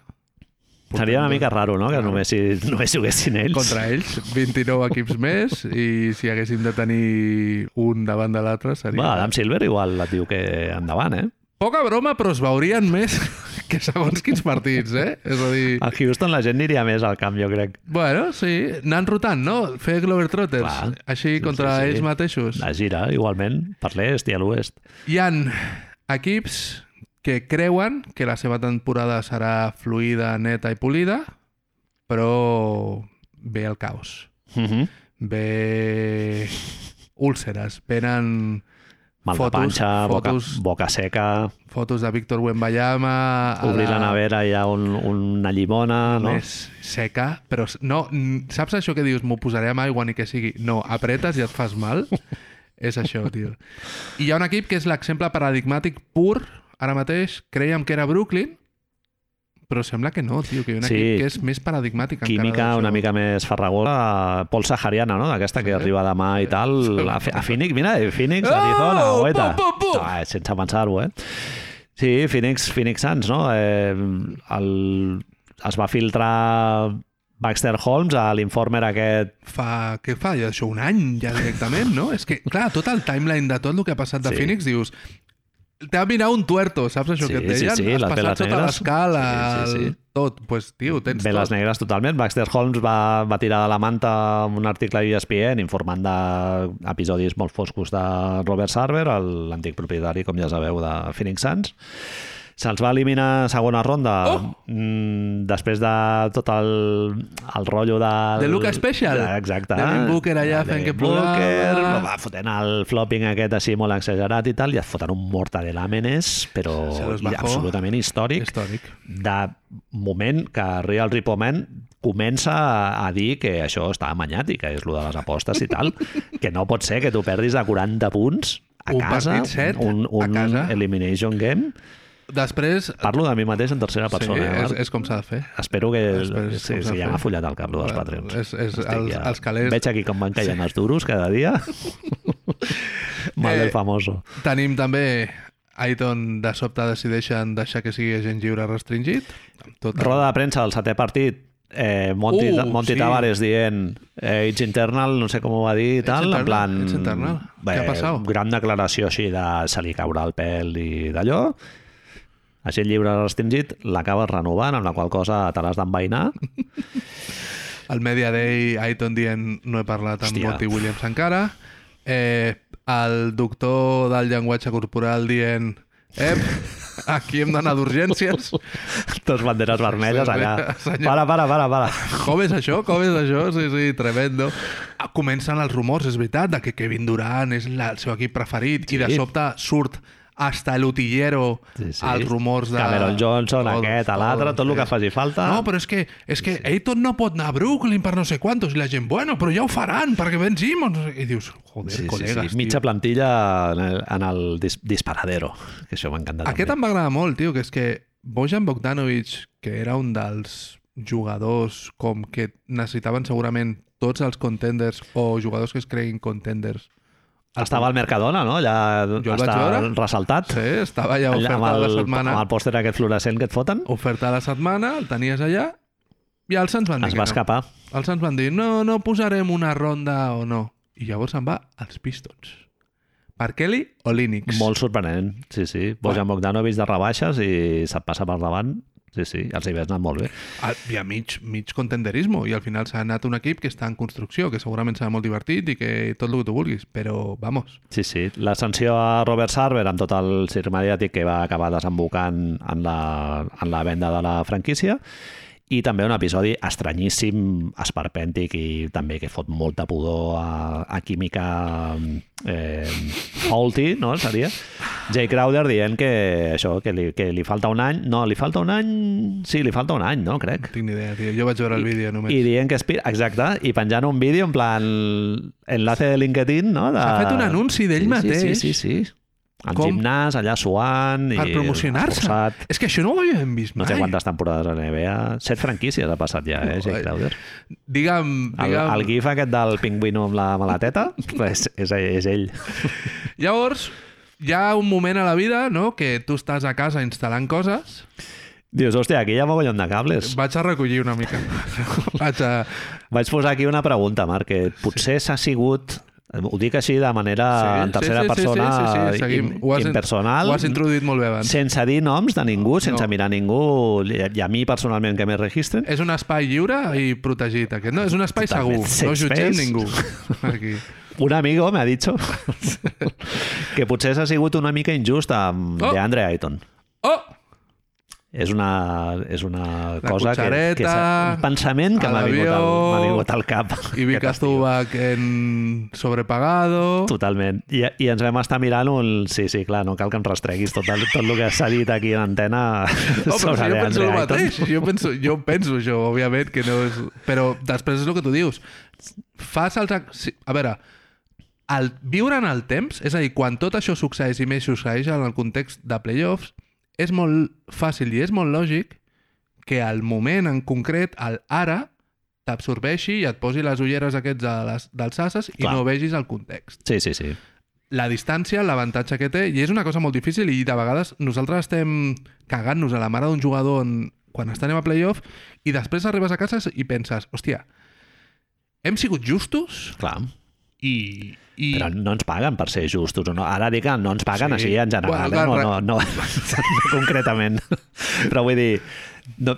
Seria una
Portem
mica raro, no?, que
Claro.
només, hi, només juguessin ells.
Contra ells, 29 equips més, i si haguéssim de tenir un davant de l'altre seria...
Va, Adam Silver igual et diu que endavant, eh?
Poca broma, però es veurien més que segons quins partits, eh? És a dir...
A Houston la gent aniria més al camp, jo crec.
Bueno, sí, anant rotant, no? Fer Globetrotters,
Clar.
així
Sí,
contra
sí, sí.
ells mateixos.
La gira, igualment, per l'est i a l'oest.
Hi han equips que creuen que la seva temporada serà fluida, neta i polida, però ve el caos.
Uh
Mhm.
-huh.
ve úlceres, venen
Mal
Fotos-
de panxa, boca,
fotos-
boca seca,
fotos de Víctor Wembayama... a
obrir la nevera i hi ha un, una llimona, Ah, no?
Més seca, però s- no, n- saps això que dius, m'ho posaré amb aigua ni que sigui? No, apretes i et fas mal. és això, tio. I hi ha un equip que és l'exemple paradigmàtic pur, ara mateix, creiem que era Brooklyn, però sembla que no, tio, que hi ha un
Sí.
equip que és més paradigmàtic encara
química
d'això.
una mica més farragosa, pol sahariana, no? D'aquesta que
Sí.
arriba demà i tal. A, Fe- a Phoenix, mira, a Phoenix,
Oh,
Arizona, guaita.
pum, pum, pum.
Ah, sense pensar-ho, eh? Sí, Phoenix, Phoenix Suns, no? Eh, el, es va filtrar Baxter Holmes a l'informer aquest
fa, què fa? Ja això, un any ja directament, no? És que, clar, tot el timeline de tot el que ha passat de
Sí.
sí. Phoenix, dius... T'ha mirat un tuerto, saps això
Sí,
que et
sí,
deien?
sí,
Has
les veles
passat sota
negres.
l'escala,
Sí, sí,
sí,
sí.
sí, sí. tot. Doncs, pues, tio, tens
Veles
tot.
negres totalment. Baxter Holmes va, va tirar de la manta amb un article a E ESPN informant d'episodis molt foscos de Robert Sarver, el- l'antic propietari, com ja sabeu, de Phoenix Suns. Se'ls va eliminar a segona ronda
Oh!
mm, després de tot el, el rotllo de...
De Luka Special.
De, exacte.
Devin Booker allà
De
fent que
Devin Booker,
plorava.
va fotent el flopping aquest així molt exagerat i tal, i et foten un morta de làmenes, però
Se los bajó.
absolutament històric
Històric.
de moment que Real Ripoman comença a, a dir que això està amanyat i que és lo de les apostes i tal, que no pot ser que tu perdis de 40 punts a
Un
casa,
partit set,
un, un
a casa.
elimination game
Després...
Parlo de mi mateix en tercera persona.
sí,
eh,
és,
Marc?
és com s'ha de fer.
Espero que...
Després,
sí,
com s'ha
sí, ja
fet.
m'ha follat el cap, lo dels
Bueno,
Patreons.
és- és
Estic
els- els calés-
Veig aquí com van caient els duros cada dia. Mal
Eh,
del famoso.
Tenim també Aiton de sobte decideixen deixar que sigui agent lliure restringit. Amb Tot el-
Roda de premsa del setè partit. Eh, Monti,
Uh,
uh, Monti
sí.
sí. Tavares dient eh, it's internal, no sé com ho va dir i tal,
internal,
en plan...
it's internal.
Bé,
Què ha passat?
Gran declaració així de se li caurà el pèl i d'allò. Així el llibre restringit l'acabes renovant, amb la qual cosa te l'has d'envainar.
El Media Day, Aiton dient no he parlat amb
Hòstia.
Monty Williams encara. Eh, el doctor del llenguatge corporal dient Ep, aquí hem d'anar d'urgències.
Totes banderes vermelles allà.
senyor.
Para, para, para, para.
Com és això? Com és això? Sí, sí, tremendo. Ah, Comencen els rumors, és veritat, de que Kevin Durant és la, el seu equip preferit sí. i de
Sí.
sobte surt hasta el utillero
Sí, sí.
als rumors de...
Cameron Johnson,
Tot,
aquest, a l'altre, tot el que faci falta.
No, però és que, és que Aiton no pot anar a Brooklyn per no sé quantos i la gent, bueno, però ja ho faran perquè Ben Simmons... I dius, joder, sí, col·legues, sí, sí.
Mitja plantilla en el, en el dis disparadero, que això m'encanta
Aquest
també.
em va agradar molt, tio, que és que Bojan Bogdanovic, que era un dels jugadors com que necessitaven segurament tots els contenders o jugadors que es creguin contenders.
Estava al Mercadona, no? Allà
Jo el vaig
està
veure.
ressaltat.
Sí, eh, estava ja
Allà
oferta
amb
de la
el,
setmana.
amb el pòster aquest fluorescent que et foten,
Oferta de la setmana, el tenies allà, i els ens van dir
es
que
va
no.
escapar.
Els ens van dir, no, no posarem una ronda o no. I llavors se'n va als Pistons. Per Kelly o Linux.
Molt sorprenent, sí, sí. Bojan Bogdanovic de rebaixes i se't passa per davant. Sí, sí, els hi havia anat molt bé.
Al- Hi ha Ah, mig, mig contenderismo i al final s'ha anat un equip que està en construcció, que segurament serà molt divertit i que tot el que tu vulguis, però vamos.
Sí, sí. La sanció a Robert Sarver amb tot el circ mediàtic que va acabar desembocant en la, en la venda de la franquícia i també un episodi estranyíssim, esperpèntic i també que fot molta pudor a, a química eh, faulty, no? Seria Jay Crowder dient que això, que li, que li falta un any... No, li falta un any... Sí, li falta un any, no? Crec.
No tinc ni idea, tio. Jo vaig veure el vídeo només.
I dient que... Espi... Exacte, i penjant un vídeo en plan enlace de LinkedIn, no? De...
S'ha fet un anunci d'ell
ah, sí,
mateix
Sí, sí, sí. sí. Al
Com?
gimnàs, allà suant...
per
i
promocionar-se.
esforçat.
És que això no ho havíem vist
No
mai.
sé quantes temporades a NBA. Set franquícies ha passat ja, eh, Jake
Ai.
Crowder.
Digue'm,
El,
digue'm...
el gif aquest del pingüino amb la maleteta és, és, és ell.
Llavors, hi ha un moment a la vida no? que tu estàs a casa instal·lant coses
Dius, hòstia, aquí hi ha mogollon de cables.
Vaig a recollir una mica. Vaig a...
Vaig posar aquí una pregunta, Marc, que potser s'ha sigut eh, ho dic així de manera
Sí,
Ah, en tercera persona
sí, sí, sí, sí, seguim.
im-
Ho has in-
impersonal
Ho has introduït molt bé abans.
sense dir noms de ningú, sense
No.
mirar ningú i a- i a mi personalment que me registren
És un espai lliure i protegit, aquest. No, és un espai
Totalment.
segur. No
Safe
jutgem
space.
ningú. Aquí.
Un amigo me ha dicho que potser s'ha sigut una mica injust amb
Oh.
oh. DeAndre Ayton.
Oh!
És una, és una
La
cosa que,
cuchareta,
que és un pensament que
a
m'ha vingut, al,
l'avió,
m'ha vingut al cap.
I Vika
Aquest estiu.
Zubac en sobrepagado.
Totalment. I, I ens vam estar mirant un... Sí, sí, clar, no cal que em rastreguis tot el, tot el que s'ha dit aquí en antena
Oh,
sobre
però si jo penso
DeAndre
el
Ayton.
mateix. Jo penso, jo penso això, òbviament, que no és... Però després és el que tu dius. Fas els... ac- sí, A veure, el, viure en el temps, és a dir, quan tot això succeeix i més succeeix en el context de playoffs, és molt fàcil i és molt lògic que el moment en concret, el ara, t'absorbeixi i et posi les ulleres aquests de les, dels asses i
Clar.
no vegis el context.
Sí, sí, sí.
La distància, l'avantatge que té, i és una cosa molt difícil i de vegades nosaltres estem cagant-nos a la mare d'un jugador en, quan estem a playoff i després arribes a casa i penses, hòstia, hem sigut justos
Clar.
i... i...
Però no ens paguen per ser justos. o No? Ara dic que no ens paguen sí.
Sí.
així en general,
Bueno,
bueno, no, no, no, no concretament. Però vull dir, no,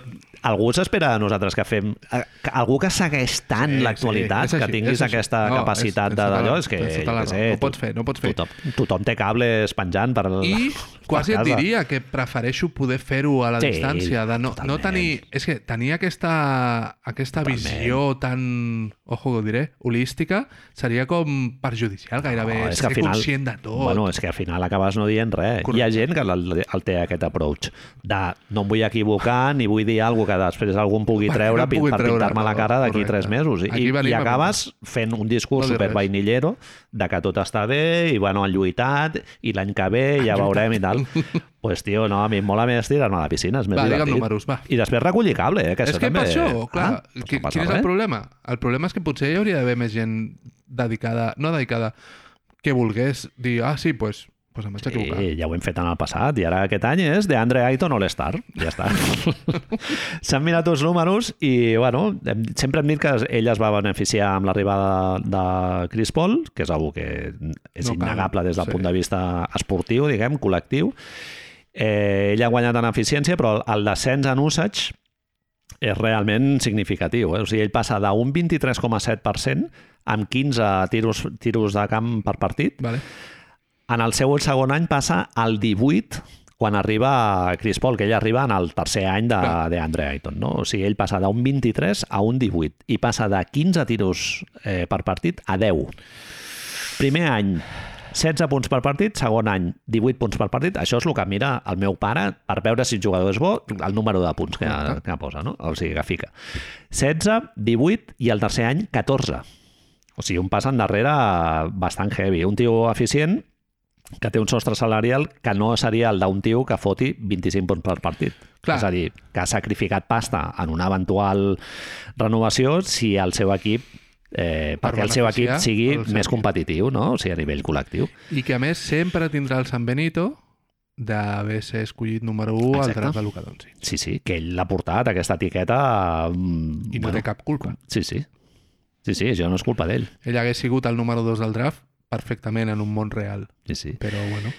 algú s'espera de nosaltres que fem... eh, que Algú que segueix tant
Sí,
sí, l'actualitat,
sí, és
sí, que
així, és
tinguis
així.
aquesta
No,
no, capacitat
és-
de
tens tota
d'allò,
la-
és que...
tens tota
jo
la
què
raó. No pots fer, no pots fer.
Tothom, tothom té cables penjant per...
I quasi et
casa.
diria que prefereixo poder fer-ho a la
Sí,
distància, de no, no
totalment.
tenir... És que tenir aquesta, aquesta
Totalment.
visió tan, ojo que ho diré, holística, seria com perjudicial gairebé,
No,
no,
és que
ser
al final-
conscient de tot.
Bueno, és que al final acabes no dient res.
Correcte.
Hi ha gent que el, el té aquest approach de no em vull equivocar, ni vull dir alguna cosa que després algú em pugui
Per-
treure
no
per,
pugui
per
treure,
pintar-me la
no,
cara d'aquí
correcte.
tres mesos. I,
Aquí venim
i
a-
acabes fent un discurs
No dir res.
supervainillero de que tot està bé i, bueno, han lluitat i l'any que ve ja veurem i tal. pues, tio, no, a mi em mola més tirar-me a la piscina, és més
Va, digue'm
divertit.
números, va.
I després recollir cable, eh, que
És
això
que
també...
per això, clar,
Ah, doncs no
qui,
passa
quin és el
res.
problema? El problema és que potser hi hauria d'haver més gent dedicada, no dedicada, que volgués dir, ah, sí, pues, pues em vaig equivocar.
Sí, ja ho hem fet en el passat i ara aquest any és de Andre Ayton All-Star. Ja està. S'han mirat els números i, bueno, hem, sempre hem dit que ell es va beneficiar amb l'arribada de, de Chris Paul, que és algú que és
No
no
cal,
innegable des del
sí.
sí. punt de vista esportiu, diguem, col·lectiu. Eh, ell ha guanyat en eficiència, però el- el descens en usage és realment significatiu. Eh? O sigui, ell passa d'un 23,7% amb 15 tiros, tiros de camp per partit
Vale.
en el seu segon any passa al 18 quan arriba Chris Paul, que ell arriba en el tercer any de,
Clar.
de Andre Ayton. No? O sigui, ell passa d'un 23 a un 18 i passa de 15 tiros eh, per partit a 10. Primer any, 16 punts per partit, segon any, 18 punts per partit. Això és el que mira el meu pare per veure si el jugador és bo, el número de punts que,
Correcte.
que posa, no? o sigui, que fica. 16, 18 i el tercer any 14. O sigui, un pas endarrere bastant heavy. Un tio eficient que té un sostre salarial que no seria el d'un tio que foti 25 punts per partit.
Clar.
És a dir, que ha sacrificat pasta en una eventual renovació si el seu equip eh,
Per
perquè el seu equip
beneficiar
sigui
el seu
més
equip.
competitiu, no? O sigui, a nivell col·lectiu.
I que a més sempre tindrà el San Benito d'haver ser escollit número 1 al
Exacte.
draft de Luka Doncic.
Sí, sí, que ell l'ha portat, aquesta etiqueta... mm,
I no té cap culpa.
Sí, sí. Sí, sí, això no és culpa d'ell.
Ell hagués sigut el número 2 del draft perfectament en un món real.
Sí, sí.
Però bueno,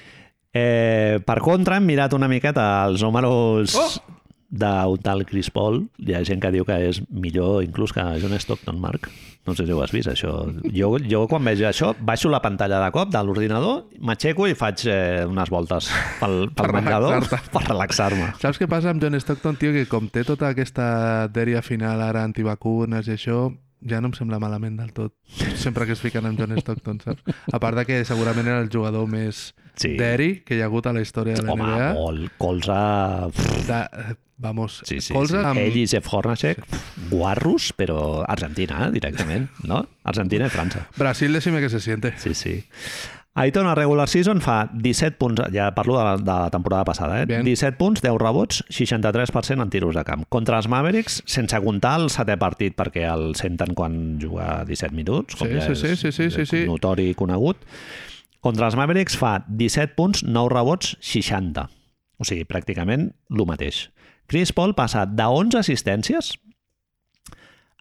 Eh, per contra, hem mirat una miqueta els números
Oh!
oh! d'un tal Chris Paul. Hi ha gent que diu que és millor inclús que John Stockton, Marc. No sé si ho has vist, això. Jo, jo quan veig això, baixo la pantalla de cop de l'ordinador, m'aixeco i faig eh, unes voltes pel, pel
Per
menjador
relaxar-te.
per relaxar-me.
Saps què passa amb John Stockton, tio? Que com té tota aquesta dèria final ara antivacunes i això, ja no em sembla malament del tot. Sempre que es fiquen amb John Stockton, saps? A part de que segurament era el jugador més
Sí.
deri que hi ha hagut a la història de la
Home,
NBA.
molt, colze... pff,
De, eh, vamos,
Sí, sí,
colze
sí.
amb...
Ell i Jeff Hornacek, pff, guarros, però Argentina, eh, directament, no? Argentina i França.
Brasil, decime que se siente.
Sí, sí. Aiton a regular season fa 17 punts, ja parlo de la, de la temporada passada, eh?
Bien.
17 punts, 10 rebots, 63% en tiros de camp. Contra els Mavericks, sense comptar el setè partit, perquè el senten quan juga 17 minuts, com
Sí,
ja
sí,
és
sí, sí, sí, sí, sí.
notori i conegut. Contra els Mavericks fa 17 punts, 9 rebots, 60. O sigui, pràcticament el mateix. Chris Paul passa de 11 assistències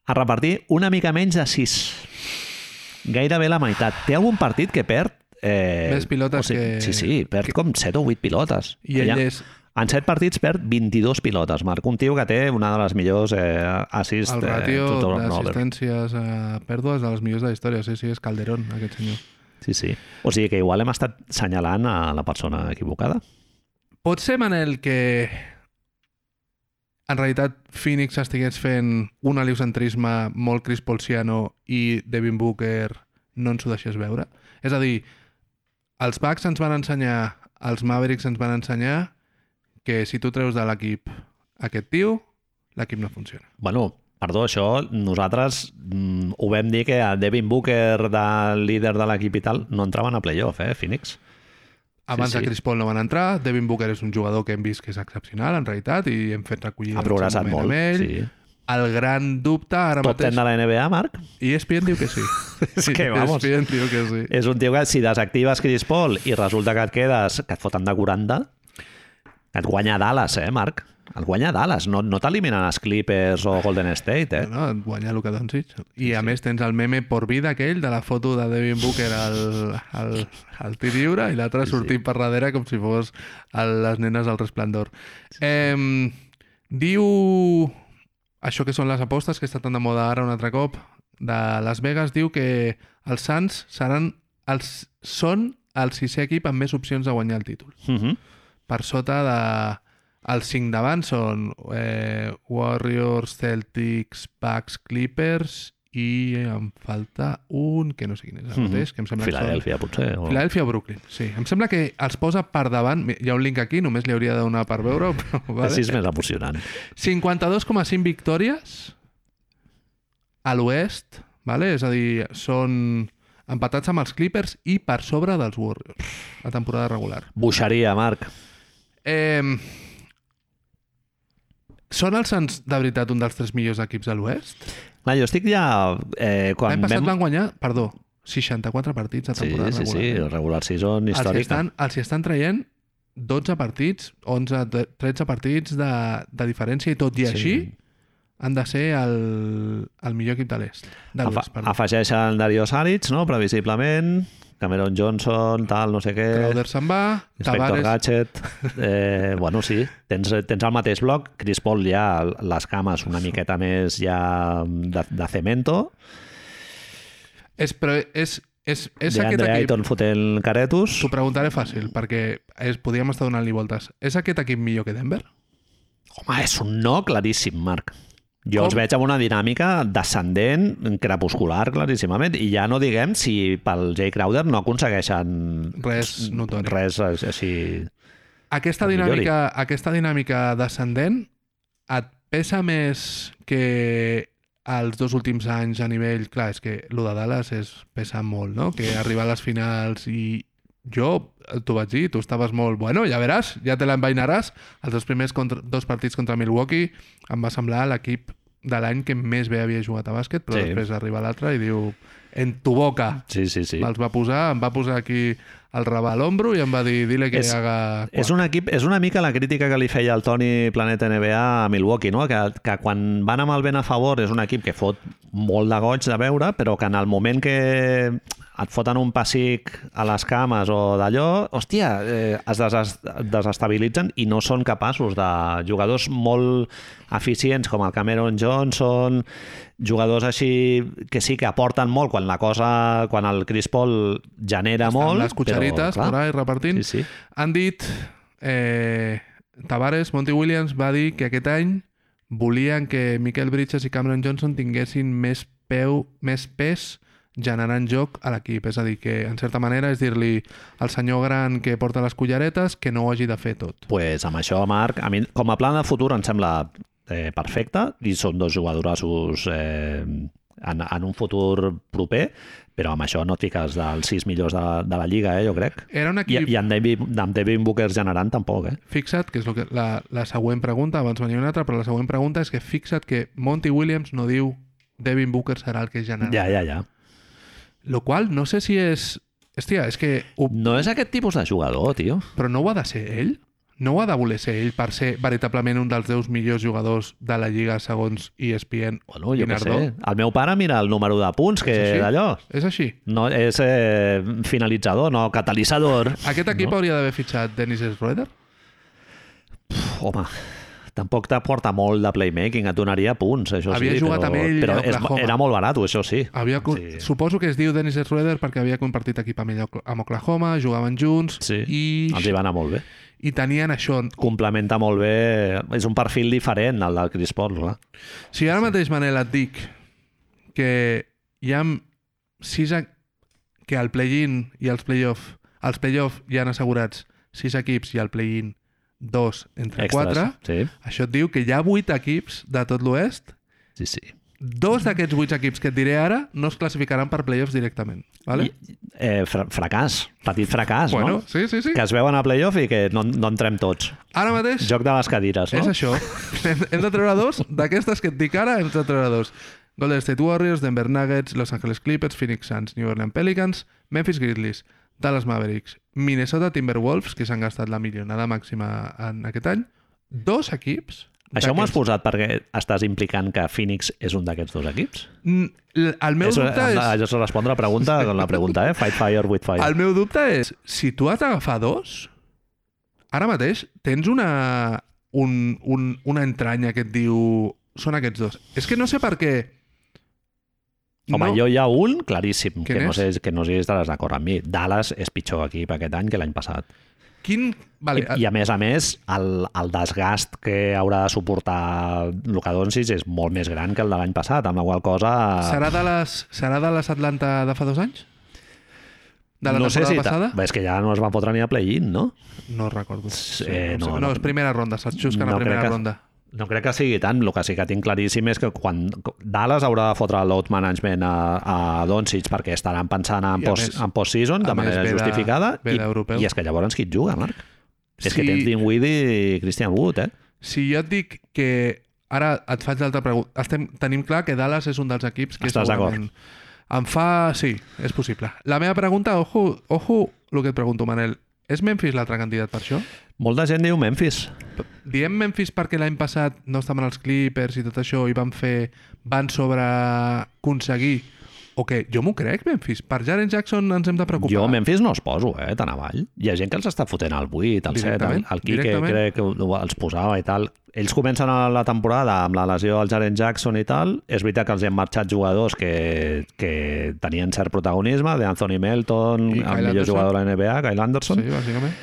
a repartir una mica menys de 6. Gairebé la meitat. Té algun partit que perd... Eh,
Més pilotes
o sigui,
que-
Sí, sí, perd com 7 o 8 pilotes.
I ell
Ja-
és
En 7 partits perd 22 pilotes, Marc. Un tio que té una de les millors eh, assist...
el
eh,
ràtio
to turnover.
d'assistències a pèrdues de les millors de la història. Sí, sí, és Calderón, aquest senyor.
Sí, sí. O sigui que igual hem estat senyalant a la persona equivocada.
Pot ser, Manel, que en realitat Phoenix estigués fent un heliocentrisme molt Chris Polciano i Devin Booker no ens ho deixés veure? És a dir, els Bucks ens van ensenyar, els Mavericks ens van ensenyar que si tu treus de l'equip aquest tio, l'equip no funciona.
Bueno, perdó, això nosaltres mm, ho vam dir que el Devin Booker, de líder de l'equip i tal, no entraven a playoff, eh, Phoenix?
Abans sí,
sí.
de Chris Paul no van entrar, Devin Booker és un jugador que hem vist que és excepcional, en realitat, i hem fet recollir
Ha progressat molt.
doncs ell.
Sí.
El gran dubte ara
Top 10
mateix...
de la NBA, Marc?
I ESPN diu que sí.
És que, vamos.
ESPN diu que Eh. sí.
És un tio que si desactives Chris Paul i resulta que et quedes, que et foten de 40, et guanya Dallas, eh, Marc? Et guanya Dallas. No, no t'eliminen els Clippers o Golden State, eh?
No, no, et guanya Luka Doncic. I a més tens el meme por vida aquell de la foto de Devin Booker al, al, al tir lliure i l'altre sí, sortint per darrere com si fos el, les nenes del resplendor. Sí, eh, diu això que són les apostes, que està tan de moda ara un altre cop, de Las Vegas, diu que els Suns seran els, són el sisè equip amb més opcions de guanyar el títol.
Uh -huh.
per sota de... Els cinc d'abans són eh, Warriors, Celtics, Bucks, Clippers i em falta un que no sé quin és
Mhm.
el mateix, que em sembla que
Filadèlfia, potser. O...
són... Filadèlfia o Brooklyn, sí. Em sembla que els posa per davant, Mi- hi ha un link aquí, només li hauria de donar per veure, però vale.
Així és més emocionant.
52,5 victòries a l'oest, vale? és a dir, són empatats amb els Clippers i per sobre dels Warriors, la temporada regular.
Buixaria, Marc.
Eh, són els Suns, de veritat, un dels tres millors equips de l'oest?
Clar, jo estic ja... Eh, quan
L'any passat
vam-
van guanyar, perdó, 64 partits a
Sí,
temporada
sí, sí,
regular. eh?
regular season
els, hi
històrica.
estan, els hi estan traient 12 partits, 11, de- 13 partits de, de diferència i tot i
Sí.
així han de ser el, el millor equip de l'est. De
Afa
l'oest, perdó.
afegeixen Dario Saric, no? previsiblement, Cameron Johnson, tal, no sé què...
Crowder se'n va,
Inspector
Tavares...
Gadget... Eh, bueno, sí, tens, tens el mateix bloc. Chris Paul ja les cames una miqueta més ja mm, de, de cemento.
És, però és, és, és
de
aquest
Andre
equip...
Ayton fotent caretos.
T'ho preguntaré fàcil, perquè es, podíem estar donant-li voltes. És aquest equip millor que Denver?
Home, és un no claríssim, Marc. Jo
Com?
els veig amb una dinàmica descendent, crepuscular, claríssimament, i ja no diguem si pel Jay Crowder no aconsegueixen
Res notori.
res així...
Aquesta
El millor
dinàmica, aquesta dinàmica descendent et pesa més que els dos últims anys a nivell... Clar, és que lo de Dallas és pesa molt, no? Que arribar a les finals i jo eh, t'ho vaig dir, tu estaves molt... Bueno, ja veràs, ja te l'envainaràs. Els dos primers contra, dos partits contra Milwaukee em va semblar l'equip de l'any que més bé havia jugat a bàsquet, però
Sí.
després arriba l'altre i diu en tu boca.
Sí, sí, sí.
Me'ls va posar, em va posar aquí el raba a l'ombro i em va dir, dile que
És-
haga...
És un equip, és una mica la crítica que li feia el Toni Planeta NBA a Milwaukee, no? que, que quan van amb el vent a favor és un equip que fot molt de goig de veure, però que en el moment que et foten un pessic a les cames o d'allò, hòstia, eh, es deses desestabilitzen i no són capaços de jugadors molt eficients com el Cameron Johnson, jugadors així que sí que aporten molt quan la cosa, quan el Chris Paul genera
molt,
molt,
amb les cucharitas
clar,
però, por ahí repartint.
Sí, sí.
Han dit... Eh, Tavares, Monty Williams va dir que aquest any volien que Miquel Bridges i Cameron Johnson tinguessin més peu, més pes generant joc a l'equip. És a dir, que en certa manera és dir-li al senyor gran que porta les culleretes que no ho hagi de fer tot.
pues amb això, Marc, a mi, com a plan de futur em sembla eh, perfecte i són dos jugadorassos eh, en, en un futur proper, però amb això no et fiques dels sis millors de, de la Lliga, eh, jo crec.
Era un equip...
I, i amb, David, amb David Booker generant tampoc, eh?
Fixa't, que és lo que, la, la següent pregunta, abans venia una altra, però la següent pregunta és que fixa't que Monty Williams no diu Devin Booker serà el que generarà.
Ja, ja, ja.
Lo qual no sé si és... Hòstia, és que... Ho...
No és aquest tipus de jugador, tio.
Però no ho ha de ser ell? No ho ha de voler ser ell per ser veritablement un dels 10 millors jugadors de la Lliga segons E ESPN?
Bueno, jo què sé.
Guinardó?
El meu pare mira el número de punts que
És així?
d'allò.
És així.
No, és eh, finalitzador, no catalitzador.
Aquest equip hauria d'haver fitxat Dennis Schroeder?
Pf, home, tampoc t'aporta molt de playmaking, et donaria punts, això
Havia
sí,
jugat
però,
amb ell
però
a
és,
Oklahoma.
era molt barat, això sí.
Havia... Sí.
Sí.
Suposo que es diu Dennis Schroeder perquè havia compartit equip amb, ell a Ocla- amb Oklahoma, jugaven junts
Sí.
i...
Els hi va anar molt bé.
i tenien això.
Complementa molt bé, és un perfil diferent al del Chris Paul, clar.
Si ara mateix, Manel, et dic que hi ha sis... e- que el play-in i els play-off els play-off hi han assegurats sis equips i el play-in dos entre
Extres.
quatre,
Sí,
això et diu que hi ha vuit equips de tot l'oest
sí, sí.
dos d'aquests vuit equips que et diré ara no es classificaran per play-offs directament. Vale?
I, eh, fra fracàs, petit fracàs,
bueno,
no?
sí, sí, sí.
Que es veuen a playoff i que no, no entrem tots.
Ara mateix
Joc de les cadires,
És
no?
això. Hem, hem de treure dos. D'aquestes que et dic ara, hem de treure dos. Golden State Warriors, Denver Nuggets, Los Angeles Clippers, Phoenix Suns, New Orleans Pelicans, Memphis Grizzlies, Dallas Mavericks, Minnesota Timberwolves, que s'han gastat la milionada màxima en aquest any. Dos equips...
Això m'ho has
d'aquests.
posat perquè estàs implicant que Phoenix és un d'aquests dos equips?
Mm, l- El meu,
és,
dubte
hem de-
és,
Això és respondre a la pregunta amb la pregunta, eh? Fight fire with fire.
el meu dubte és, si tu has d'agafar dos, ara mateix tens una, un, un, una entranya que et diu són aquests dos. És que no sé per què...
Home,
no-
jo hi ha un claríssim,
Quin
que no,
és?
sé, que no sé si estaràs d'acord amb mi. Dallas és pitjor equip aquest any que l'any passat.
Quin... Vale,
I, I a més a més, el, el desgast que haurà de suportar Luka Doncic és molt més gran que el de l'any passat, amb la qual cosa...
Serà de les, serà de les Atlanta de fa dos anys? De la
no sé
temporada
si ta-
passada?
Bé, És que ja no es van fotre ni a play-in, no?
No recordo.
eh,
em
no,
sembla-
no.
no, és primera ronda, se'ls xusquen
No
a
crec
primera
que-
ronda.
No crec que sigui tant. El que sí que tinc claríssim és que quan Dallas haurà de fotre load management a, a Doncic perquè estaran pensant en,
I a
post,
més-
en post-season
a
de
més
manera
ve de-
justificada
ve d'europeu.
i, i és que llavors qui et juga, Marc? És que
Si-
tens Dinwiddie i Christian Wood, eh?
Si jo et dic que... Ara et faig l'altra pregunta. Estem, tenim clar que Dallas és un dels equips que
Estàs
segurament- Em fa... Sí, és possible. La meva pregunta, ojo, ojo el que et pregunto, Manel. És Memphis l'altre candidat per això?
Molta gent diu Memphis.
Diem Memphis perquè l'any passat no estaven els Clippers i tot això i van fer... van sobre aconseguir... O que jo m'ho crec, Memphis. Per Jaren Jackson ens hem de preocupar.
Jo a Memphis no els poso, eh, tan avall. Hi ha gent que els està fotent al 8, al 7, el,
Directament,
el Quique
directament.
crec que ho- els posava i tal. Ells comencen a la temporada amb la lesió del Jaren Jackson i tal. És veritat que els hi han marxat jugadors que, que tenien cert protagonisme, de Anthony Melton,
I
el
Kyle
millor
Anderson.
jugador de la NBA, Kyle Anderson,
Sí, bàsicament.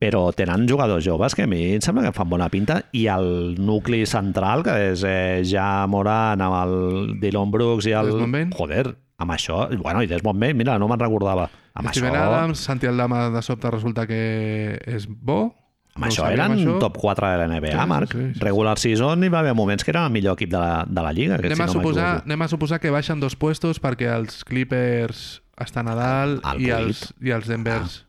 però tenen jugadors joves que a mi em sembla que fan bona pinta i el nucli central, que és eh, ja Moran amb el Dylan Brooks i el...
Desmond Bain.
Joder, amb això... Bueno, i Desmond Bain, mira, no me'n recordava. Amb
Steven
això...
Adams, Santi Aldama de sobte resulta que és bo.
Amb això
sabíem,
eren top 4 de la NBA,
Sí, sí,
Marc.
sí, sí, sí.
Regular season hi va haver moments que era el millor equip de la, de la Lliga. Que
Anem
si
a,
no
suposar,
m'equivoco.
anem a suposar que baixen dos puestos perquè els Clippers estan a dalt
Al- Ah. al
i,
vuit.
els, i els Denvers.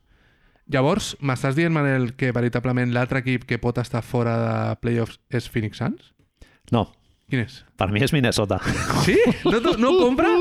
Llavors, m'estàs dient, Manel, que veritablement l'altre equip que pot estar fora de playoffs és Phoenix Suns?
No,
Quin és?
per mi és Minnesota.
Sí? No, no, no compra?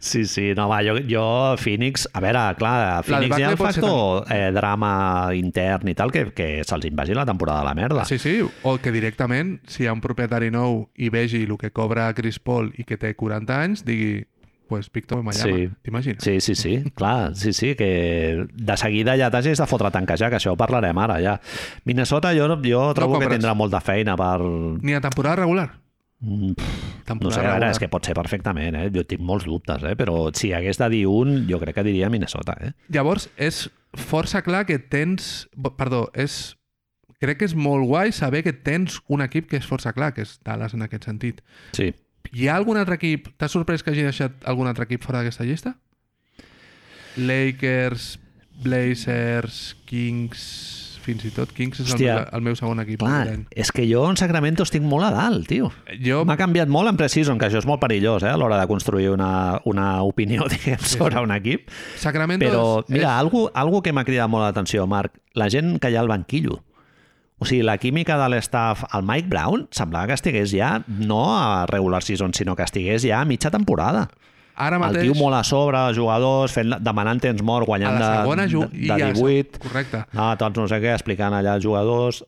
Sí, sí, no, va, jo, jo Phoenix... A veure, clar, a Phoenix hi ha
debacle
el
pot ser
factor eh, drama intern i tal que, que se'ls invagi la temporada de la merda.
Sí, sí, o que directament, si hi ha un propietari nou i vegi el que cobra Chris Paul i que té 40 anys, digui, pues Victor Wembanyama,
Sí.
t'imagines?
Sí, sí, sí, clar, sí, sí, que de seguida ja t'hagis de fotre tanquejar, que això ho parlarem ara ja. Minnesota jo, jo trobo que
compres.
tindrà molta feina per...
Ni a temporada regular?
Mm, No
Temporada
sé, ara
regular.
és que pot ser perfectament, eh? Jo tinc molts dubtes, eh? Però si hagués de dir un, jo crec que diria Minnesota, eh?
Llavors, és força clar que tens... bo- Perdó, és... Crec que és molt guai saber que tens un equip que és força clar, que és Dallas en aquest sentit.
Sí.
Hi ha algun altre equip... T'ha sorprès que hagi deixat algun altre equip fora d'aquesta llista? Lakers, Blazers, Kings... Fins i tot Kings és el,
Hòstia.
meu, el meu segon equip.
Clar,
aquest any.
és que jo en Sacramento estic molt a dalt, tio.
Jo,
M'ha canviat molt en preseason, que això és molt perillós, eh? A l'hora de construir una, una opinió, diguem, sobre un equip.
Sacramento...
Però,
és-
mira, algo, algo que m'ha cridat molt l'atenció, Marc, la gent que hi ha al banquillo. O sigui, la química de l'estaf, el Mike Brown, semblava que estigués ja no a regular season, sinó que estigués ja a mitja temporada.
és, ara
El
mateix,
tio molt a sobre, jugadors, fent, la- demanant temps mort,
a
guanyant
la segona...
de,
ju-
de,
i
de
a la se-
18.
Correcte.
Ah, doncs no sé què, explicant allà als jugadors.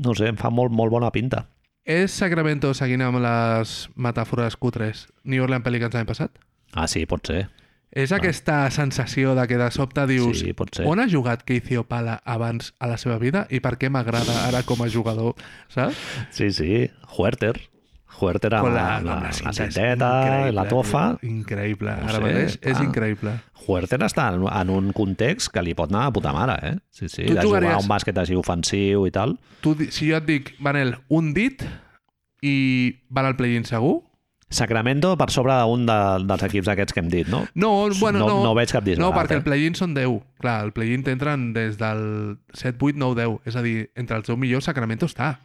No sé, em fa molt, molt bona pinta.
És Sacramento, seguint amb les metàfores cutres, New Orleans Pelicans l'any passat?
Ah, sí, pot ser.
És aquesta sensació de que de sobte dius
Sí, pot ser.
on ha jugat Casey Opala abans a la seva vida i per què m'agrada ara com a jugador, saps?
Sí, sí. Huerter. Huerter amb,
Con
la, la, la,
cinta, és
cinteta,
increïble, eh?
la tofa.
tio, Increïble,
No
ara
sé,
mateix és
clar.
increïble.
Huerter està en, en un context que li pot anar a puta mare, eh? Sí, sí,
Tu
de jugar a
jugaries-
un bàsquet així ofensiu i tal.
Tu, di- si jo et dic, Manel, un dit i van al play-in segur?
Sacramento per sobre d'un de, dels equips aquests que hem dit, no?
No, bueno,
no,
no.
no veig cap
No,
disbarat,
perquè
eh?
el play-in són 10. Clar, el play-in t'entren des del 7, 8, 9, 10. És a dir, entre els 10 millors Sacramento està.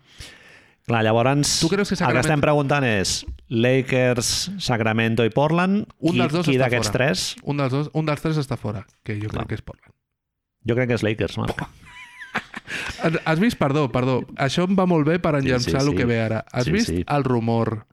Clar, llavors,
Tu creus que
el que
Sacramento-
estem preguntant és Lakers, Sacramento i Portland,
Un
qui,
dels dos
qui
està
d'aquests
fora.
tres?
Un dels, dos, un dels tres està fora, que jo
Clar.
crec que és Portland.
Jo crec que és Lakers, Marc.
Has- Has vist, perdó, perdó, això em va molt bé per enllançar
sí,
el
sí.
que ve ara. Has
Sí,
vist
sí.
el rumor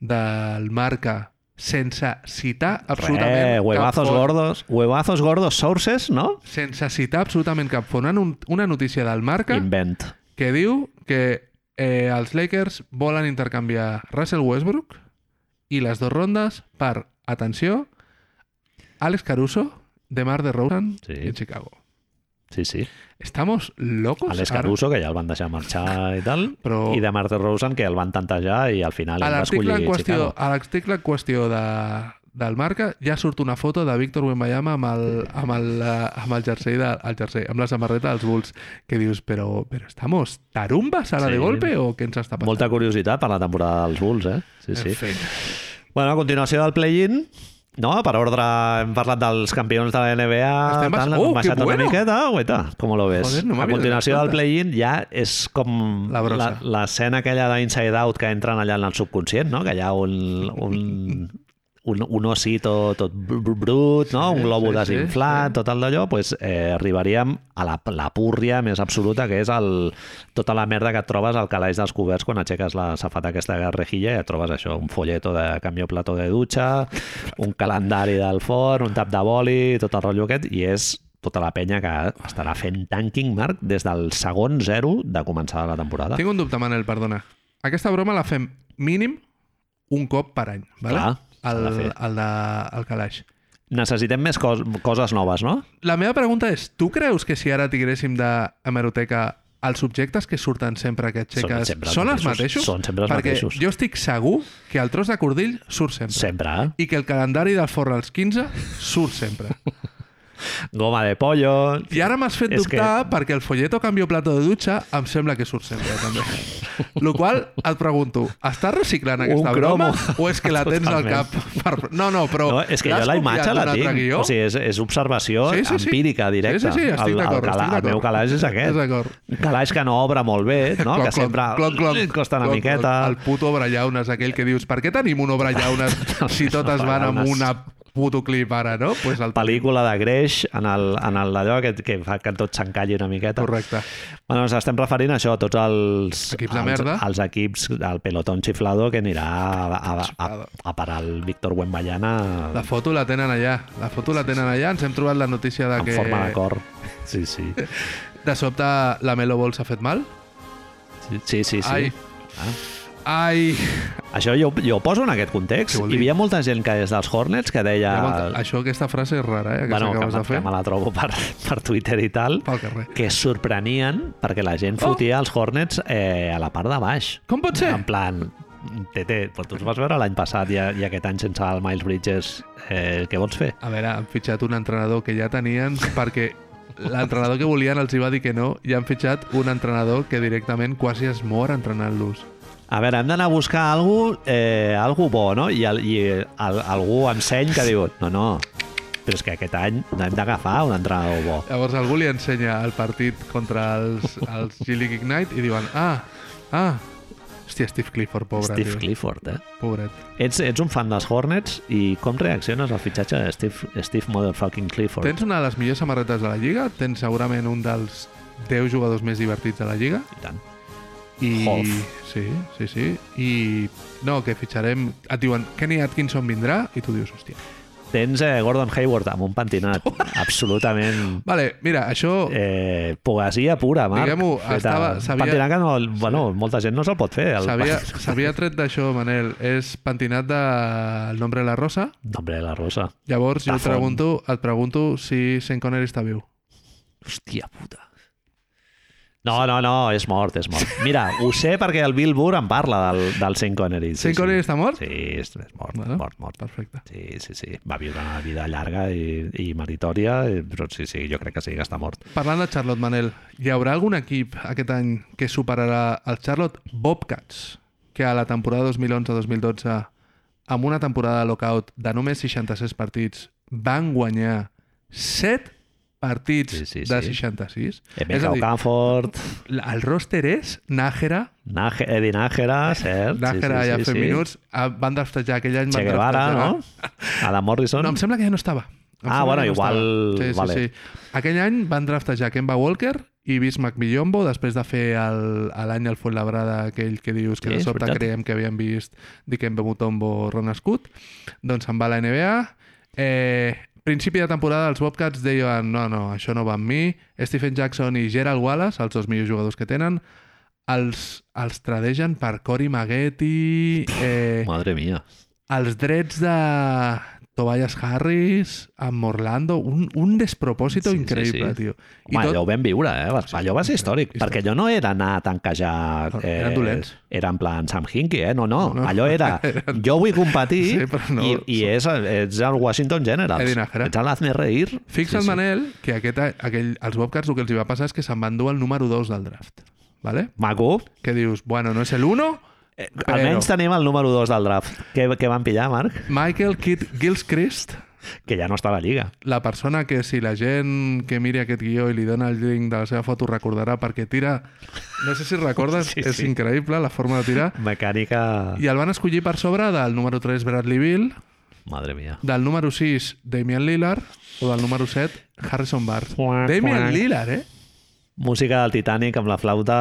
del marca sense citar absolutament
Eh,
cap
huevazos
font?
gordos, huevazos gordos sources, no?
Sense citar absolutament cap font. Una, una notícia del marca
Invent.
que diu que eh, els Lakers volen intercanviar Russell Westbrook i les dues rondes per, atenció, Alex Caruso, DeMar DeRozan
Sí.
i Chicago.
Sí, sí.
Estamos locos?
Alex
ara?
Caruso, que ja el van deixar marxar i tal,
Però-
i de Marta Rosen, que el van tantejar i al final
A
el va
l'article
escollir
en qüestió,
Chicago.
a l'article en qüestió de, del marca, ja surt una foto de Víctor Wembanyama amb el, amb el, eh, amb el jersei, de, el jersei, amb la samarreta dels Bulls, que dius, però, però estamos tarumbas ara
Sí.
de golpe o què ens està passant?
Molta curiositat per la temporada dels Bulls, eh? Sí, sí.
En fi.
Bueno, a continuació del play-in, no? Per ordre, hem parlat dels campions de la NBA,
Estem bas-
tal,
Oh,
hem
que
baixat
bueno!
una miqueta, guaita, com lo ves?
Joder, no
a
m'havia
continuació
donat
del play-in ja és com
La brossa.
la- l'escena aquella d'Inside Out que entren allà en el subconscient, no? Que hi ha un... un un, un ossi tot, tot br- br- brut, no? un globo
sí, sí,
desinflat,
Mm.
tot el d'allò, pues, eh, arribaríem a la, la púrria més absoluta, que és el, tota la merda que et trobes al calaix dels coberts quan aixeques la safata aquesta de rejilla i et trobes això, un folleto de camió plató de dutxa, un calendari del forn, un tap de boli, tot el rotllo aquest, i és tota la penya que estarà fent tanking, Marc, des del segon zero de començar la temporada.
Tinc un dubte, Manel, perdona. Aquesta broma la fem mínim un cop per any, vale?
Clar, s'ha
el,
de fer.
el, de, el calaix.
Necessitem més cos, coses noves, no?
La meva pregunta és, tu creus que si ara tiréssim d'hemeroteca els subjectes que surten sempre que
Són
aixeques
sempre els
són els mateixos?
mateixos. Són sempre els
Perquè
mateixos.
jo estic segur que el tros de cordill surt sempre.
Sempre, eh?
I que el calendari del forn als 15 surt sempre.
Goma de pollo...
I ara m'has fet
És
dubtar que... perquè el folleto canvio plato de dutxa em sembla que surt sempre, també. Lo qual et pregunto, estàs reciclant aquesta
Un
broma
cromo.
o és que la tens al
Totalment.
cap? Per... No, no, però...
No, és que
l'has
jo la imatge
copiat
la
d'un altre
tinc.
Guió?
O sigui, és, és observació sí,
Sí, sí,
sí,
sí.
empírica, directa.
Sí, sí, sí, estic
El- el
d'acord,
cala-
estic
El meu
d'acord.
calaix és
Estic
aquest.
d'acord.
Un calaix que no obre molt bé, no?
Cloc,
que sempre
cloc, cloc,
li
cloc,
costa una
cloc,
miqueta.
Cloc, el puto obrellaunes aquell que dius, per què tenim un obrellaunes si totes van amb
Obrellaunes.
una puto clip ara, no? Pues el...
pel·lícula de greix en el, en el d'allò que, que fa que tot s'encalli una miqueta.
Correcte.
Bueno, ens estem referint a això, a tots els...
Equips de
els,
merda.
Els equips, el pelotón xiflado que anirà a, a, a, a parar el Víctor Wembanyana
La foto la tenen allà, la foto la tenen allà, ens hem trobat la notícia de
en
que
forma de cor. Sí, sí.
de sobte la Melo Ball s'ha fet mal.
Sí, sí, sí. sí.
Ai.
Ah.
Ai,
Això jo, jo ho poso en aquest context.
Què vol
Hi
dir?
havia molta gent que des dels Hornets que deia...
Llavors, això, aquesta frase és rara, eh? Aquesta
Ah. bueno,
que
que,
acabes
me-
de fer.
que me la trobo per, per Twitter i tal,
Pel carrer.
que es sorprenien perquè la gent
Oh.
fotia els Hornets eh, a la part de baix.
Com pot ser?
En plan, TT, però tu els vas veure l'any passat i, i aquest any sense el Miles Bridges, eh, què vols fer?
A veure, han fitxat un entrenador que ja tenien perquè l'entrenador que volien els hi va dir que no i han fitxat un entrenador que directament quasi es mor entrenant-los.
A veure, hem d'anar a buscar algú, eh, algú bo, no? I, el, i el, algú amb seny que diu, no, no, però és que aquest any hem d'agafar un entrenador bo.
Llavors algú li ensenya el partit contra els, els G League Ignite i diuen ah, ah, hòstia, Steve Clifford, pobre.
Steve
tio.
Clifford, eh?
Pobret.
Ets, ets un fan dels Hornets i com reacciones al fitxatge de Steve, Steve motherfucking Clifford?
Tens una de les millors samarretes de la Lliga, tens segurament un dels 10 jugadors més divertits de la Lliga
I tant.
I...
Hoff.
Sí, sí, sí. I no, que fitxarem... Et diuen, Kenny Atkinson vindrà i tu dius, hòstia.
Tens eh, Gordon Hayward amb un pentinat absolutament...
Vale, mira, això... Eh,
Eh, poesia pura, Marc.
Diguem-ho,
Feta-
estava- sabia-
Pentinat que no, bueno, molta gent no se'l pot fer. El...
S'havia s'havia tret d'això, Manel. És pentinat del de... nombre de la Rosa.
Nombre de la Rosa.
Llavors jo
La
et
font.
pregunto, et pregunto si Sean Connery està viu.
Hòstia puta. No, no, no, és mort, és mort. Mira, ho sé perquè el Bill Burr en parla del, del Saint Connery.
Sí, Sean Connery està mort?
Sí, és, és mort,
Bueno.
mort, mort.
Perfecte.
Sí, sí, sí. Va viure una vida llarga i, i meritòria, i- però sí, sí, jo crec que sí que està mort.
Parlant de Charlotte, Manel, hi haurà algun equip aquest any que superarà el Charlotte Bobcats, que a la temporada 2011-2012, amb una temporada de lockout de només 66 partits, van guanyar 7 partits
Sí, sí,
de
sí. Eh,
66. És a
Emeka
dir,
Okafor,
el roster és Nájera,
Naje- Edi Nájera, cert. sí,
Nájera
sí,
ja
sí,
fent
sí.
minuts, ah, van draftejar aquell any...
Che
van
Guevara,
draftejar-
no? Adam Morrison.
No, em sembla que ja no estava. Em
Ah,
sembla
bueno,
que
igual-
estava. Sí, sí,
vale.
sí. Aquell any van draftejar Kemba Walker i Vince McMillombo després de fer el- a l'any el Fuenlabrada aquell que dius que
Sí,
de
és
sobte
veritat.
creiem que havíem vist Dikembe Mutombo o Ron Scoot. Doncs se'n va a la NBA. Eh, principi de temporada els Bobcats deien no, no, això no va amb mi. Stephen Jackson i Gerald Wallace, els dos millors jugadors que tenen, els, els tradegen per Cory Maggetti... Eh,
Madre mía.
els drets de Tobias Harris, amb Orlando, un, un despropòsito
Sí,
sí,
sí, sí.
increïble, sí, sí. tio. I
Home, tot... allò ho vam viure, eh?
Sí,
Allò va ser històric,
històric.
perquè allò no era anar a tanquejar...
No,
Eh,
eren dolents.
Era en plan Sam Hinkie, eh? No, no,
No, no.
allò era... Jo vull competir
Sí, però no.
i, i és, ets el Washington Generals.
Edin Ajara.
Ets l'Azme Reir.
Fixa sí, el Manel que aquest, a- aquell, els Bobcats el que els hi va passar és que se'n van dur el número 2 del draft. ¿vale?
Maco.
Que dius, bueno, no és el 1, però...
Almenys Eh, tenim el número 2 del draft. Què, què van pillar, Marc?
Michael Kidd Gilchrist,
Que ja no està a la Lliga.
la persona que si la gent que miri aquest guió i li dona el link de la seva foto recordarà perquè tira... No sé si recordes,
Sí,
sí, és
sí.
increïble la forma de tirar.
Mecànica...
I el van escollir per sobre del número 3 Bradley Bill,
Madre mia.
del número 6 Damian Lillard o del número 7 Harrison Barnes.
Quac,
Damian
quac.
Lillard, eh?
Música del Titanic amb la flauta...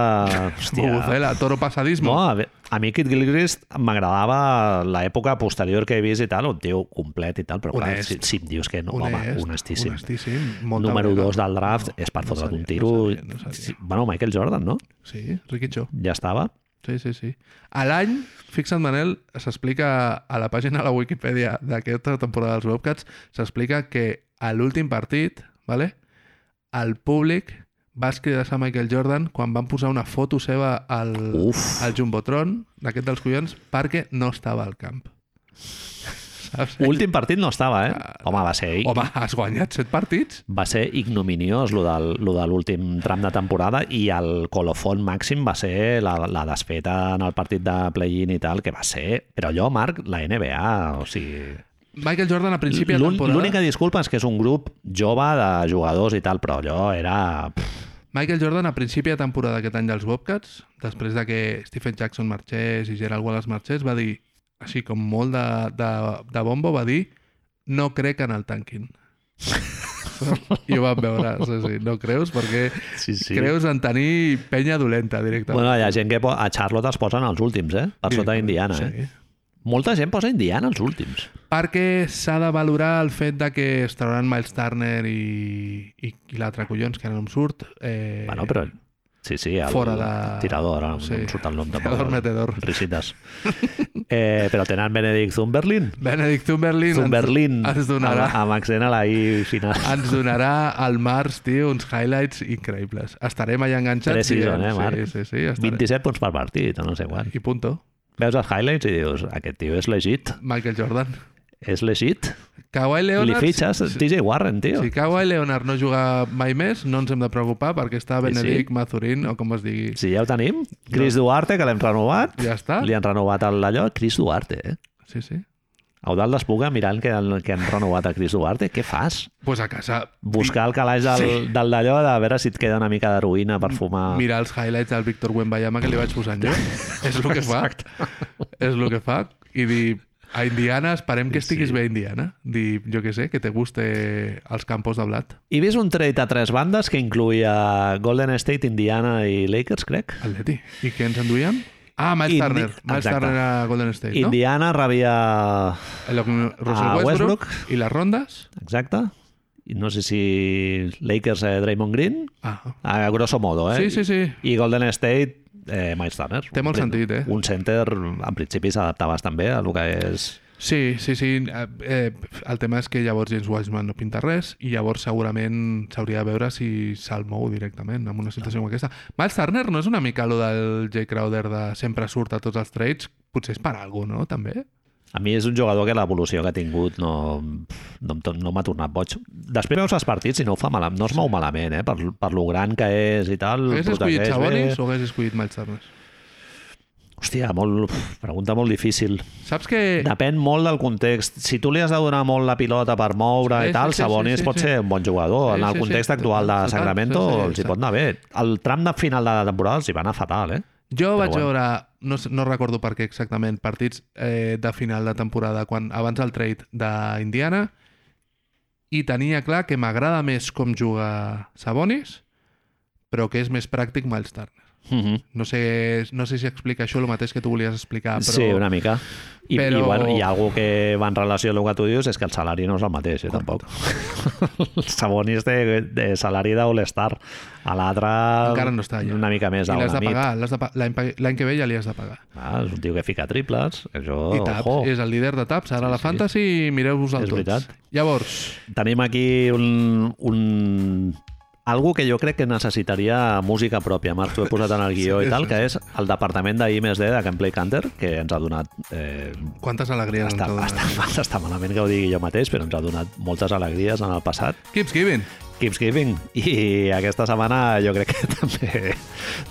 Hòstia.
Bufela, eh, toro passadismo.
No, a, ve- a mi Kid Gilchrist m'agradava l'època posterior que he vist i tal, un tio complet i tal, però clar,
Honest.
si, si em dius que no, home, honestíssim.
Honestíssim. Molta
Número
brega.
2 del draft és per fotre't
sabia,
un tiro.
No sabia, no
Sí,
sabia.
Bueno, Michael Jordan, no?
Sí, Riquichó.
Ja estava.
Sí, sí, sí. A l'any, fixa't Manel, s'explica a la pàgina de la Wikipedia d'aquesta temporada dels Bobcats, s'explica que a l'últim partit, vale, el públic va escridar a Michael Jordan quan van posar una foto seva al,
Uf.
al Jumbotron, d'aquest dels collons, perquè no estava al camp. Saps?
Últim partit no estava, eh?
Ah,
Home, va ser,
Home, has guanyat set partits?
va ser ignominiós lo del- lo de l'últim tram de temporada i el colofon màxim va ser la, la desfeta en el partit de play-in i tal, que va ser... Però allò, Marc, la NBA, o sigui...
Michael Jordan a principi de
L'un-
temporada...
L'única disculpa és que és un grup jove de jugadors i tal, però allò era... pff,
Michael Jordan a principi de temporada aquest any dels Bobcats, després de que Stephen Jackson marxés i Gerald Wallace marxés, va dir, així com molt de, de, de bombo, va dir no crec en el tanking. I ho vam veure, sí, sí. no creus? Perquè
Sí, sí.
creus en tenir penya dolenta directament.
Bueno, hi ha gent que po- a Charlotte els posen els últims, eh? Per sota Indiana, eh?
Sí.
Molta gent posa Indiana als últims.
Perquè s'ha de valorar el fet de que es trauran Miles Turner i, i, i l'altre collons, que ara no em surt. Eh,
Bueno, però... Sí, sí, el
fora de-
tirador, ara
Sí.
no em surt el nom.
Tirador
tampoc.
metedor.
Risitas. eh, però tenen Benedict Zumberlin.
Benedict Cumberland
Zumberlin.
ens, ens doncs, donarà...
Amb, amb accent a la I final.
ens donarà al març, tio, uns highlights increïbles. Estarem allà enganxats.
Tres season,
dient,
eh, Marc?
Sí, sí, sí. Estarem.
27 punts per partit, o no sé quan.
I punto.
Veus els highlights i dius, aquest tio és legit,
Michael Jordan.
és legit.
Kawhi
Li
Leonard...
fitxes
Si,
TJ Warren, tio.
si Kawhi Leonard no juga mai més, no ens hem de preocupar perquè està Benedict Mazurin, o com es digui.
Sí, ja ho tenim. Chris Duarte, que l'hem renovat.
Ja està.
Li han renovat el- allò. Chris Duarte, eh?
Sí, sí.
Eudal d'Espuga mirant que, el- que han renovat a Chris Duarte. Què fas?
pues a casa,
Buscar el calaix del, sí. del d'allò a veure si et queda una mica d'heroïna per fumar.
mirar els highlights del Víctor Wembayama que li vaig posant jo. és el que fa. És el que fa. I dir, a Indiana, esperem que estiguis sí. bé a Indiana. Dir, jo què sé, que te guste els campos de blat.
He vist un trade a tres bandes que incluïa Golden State, Indiana i Lakers, crec.
Atleti. I què ens enduíem? Ah, Miles
Indi-
Turner. Miles
Exacte.
Turner a Golden State, no?
Indiana rebia...
El- Russell
A
Westbrook,
Ah, Westbrook.
i les rondes.
Exacte. I no sé si Lakers eh, Draymond Green.
Ah,
A grosso modo, eh?
Sí, sí, sí.
I Golden State, eh, Miles Turner.
Té molt
Un-
sentit, eh?
Un center, en principi, s'adaptaves també a el que és...
Sí, sí, sí. Eh, eh, el tema és que llavors James Wiseman no pinta res i llavors segurament s'hauria de veure si se'l mou directament en una situació com aquesta. Miles Turner no és una mica lo del Jay Crowder de sempre surt a tots els trades? Potser és per algú, no? També?
A mi és un jugador que l'evolució que ha tingut no, no, em to- no m'ha tornat boig. Després veus els partits i no, ho fa malament, no es mou malament, eh? per, per lo gran que és i tal.
Hagués
protegeix
escollit
bé.
Sabonis o hagués escollit Miles Turner?
Hòstia, molt, pregunta molt difícil.
Saps que...
Depèn molt del context. Si tu li has de donar molt la pilota per moure
Sí,
i tal,
sí, sí,
Sabonis
sí, sí,
pot
sí.
ser un bon jugador.
Sí,
en el
sí, sí.
context actual de
Total,
Sacramento
sí, sí,
els hi
exacte.
pot anar bé. El tram de final de la temporada els hi va anar fatal, eh?
Jo vaig
bueno.
veure, no, sé- no recordo per què exactament, partits eh, de final de temporada quan abans del trade d'Indiana i tenia clar que m'agrada més com juga Sabonis però que és més pràctic Miles Turner.
Mm -hmm.
No sé, no sé si explica això el mateix que tu volies explicar, però...
Sí, una mica. I,
però-
i, bueno, i algo que va en relació amb el que tu dius és que el salari no és el mateix, eh, tampoc. el Sabonis té de salari d'All-Star. A l'altre...
Encara no està allà.
Una mica més, a
I l'has
una
de
nit.
pagar, l'has de pa- l'any pa- l'any que ve ja li has de pagar.
Ah, és un tio que fica triples. Això,
I Taps
ojo.
és el líder de Taps, ara a la
sí.
Fantasy mireu-vos-el
És
tots.
veritat.
Llavors,
Tenim aquí un... un... Algo que jo crec que necessitaria música pròpia, Marc, t'ho he posat en el guió
Sí,
i tal,
sí,
que és el departament de I+D de Gameplay Canter, que ens ha donat eh,
quantes alegries
està,
ens ha
està,
donat.
està malament que ho digui jo mateix, però ens ha donat moltes alegries en el passat.
Keeps giving.
Keeps giving. I aquesta setmana jo crec que també,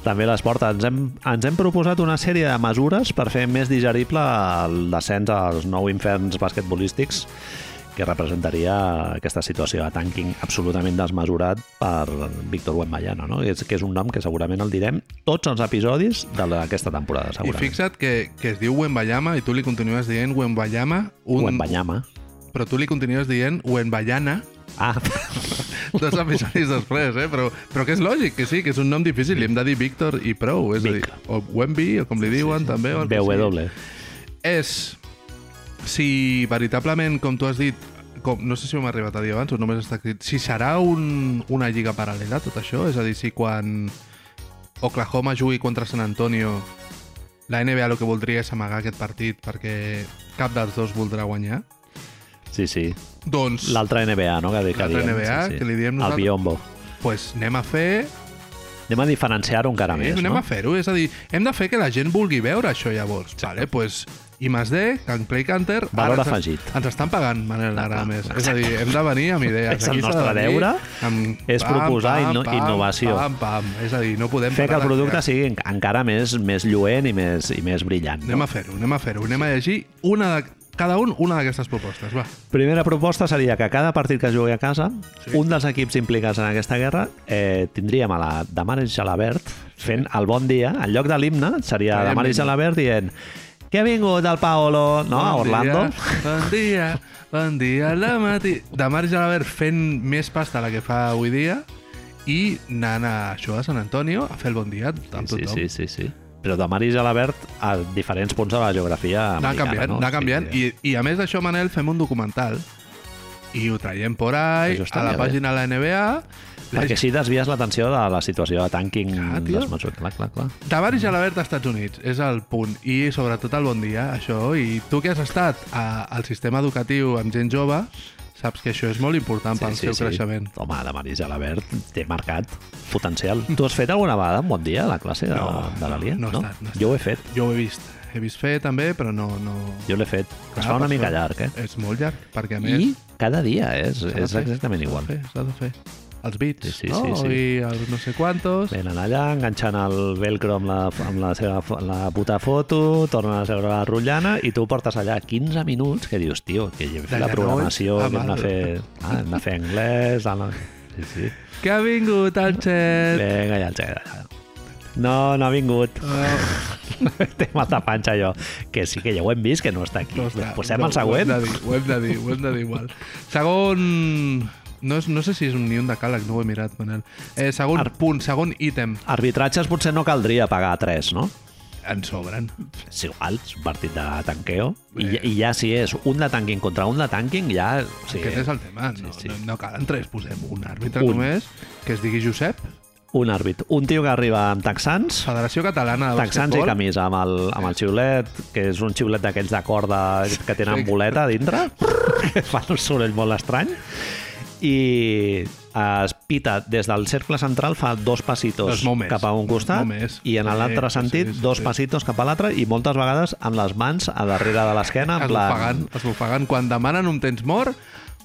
també les porta. Ens hem, ens hem proposat una sèrie de mesures per fer més digerible el descens als nou inferns basquetbolístics que representaria aquesta situació de tanking absolutament desmesurat per Víctor Wembanyama, no? Que és, que és un nom que segurament el direm tots els episodis de la- d'aquesta temporada,
I
segurament.
fixa't que, que es diu Wembayama i tu li continues dient Wembayama, un...
Wembanyama.
però tu li continues dient Wembayana
Ah,
dos episodis després, eh? Però, però que és lògic, que sí, que és un nom difícil, li hem de dir Víctor i prou, és a dir,
Vic.
o Wemby, o com li diuen, també. O el que sigui.
BW.
és si veritablement, com tu has dit, com, no sé si ho hem arribat a dir abans o només està escrit, si serà un, una lliga paral·lela tot això, és a dir, si quan Oklahoma jugui contra San Antonio la NBA el que voldria és amagar aquest partit perquè cap dels dos voldrà guanyar,
Sí, sí.
doncs
L'altra NBA, no? Que, que
L'altra
diem,
NBA, que li diem
El
nosaltres.
biombo.
pues, anem a fer...
Anem a diferenciar-ho encara
Eh,
més,
anem
no?
a fer-ho, és a dir, hem de fer que la gent vulgui veure això llavors. Vale, pues, I més D, Can Play Canter... ara
Valor
ens-
afegit. Ah,
Ens estan pagant, Manel, ara a més. És a dir, hem de venir amb idees.
És el
Aquí s'ha
nostre
de venir
deure,
amb
és proposar inno- innovació.
Pam, pam, és a dir, no podem...
Fer que
parar
el
de
producte
crear.
sigui en- encara més més lluent i més, i més brillant.
Anem
No?
a fer-ho, anem a fer-ho. Anem a llegir una de, cada un una d'aquestes propostes, va.
Primera proposta seria que cada partit que es jugui a casa, sí. un dels equips implicats en aquesta guerra eh, tindríem a la Damaris Jalabert fent el bon dia, en lloc de l'himne, seria
Evidentment.
Damaris Jalabert dient que ha vingut el Paolo, no?, a Orlando.
Dia, bon dia, bon dia, a la matí... De Marc Gelabert fent més pasta la que fa avui dia i anant a això a Sant Antonio a fer el bon dia amb
Sí,
tothom.
sí, sí, sí. Però Damaris Jalabert a diferents punts de la geografia
Anar
americana.
canviant,
no?
anar canviant.
Sí, sí.
I, I a més d'això, Manel, fem un documental i ho traiem por ahí,
Això
a
estaria bé.
la
eh?
pàgina de la NBA. La
Perquè així desvies l'atenció de la situació de tanking
Clar, tio.
desmesurat. Clar, clar, clar.
Tavares Gelabert als Estats Units és el punt i sobretot el bon dia, això. I tu que has estat a, al sistema educatiu amb gent jove, saps que això és molt important sí, pel sí, seu sí. creixement.
Home, de Marisa Labert té mercat potencial. Tu has fet alguna vegada un bon dia a la classe de,
Mm. No,
de l'Alia?
no, no he estat, no he
Jo ho he fet,
Jo ho he vist. He vist fer també, però no... no...
jo l'he fet.
Clar,
es fa una
per
mica
això.
llarg, eh?
És molt llarg, perquè a més...
I cada dia eh? és,
s'ha de
és
fer,
exactament
s'ha de
igual.
fer, S'ha de fer. Els bits,
Sí, sí,
no?
sí, sí.
I els no sé quantos...
Venen allà, enganxant el velcro amb la, amb la seva fo- la puta foto, tornen a seure a la rotllana i tu portes allà 15 minuts que dius, tio, que hem
De
fet la
genolls
programació,
a
que hem de
mà.
fer, ah, hem de fer anglès... Hem de... Sí, sí.
Que ha vingut el xet!
Vinga, ja, ja, ja. No, no ha vingut.
No,
Té mata panxa jo. Que sí que ja ho hem vist, que no està aquí.
no està.
Posem
No,
el següent.
Ho hem de dir, ho hem de dir, ho hem de dir igual. Segon... No, és, no sé si és un, ni un decàleg, no ho he mirat, Manel. Eh, segon
Ar-
punt, segon ítem.
Arbitratges potser no caldria pagar 3, no?
En sobren.
És igual, és un partit de tanqueo. I,
Bé.
ja- I ja si és un de tanking contra un de tanking, ja... O
Sí.
sigui,
Aquest és el tema. No,
Sí, sí.
No, no calen tres, posem un àrbitre
Un.
un. només, que es digui Josep,
Un àrbit. Un tio que arriba amb texans,
Federació Catalana de
texans i
Basquetbol.
camisa, amb el, amb el xiulet, que és un xiulet d'aquells de corda que tenen boleta a dintre, que fa un soroll molt estrany, i eh, es pita des del cercle central, fa dos
Es
passitos
mou més.
cap a un costat,
Es mou més.
i en
Sí,
l'altre
sí,
sentit,
sí,
dos
sí.
passitos cap a l'altre, i moltes vegades amb les mans a darrere de l'esquena, en plan...
Esbufegant, esbufegant. Quan demanen un temps mort,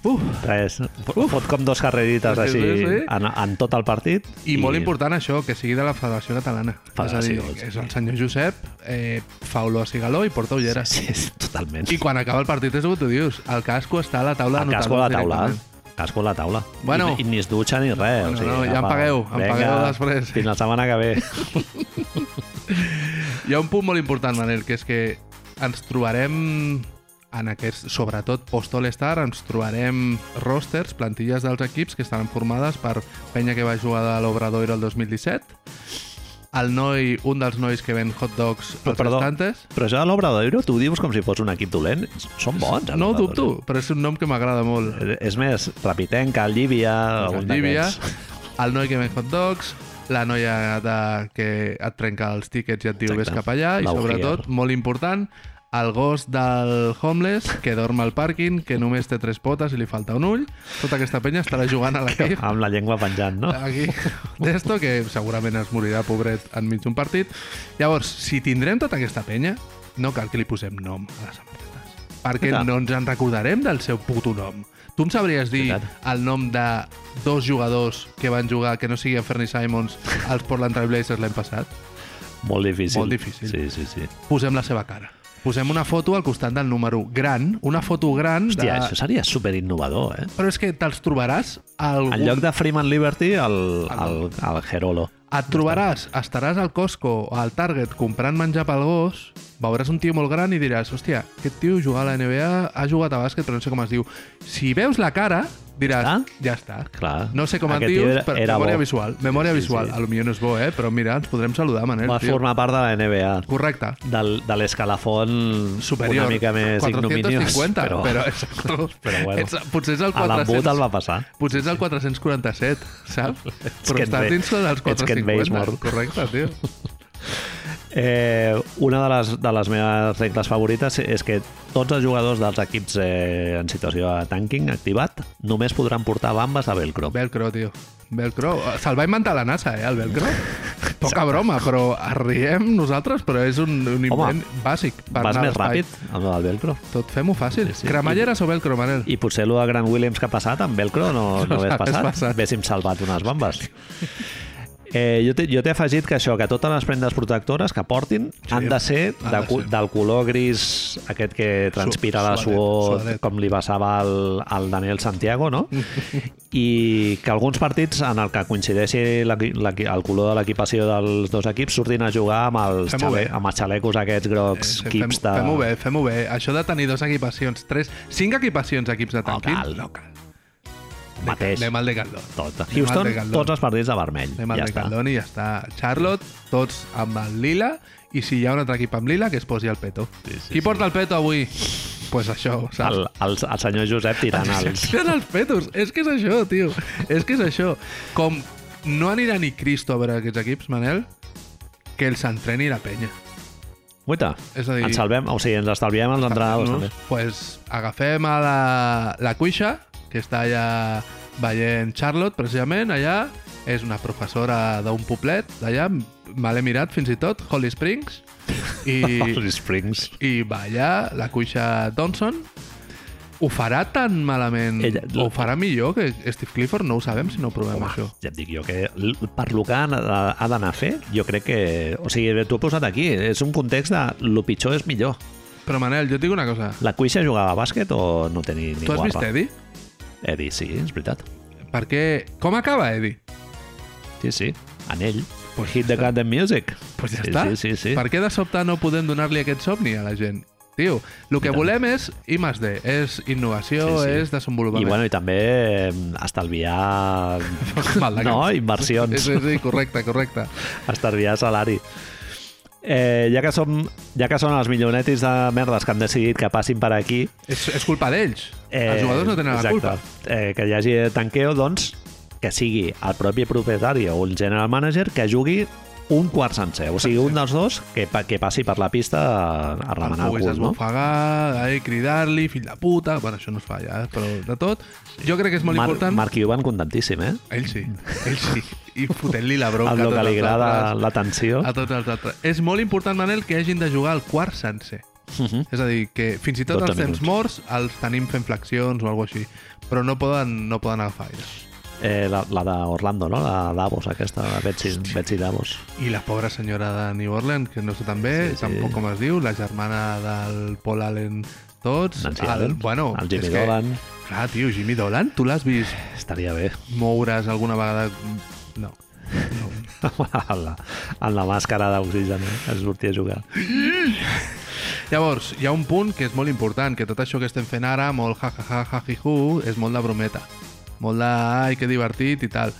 uf,
Res, fot com dos carrerites
Sí,
així
sí, sí.
en, en tot el partit.
I, I molt important això, que sigui de la Federació Catalana.
Federació,
és a dir,
sí.
és el senyor Josep, eh, fa olor a cigaló i porta ulleres.
Sí, sí, totalment.
I quan acaba el partit és el que tu dius, el casco està a la taula
El
de
casco a la
notadors
taula.
directament.
Casco a la taula.
Bueno.
I, I ni es dutxa ni res.
Bueno,
o sigui,
no, ja em
apa,
pagueu, em pagueu després.
Fins la setmana que ve.
Hi ha un punt molt important, Manel, que és que ens trobarem en aquest, sobretot post-All-Star, ens trobarem rosters, plantilles dels equips que estaran formades per penya que va jugar de l'Obrador el 2017, el noi, un dels nois que ven hot dogs als
Perdó.
estantes.
Però això de l'obra d'Euro, tu ho dius com si fos un equip dolent. Són bons. els
No ho
obradors,
dubto,
eh?
però és un nom que m'agrada molt.
És més, Rapitenca, el Llívia...
Doncs
algun
Llívia,
d'aquests.
el noi que ven hot dogs, la noia de, que et trenca els tíquets i et diu
Exacte.
vés cap allà,
La
i
Ujier.
sobretot, molt important, el gos del homeless que dorm al pàrquing, que només té tres potes i li falta un ull. Tota aquesta penya estarà jugant a l'equip.
Amb la llengua penjant, no?
aquí d'esto, que segurament es morirà pobret enmig d'un partit. Llavors, si tindrem tota aquesta penya, no cal que li posem nom a les samarretes. Perquè
Veritat.
no ens en recordarem del seu puto nom. Tu em sabries dir
Veritat.
el nom de dos jugadors que van jugar, que no siguin Fernie Simons, als Portland Trail Blazers l'any passat?
Molt difícil.
Molt difícil.
Sí, sí, sí.
Posem la seva cara. Posem una foto al costat del número gran, una foto gran de...
Hòstia, això seria superinnovador, eh?
Però és que te'ls trobaràs a algun...
En lloc de Freeman Liberty, el, el, el Gerolo.
Et trobaràs, estaràs al Costco o al Target comprant menjar pel gos, veuràs un tio molt gran i diràs, hòstia, aquest tio jugar a la NBA, ha jugat a bàsquet, però no sé com es diu. Si veus la cara, diràs,
Ah?
ja està.
Clar.
No sé com et
Aquest
dius,
tio era-
però
era
memòria
bo.
visual. Memòria
Sí, sí,
visual.
sí.
A lo millor no és bo, eh? Però mira, ens podrem saludar, Manel,
Va
tio.
formar part de la NBA.
Correcte.
Del, de l'escalafon
Superior.
una mica més
450,
ignominiós.
però, però,
però bueno.
Ets, potser és el
a l'embut
400.
el va passar.
Potser és el 447, saps? Però
que et
està
ve-
dins dels
ets que et veis
450.
mort.
Correcte, tio.
Eh, una de les, de les meves regles favorites és que tots els jugadors dels equips eh, en situació de tanking activat només podran portar bambes de velcro.
Velcro, tio. Velcro. Se'l va inventar la NASA, eh, el velcro. Poca broma, però es riem nosaltres, però és un, un invent Home, bàsic. Per
Vas
anar a
més
l'espai.
ràpid amb el velcro.
Tot fem-ho fàcil.
Sí,
Sí,
sí.
sí. Cremalleres o velcro, Manel?
I potser el de Grant Williams que ha passat amb velcro no, no,
No
hagués
s'hagués
passat.
passat.
Hauríem salvat unes bambes. Eh, jo t'he jo t'he afegit que això, que totes les prendes protectores que portin sí, han de ser, de,
han de
cu-
ser.
del color gris aquest que transpira la
suadet,
suor,
suadet.
com li passava al, al Daniel Santiago, no? I que alguns partits en el que coincideixi l'equi- l'equi- el color de l'equipació dels dos equips surtin a jugar amb els,
Fem-ho
xale
bé.
amb els xalecos aquests grocs,
Sí,
eh,
fem-
quips de...
Fem-ho bé, fem-ho bé. Això de tenir dos equipacions, tres, cinc equipacions equips de tanquim,
cal.
no cal.
mateix.
Anem al Decathlon.
Tot.
Anem al
Houston,
Decathlon.
tots els partits de vermell.
Anem al
ja
ja
està.
Decathlon i ja està. Charlotte, tots amb el lila, i si hi ha un altre equip amb lila, que es posi el peto. Sí, sí, Qui porta el peto avui? Doncs pues això, saps?
El, el, el senyor Josep tirant
Ah,
els...
Tiren els petos. És que és això, tio. És que és això. Com no anirà ni Cristo a veure aquests equips, Manel, que els entreni la penya.
Guaita,
És a dir-
ens salvem, o sigui, ens estalviem els entrenadors també.
pues, agafem a la, la cuixa, que està allà veient Charlotte, precisament, allà. És una professora d'un poblet d'allà. Me l'he mirat, fins i tot, Holly Springs. I,
Els Springs.
i va allà la cuixa Johnson ho farà tan malament
Ella-
Ella, o ho farà millor que Steve Clifford no ho sabem si no ho provem Home. això
Ja et dic jo que l- per lo que ha, ha d'anar a fer, jo crec que... O sigui, t'ho he posat aquí, és un context de lo pitjor és millor.
però Manel, jo et dic una cosa
La Cuixa jugava a bàsquet o no tenia ni
tu has vist
guarra?
Eddie?
Eddie, sí, és veritat.
perquè com acaba Eddie?
Sí, sí, en ell.
Pues
Hit the Cat and Music.
Pues ja
sí,
està.
Sí, sí, sí.
per què de sobte no podem donar-li aquest somni a la gent? tio, el
I
que
tant.
volem és I más D, és innovació,
Sí,
sí,
sí.
sí. és
I,
desenvolupament
bueno, i també eh, estalviar...
Mal de cap.
no, inversions.
sí, sí, correcte, correcte
estalviar salari. Eh, ja, que som, ja que són els milionetis de merdes que han decidit que passin per aquí...
és, és culpa d'ells
Eh,
els jugadors no tenen
exacte,
la culpa
Eh, que hi hagi tanqueo, doncs, que sigui el propi propietari o el general manager que jugui un quart sencer. O sigui, un dels dos que, pa- que passi per la pista a, a
el
remenar el
puguis
cul, no?
esbufegar, eh, cridar-li, fill de puta... Bueno, això no es fa ja, eh, però de tot. Jo crec que és molt
Mar
important...
Marc Cuban contentíssim, eh?
Ell sí, ell sí. I fotent-li la bronca
Amb
a
el
tots
que li
els
agrada
altres.
l'atenció.
A tots els altres. És molt important, Manel, que hagin de jugar al quart sencer.
Mhm.
És a dir, que fins i tot
12
els temps
minuts.
morts els tenim fent flexions o alguna així, però no poden, no poden agafar aire.
Eh, la, la d'Orlando, no? La Davos, aquesta, la Betsy, Betsy Davos.
I la pobra senyora de New Orleans, que no sé tan
Sí,
bé, sí,
sí.
sí. tampoc com es diu, la germana del Paul Allen, tots...
Nancy Allen,
bueno,
el Jimmy
és que-
Dolan.
Clar, tio, Jimmy Dolan, tu l'has vist
Estaria bé.
moure's alguna vegada... No. no.
amb la, amb la màscara d'oxigen que sortia a jugar.
Llavors, hi ha un punt que és molt important, que tot això que estem fent ara, molt ha ha ha ha hi hu, és molt de brometa. Molt de, ai, que divertit i tal.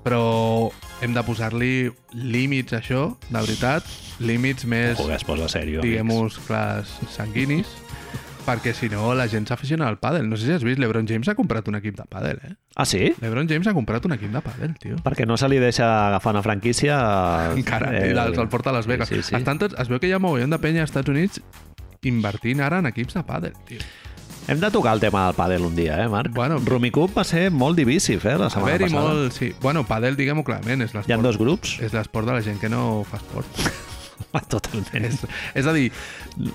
però hem de posar-li límits a això, de veritat, límits més,
Joder, es posa sèrio.
diguem-ho, clars, sanguinis, perquè si no la gent s'aficiona al pàdel. No sé si has vist, l'Ebron James ha comprat un equip de pàdel, eh?
Ah, sí?
L'Ebron James ha comprat un equip de pàdel, tio.
Perquè no se li deixa agafar una franquícia...
Encara,
eh,
eh, el, el porta a Las Vegas.
Sí, sí.
Estan tots, es veu que hi ha mogollon de penya als Estats Units invertint ara en equips de pàdel, tio.
Hem de tocar el tema del pàdel un dia, eh, Marc?
Bueno.
Rumicup va ser molt divisiv, eh, la
A
setmana
veure, i
passada.
molt... Eh, Sí. Bueno, pàdel, diguem-ho clarament, és
Hi ha
l'esport
dos grups? Ah,
és l'esport de la gent que no fa esport.
Totalment.
és, és a dir,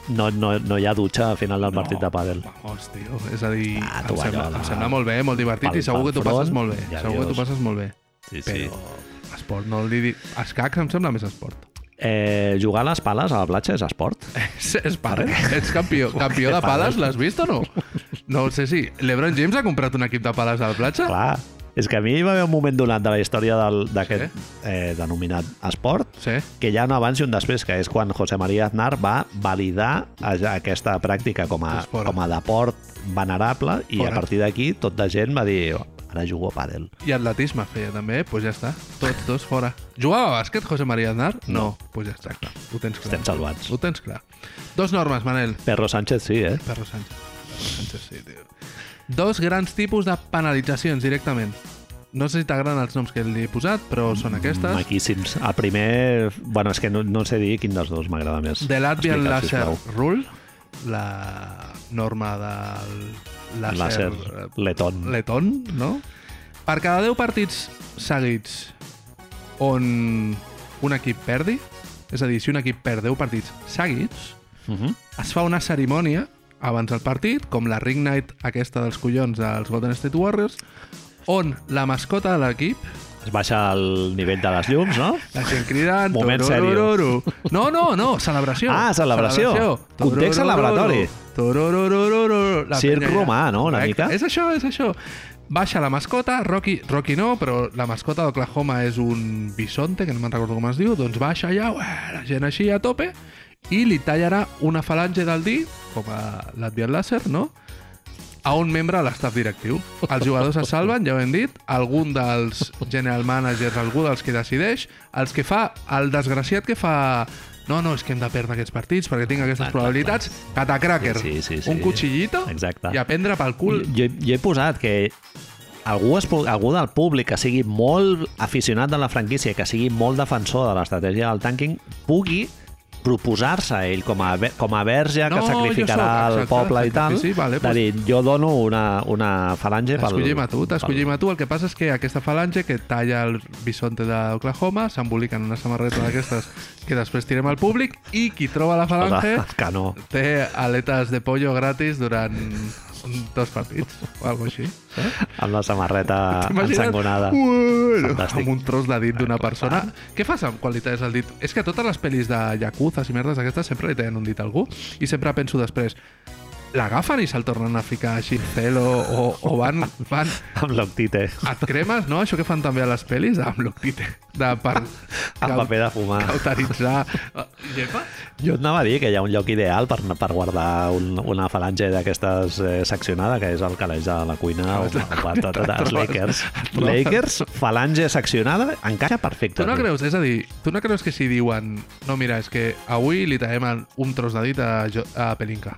No, no, no hi ha dutxa al final del no. partit de pàdel.
Vamos, tio. oh, És a dir,
Ah,
ah, em,
tovallola.
sembla, em sembla molt bé, molt divertit
Pel-
i segur
pel
que t'ho
front,
passes molt bé.
i
segur que
adiós.
t'ho passes molt bé.
Sí,
Però esport no li dic... Escacs em sembla més esport.
Eh, jugar a les pales a la platja és esport?
És, és pàdel.
eh?
Ets campió, campió de pales, l'has vist o no? No ho sé si... L'Ebron James ha comprat un equip de pales a la platja?
Clar. És que a mi hi va haver un moment donat de la història del- d'aquest eh, denominat esport
Sí.
que hi ha un abans i un després, que és quan José María Aznar va validar a- aquesta pràctica com a,
Doncs fora.
com a deport venerable i
Fora.
a partir d'aquí tota gent va dir ara jugo a pàdel.
I atletisme feia també, doncs pues ja està. Tots dos fora. Jugava a bàsquet, José María Aznar? No. Doncs pues ja està, clar. Ho tens clar.
Estem salvats.
Ho tens clar. Dos normes, Manel.
Perro Sánchez sí, eh?
Perro Sánchez. Perro Sánchez, sí, tio. Dos grans tipus de penalitzacions directament. No sé si t'agraden els noms que li he posat, però són aquestes.
Maquíssims. El primer... Bueno, és que no, no sé dir quin dels dos m'agrada més.
The Latvian
Explica'l,
Lasher
sisplau.
Rule, la norma del
Láser
làser...
Letón.
Letón, no? Per cada 10 partits seguits on un equip perdi, és a dir, si un equip perd 10 partits seguits,
Mhm.
es fa una cerimònia abans del partit, com la Ring Night aquesta dels collons dels Golden State Warriors, on la mascota de l'equip,
Es baixa el nivell de les llums, no?
la gent cridant...
Moment
tororororo. No, no, no, celebració.
Ah, celebració. Context celebratori.
Torororororo. La
Circ
penya ja-
romà, no?, una
Correcte.
mica.
És això, és això. Baixa la mascota, Rocky, Rocky no, però la mascota d'Oklahoma és un bisonte, que no me'n recordo com es diu, doncs baixa allà, ué, la gent així a tope, i li tallarà una falange del dit, com a l'Adviat Láser, no?, a un membre de l'estaf directiu. Els jugadors es salven, ja ho hem dit, algun dels general managers, algú dels que decideix, els que fa, el desgraciat que fa no, no, és que hem de perdre aquests partits perquè tinc aquestes
Clar, clar,
probabilitats. Catacracker,
Sí, sí, sí.
un cuchillito
Exacte.
i a prendre pel cul
Jo, jo he posat que algú, es, pu- algú del públic que sigui molt aficionat de la franquícia i que sigui molt defensor de l'estratègia del tanking pugui proposar-se ell com a, ve- com a verge
No,
que
jo
sacrificarà
sóc,
el
exacte,
poble i tal,
sacrifici, vale,
de
pues-
dir, jo dono una, una falange pel...
T'escollim a tu,
pel-
t'escollim a tu. El que passa és que aquesta falange que talla el bisonte d'Oklahoma s'embolica en una samarreta d'aquestes que després tirem al públic i qui troba la
pel-
falange
pel canó.
té aletes de pollo gratis durant dos partits o alguna així. saps?
amb la samarreta
T'imagines?
ensangonada.
Bueno,
Ah, Fantàstic.
amb un tros de dit d'una persona. Què fas amb quan li talles el dit? És que a totes les pel·lis de Yakuzas i merdes aquestes sempre li tallen un dit a algú i sempre penso després l'agafen i se'l tornen a ficar així celo o, o van, van,
Amb l'octite,
et cremes, no? Això que fan també a les pel·lis amb l'octite, de per
amb paper de fumar.
cauteritzar... Eh, Llepa?
Jo et anava a dir que hi ha un lloc ideal per, per guardar un, una falange d'aquestes eh, seccionada, que és el calaix de la
Ah,
cuina o, o a tot, els Lakers. Lakers, falange seccionada, encaixa perfecte.
Tu no creus, és a dir, tu no creus que si diuen no, mira, és que avui li traiem el- un tros de dit a, Jo- a Pelinka.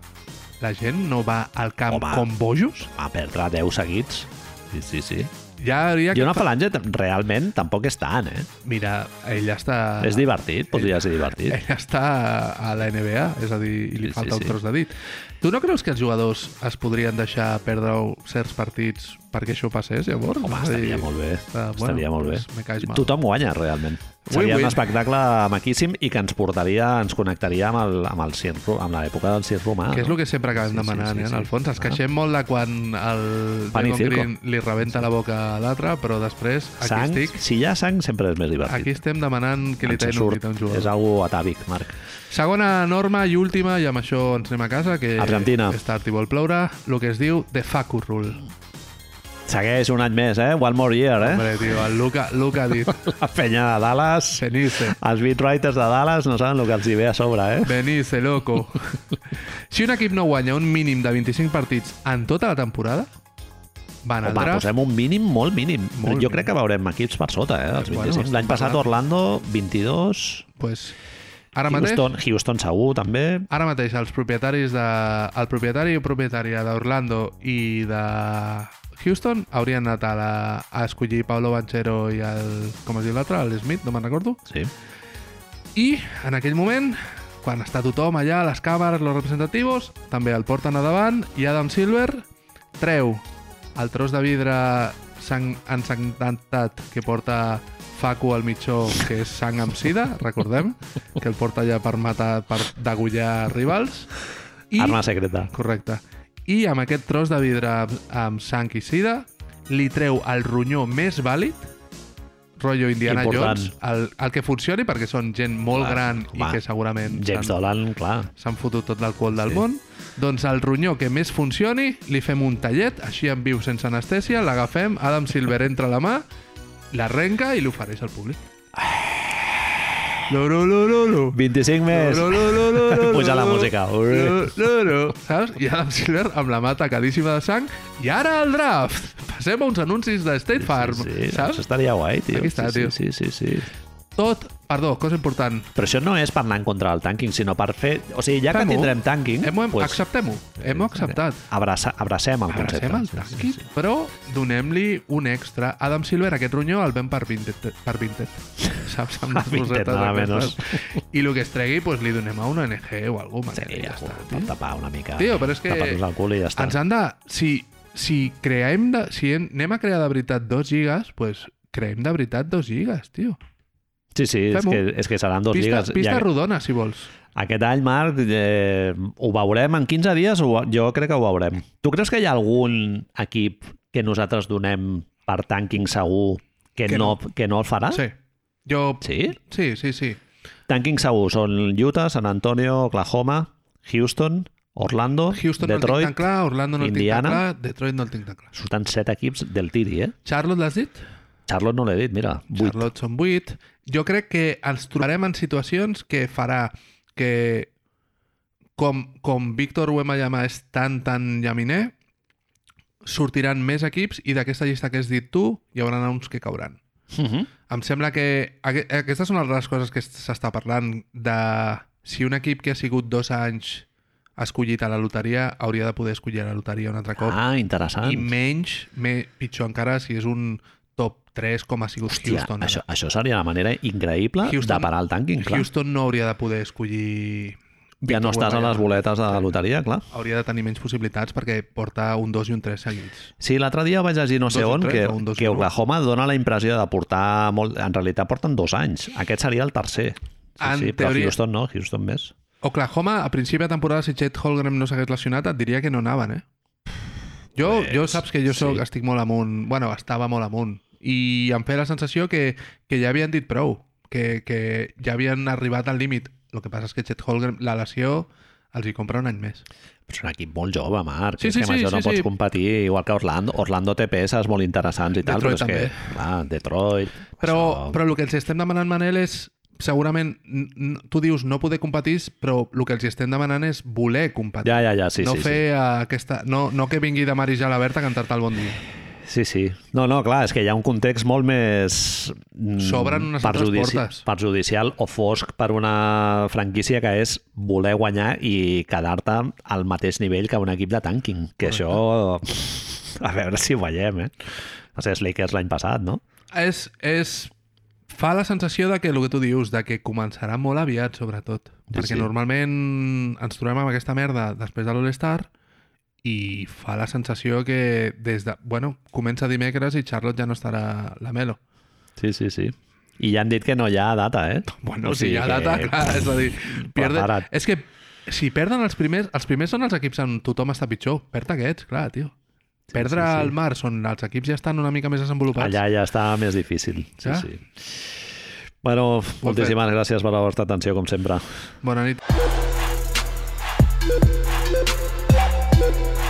La gent no va al camp
Home.
com bojos?
Va perdre 10 seguits. Sí, sí, sí.
Ja hauria...
I
que
una
fa-
falange tam- realment tampoc és tant, eh?
Mira, ell ja està...
És divertit, podria ser divertit.
Ell està a la NBA, és a dir, i
Sí,
li sí,
sí,
falta
sí.
sí, un tros de dit. Tu no creus que els jugadors es podrien deixar perdre certs partits perquè això passés, llavors?
Home,
És a dir,
estaria molt bé.
està- bueno,
estaria molt bé.
doncs me caes mal.
Tothom guanya, realment. Seria
win.
un espectacle maquíssim i que ens portaria, ens connectaria amb, el, amb, el circ, ro- amb l'època del circ romà.
Que és
no?
el que sempre acabem
Sí, sí,
demanant,
sí,
eh, en
sí.
el fons. Ens
Ah.
queixem molt de quan el
Pan i
Dragon
circo.
Green li rebenta la boca a l'altre, però després aquí
Sang,
estic...
si hi ha sang, sempre és més divertit.
Aquí estem demanant que li
Ens en
tallin un
surt.
dit a un jugador.
És algo atàvic, Marc.
Segona norma i última, i amb això ens anem a casa, que
Argentina.
és tard i vol ploure, el que es diu The Facu Rule.
Segueix un any més, eh? One more year, eh?
Hombre, tio, el Luca, Luca ha dit
La penya de Dallas,
Fenice.
els beat writers de Dallas no saben el que els hi ve a sobre, eh?
Venise, loco. Si un equip no guanya un mínim de 25 partits en tota la temporada, Va anar al
Home,
draft.
posem un mínim molt mínim.
Molt
jo
mínim.
crec que veurem equips per sota, eh, els
Bueno,
25.
estem
L'any passat
parlant.
Orlando, 22,
Pues, ara mateix...
Houston, Houston segur també.
Ara mateix els propietaris de... el propietari o propietària d'Orlando i de Houston haurien anat a, la... a escollir Pablo Banchero i el... com es diu l'altre? El Smith, no me'n recordo.
Sí.
I en aquell moment, quan està tothom allà, les càmeres, els representatius, també el porten a davant i Adam Silver treu el tros de vidre sang ensangrentat que porta Facu al mitjó, que és sang amb sida, recordem, que el porta allà per matar, per degullar rivals.
I... Arma secreta.
Correcte. I amb aquest tros de vidre amb, amb sang i sida li treu el ronyó més vàlid rotllo Indiana
Important.
Jones el, el que funcioni perquè són gent molt
Clar,
gran
home.
i que segurament
James
s'han-
Dolan, clar.
s'han fotut tot l'alcohol del món doncs el ronyó que més funcioni li fem un tallet, així en viu sense anestèsia l'agafem, Adam Silver entra la mà l'arrenca i l'ofereix al públic Loro, loro, loro.
25 més.
No, no, no, no, no,
Puja
no,
la
no.
música.
No, no, no. Saps? I Adam Silver amb la mà tacadíssima de sang. I ara el draft. Passem a uns anuncis de State Farm.
Sí, sí, això
saps?
estaria guai, tio.
Aquí està,
sí,
tio.
Sí, sí, sí, sí.
Tot, perdó, cosa important.
Però això no és per anar en contra del tanking, sinó per fer... O sigui, ja que
Fem-ho.
tindrem tanking,
Hem, hem, pues... Acceptem-ho. Hem acceptat.
abraça, abracem el concepte.
Abracem el tanquit, però donem-li un extra. Adam Silver, aquest ronyó, el ven per 20, per 20. Saps? Amb les
20,
rosetes
nada
aquestes. I el que es tregui, pues, li donem a una ONG o alguna cosa.
Sí,
ja està,
per
tio.
tapar una mica.
Tio, però és que-
Tapar-nos el cul i ja està.
Ens han de... Si, si creem... De, si en- anem a crear de veritat 2 gigas, pues creem de veritat 2 gigas, tio.
Sí, sí, és
Fem-ho.
que, és que seran dos
pista
lligues.
pista
Ja-
rodona, si vols.
Aquest any, Marc, eh, ho veurem en 15 dies? Ho, jo crec que ho veurem. Tu creus que hi ha algun equip que nosaltres donem per tanking segur que,
Que
no, que no el farà?
Sí. Jo...
Ah? Sí?
Sí, sí, sí.
Tanking segur són Utah, San Antonio, Oklahoma, Houston, Orlando,
Houston no el tinc tan
Detroit...
clar, Orlando no el
Indiana.
tinc tan clar, Detroit no el tinc tan clar.
Surten set equips del tiri, eh?
Charlotte l'has dit?
Charlotte no l'he dit, mira. Vuit.
Charlotte són 8. Jo crec que ens trobarem en situacions que farà que com, com Víctor Wembanyama és tan, tan llaminer, sortiran més equips i d'aquesta llista que has dit tu hi haurà uns que cauran.
Mhm.
Em sembla que aqu- aquestes són les coses que s'està parlant de si un equip que ha sigut dos anys escollit a la loteria hauria de poder escollir a la loteria un altre cop
Ah, interessant.
i menys, me, pitjor encara si és un top 3 com ha sigut
Hòstia,
Houston.
això, això seria la manera increïble
Houston-
de parar el tanking, clar.
Houston no hauria de poder escollir...
ja no
Victor
estàs a les
Wembanyama.
boletes de la loteria, clar.
Hauria de tenir menys possibilitats perquè porta un 2 i un 3 seguits.
Sí, l'altre dia vaig llegir no sé
Dos o
on
tres,
que,
o un dos i
que
un.
Oklahoma dona la impressió de portar molt... En realitat porten dos anys. Aquest seria el tercer. Sí,
En
sí, però
teoria-
Houston no, Houston més.
Oklahoma, a principi de temporada, si Chet Holgram no s'hagués lesionat, et diria que no anaven, eh? Jo,
Pues,
jo saps que jo soc,
sí.
estic molt amunt, bueno, estava molt amunt, i em feia la sensació que, que ja havien dit prou, que, que ja havien arribat al límit. El que passa és que Chet Holgram, la lesió, els hi compra un any més.
Però és un equip molt jove, Marc.
Sí,
és
sí,
que amb
sí,
això no
sí,
pots
sí.
competir, igual que Orlando. Orlando té peces molt interessants i tal,
Detroit
però és que... Clar, Detroit...
Però,
això-
però el que els estem demanant, Manel, és segurament, n- n- tu dius no poder competir, però el que els estem demanant és voler competir.
Ja, ja, ja, sí,
no
sí,
fer eh, aquesta... No, no que vingui de Marijal Aberta a cantar-te el bon dia.
sí. Sí, sí. No, no, clar, és que hi ha un context molt més... mm,
S'obren unes altres portes.
Perjudicial o fosc per una franquícia que és voler guanyar i quedar-te al mateix nivell que un equip de tanking. Que això... A veure si ho veiem, eh? No sé, els Lakers l'any passat, no?
És, és... Fa la sensació de que el que tu dius, de que començarà molt aviat, sobretot. Sí, perquè
sí.
sí. normalment ens trobem amb aquesta merda després de l'All-Star i fa la sensació que des de... Bueno, comença dimecres i Charlotte ja no estarà la Melo.
Sí, sí, sí. I ja han dit que no hi ha data, eh?
Bueno,
O
o sigui,
sigui
si hi ha
que-
data, clar, és a dir... Pierde...
Prepara't.
És que si perden els primers... Els primers són els equips on tothom està pitjor. Perd aquests, clar, tio. Perdre
sí, sí.
el març on els equips ja estan una mica més desenvolupats.
Allà ja està més difícil. Sí,
Ja?
sí. Bueno, moltíssimes gràcies per la vostra atenció, com sempre.
Bona nit.
Thank you.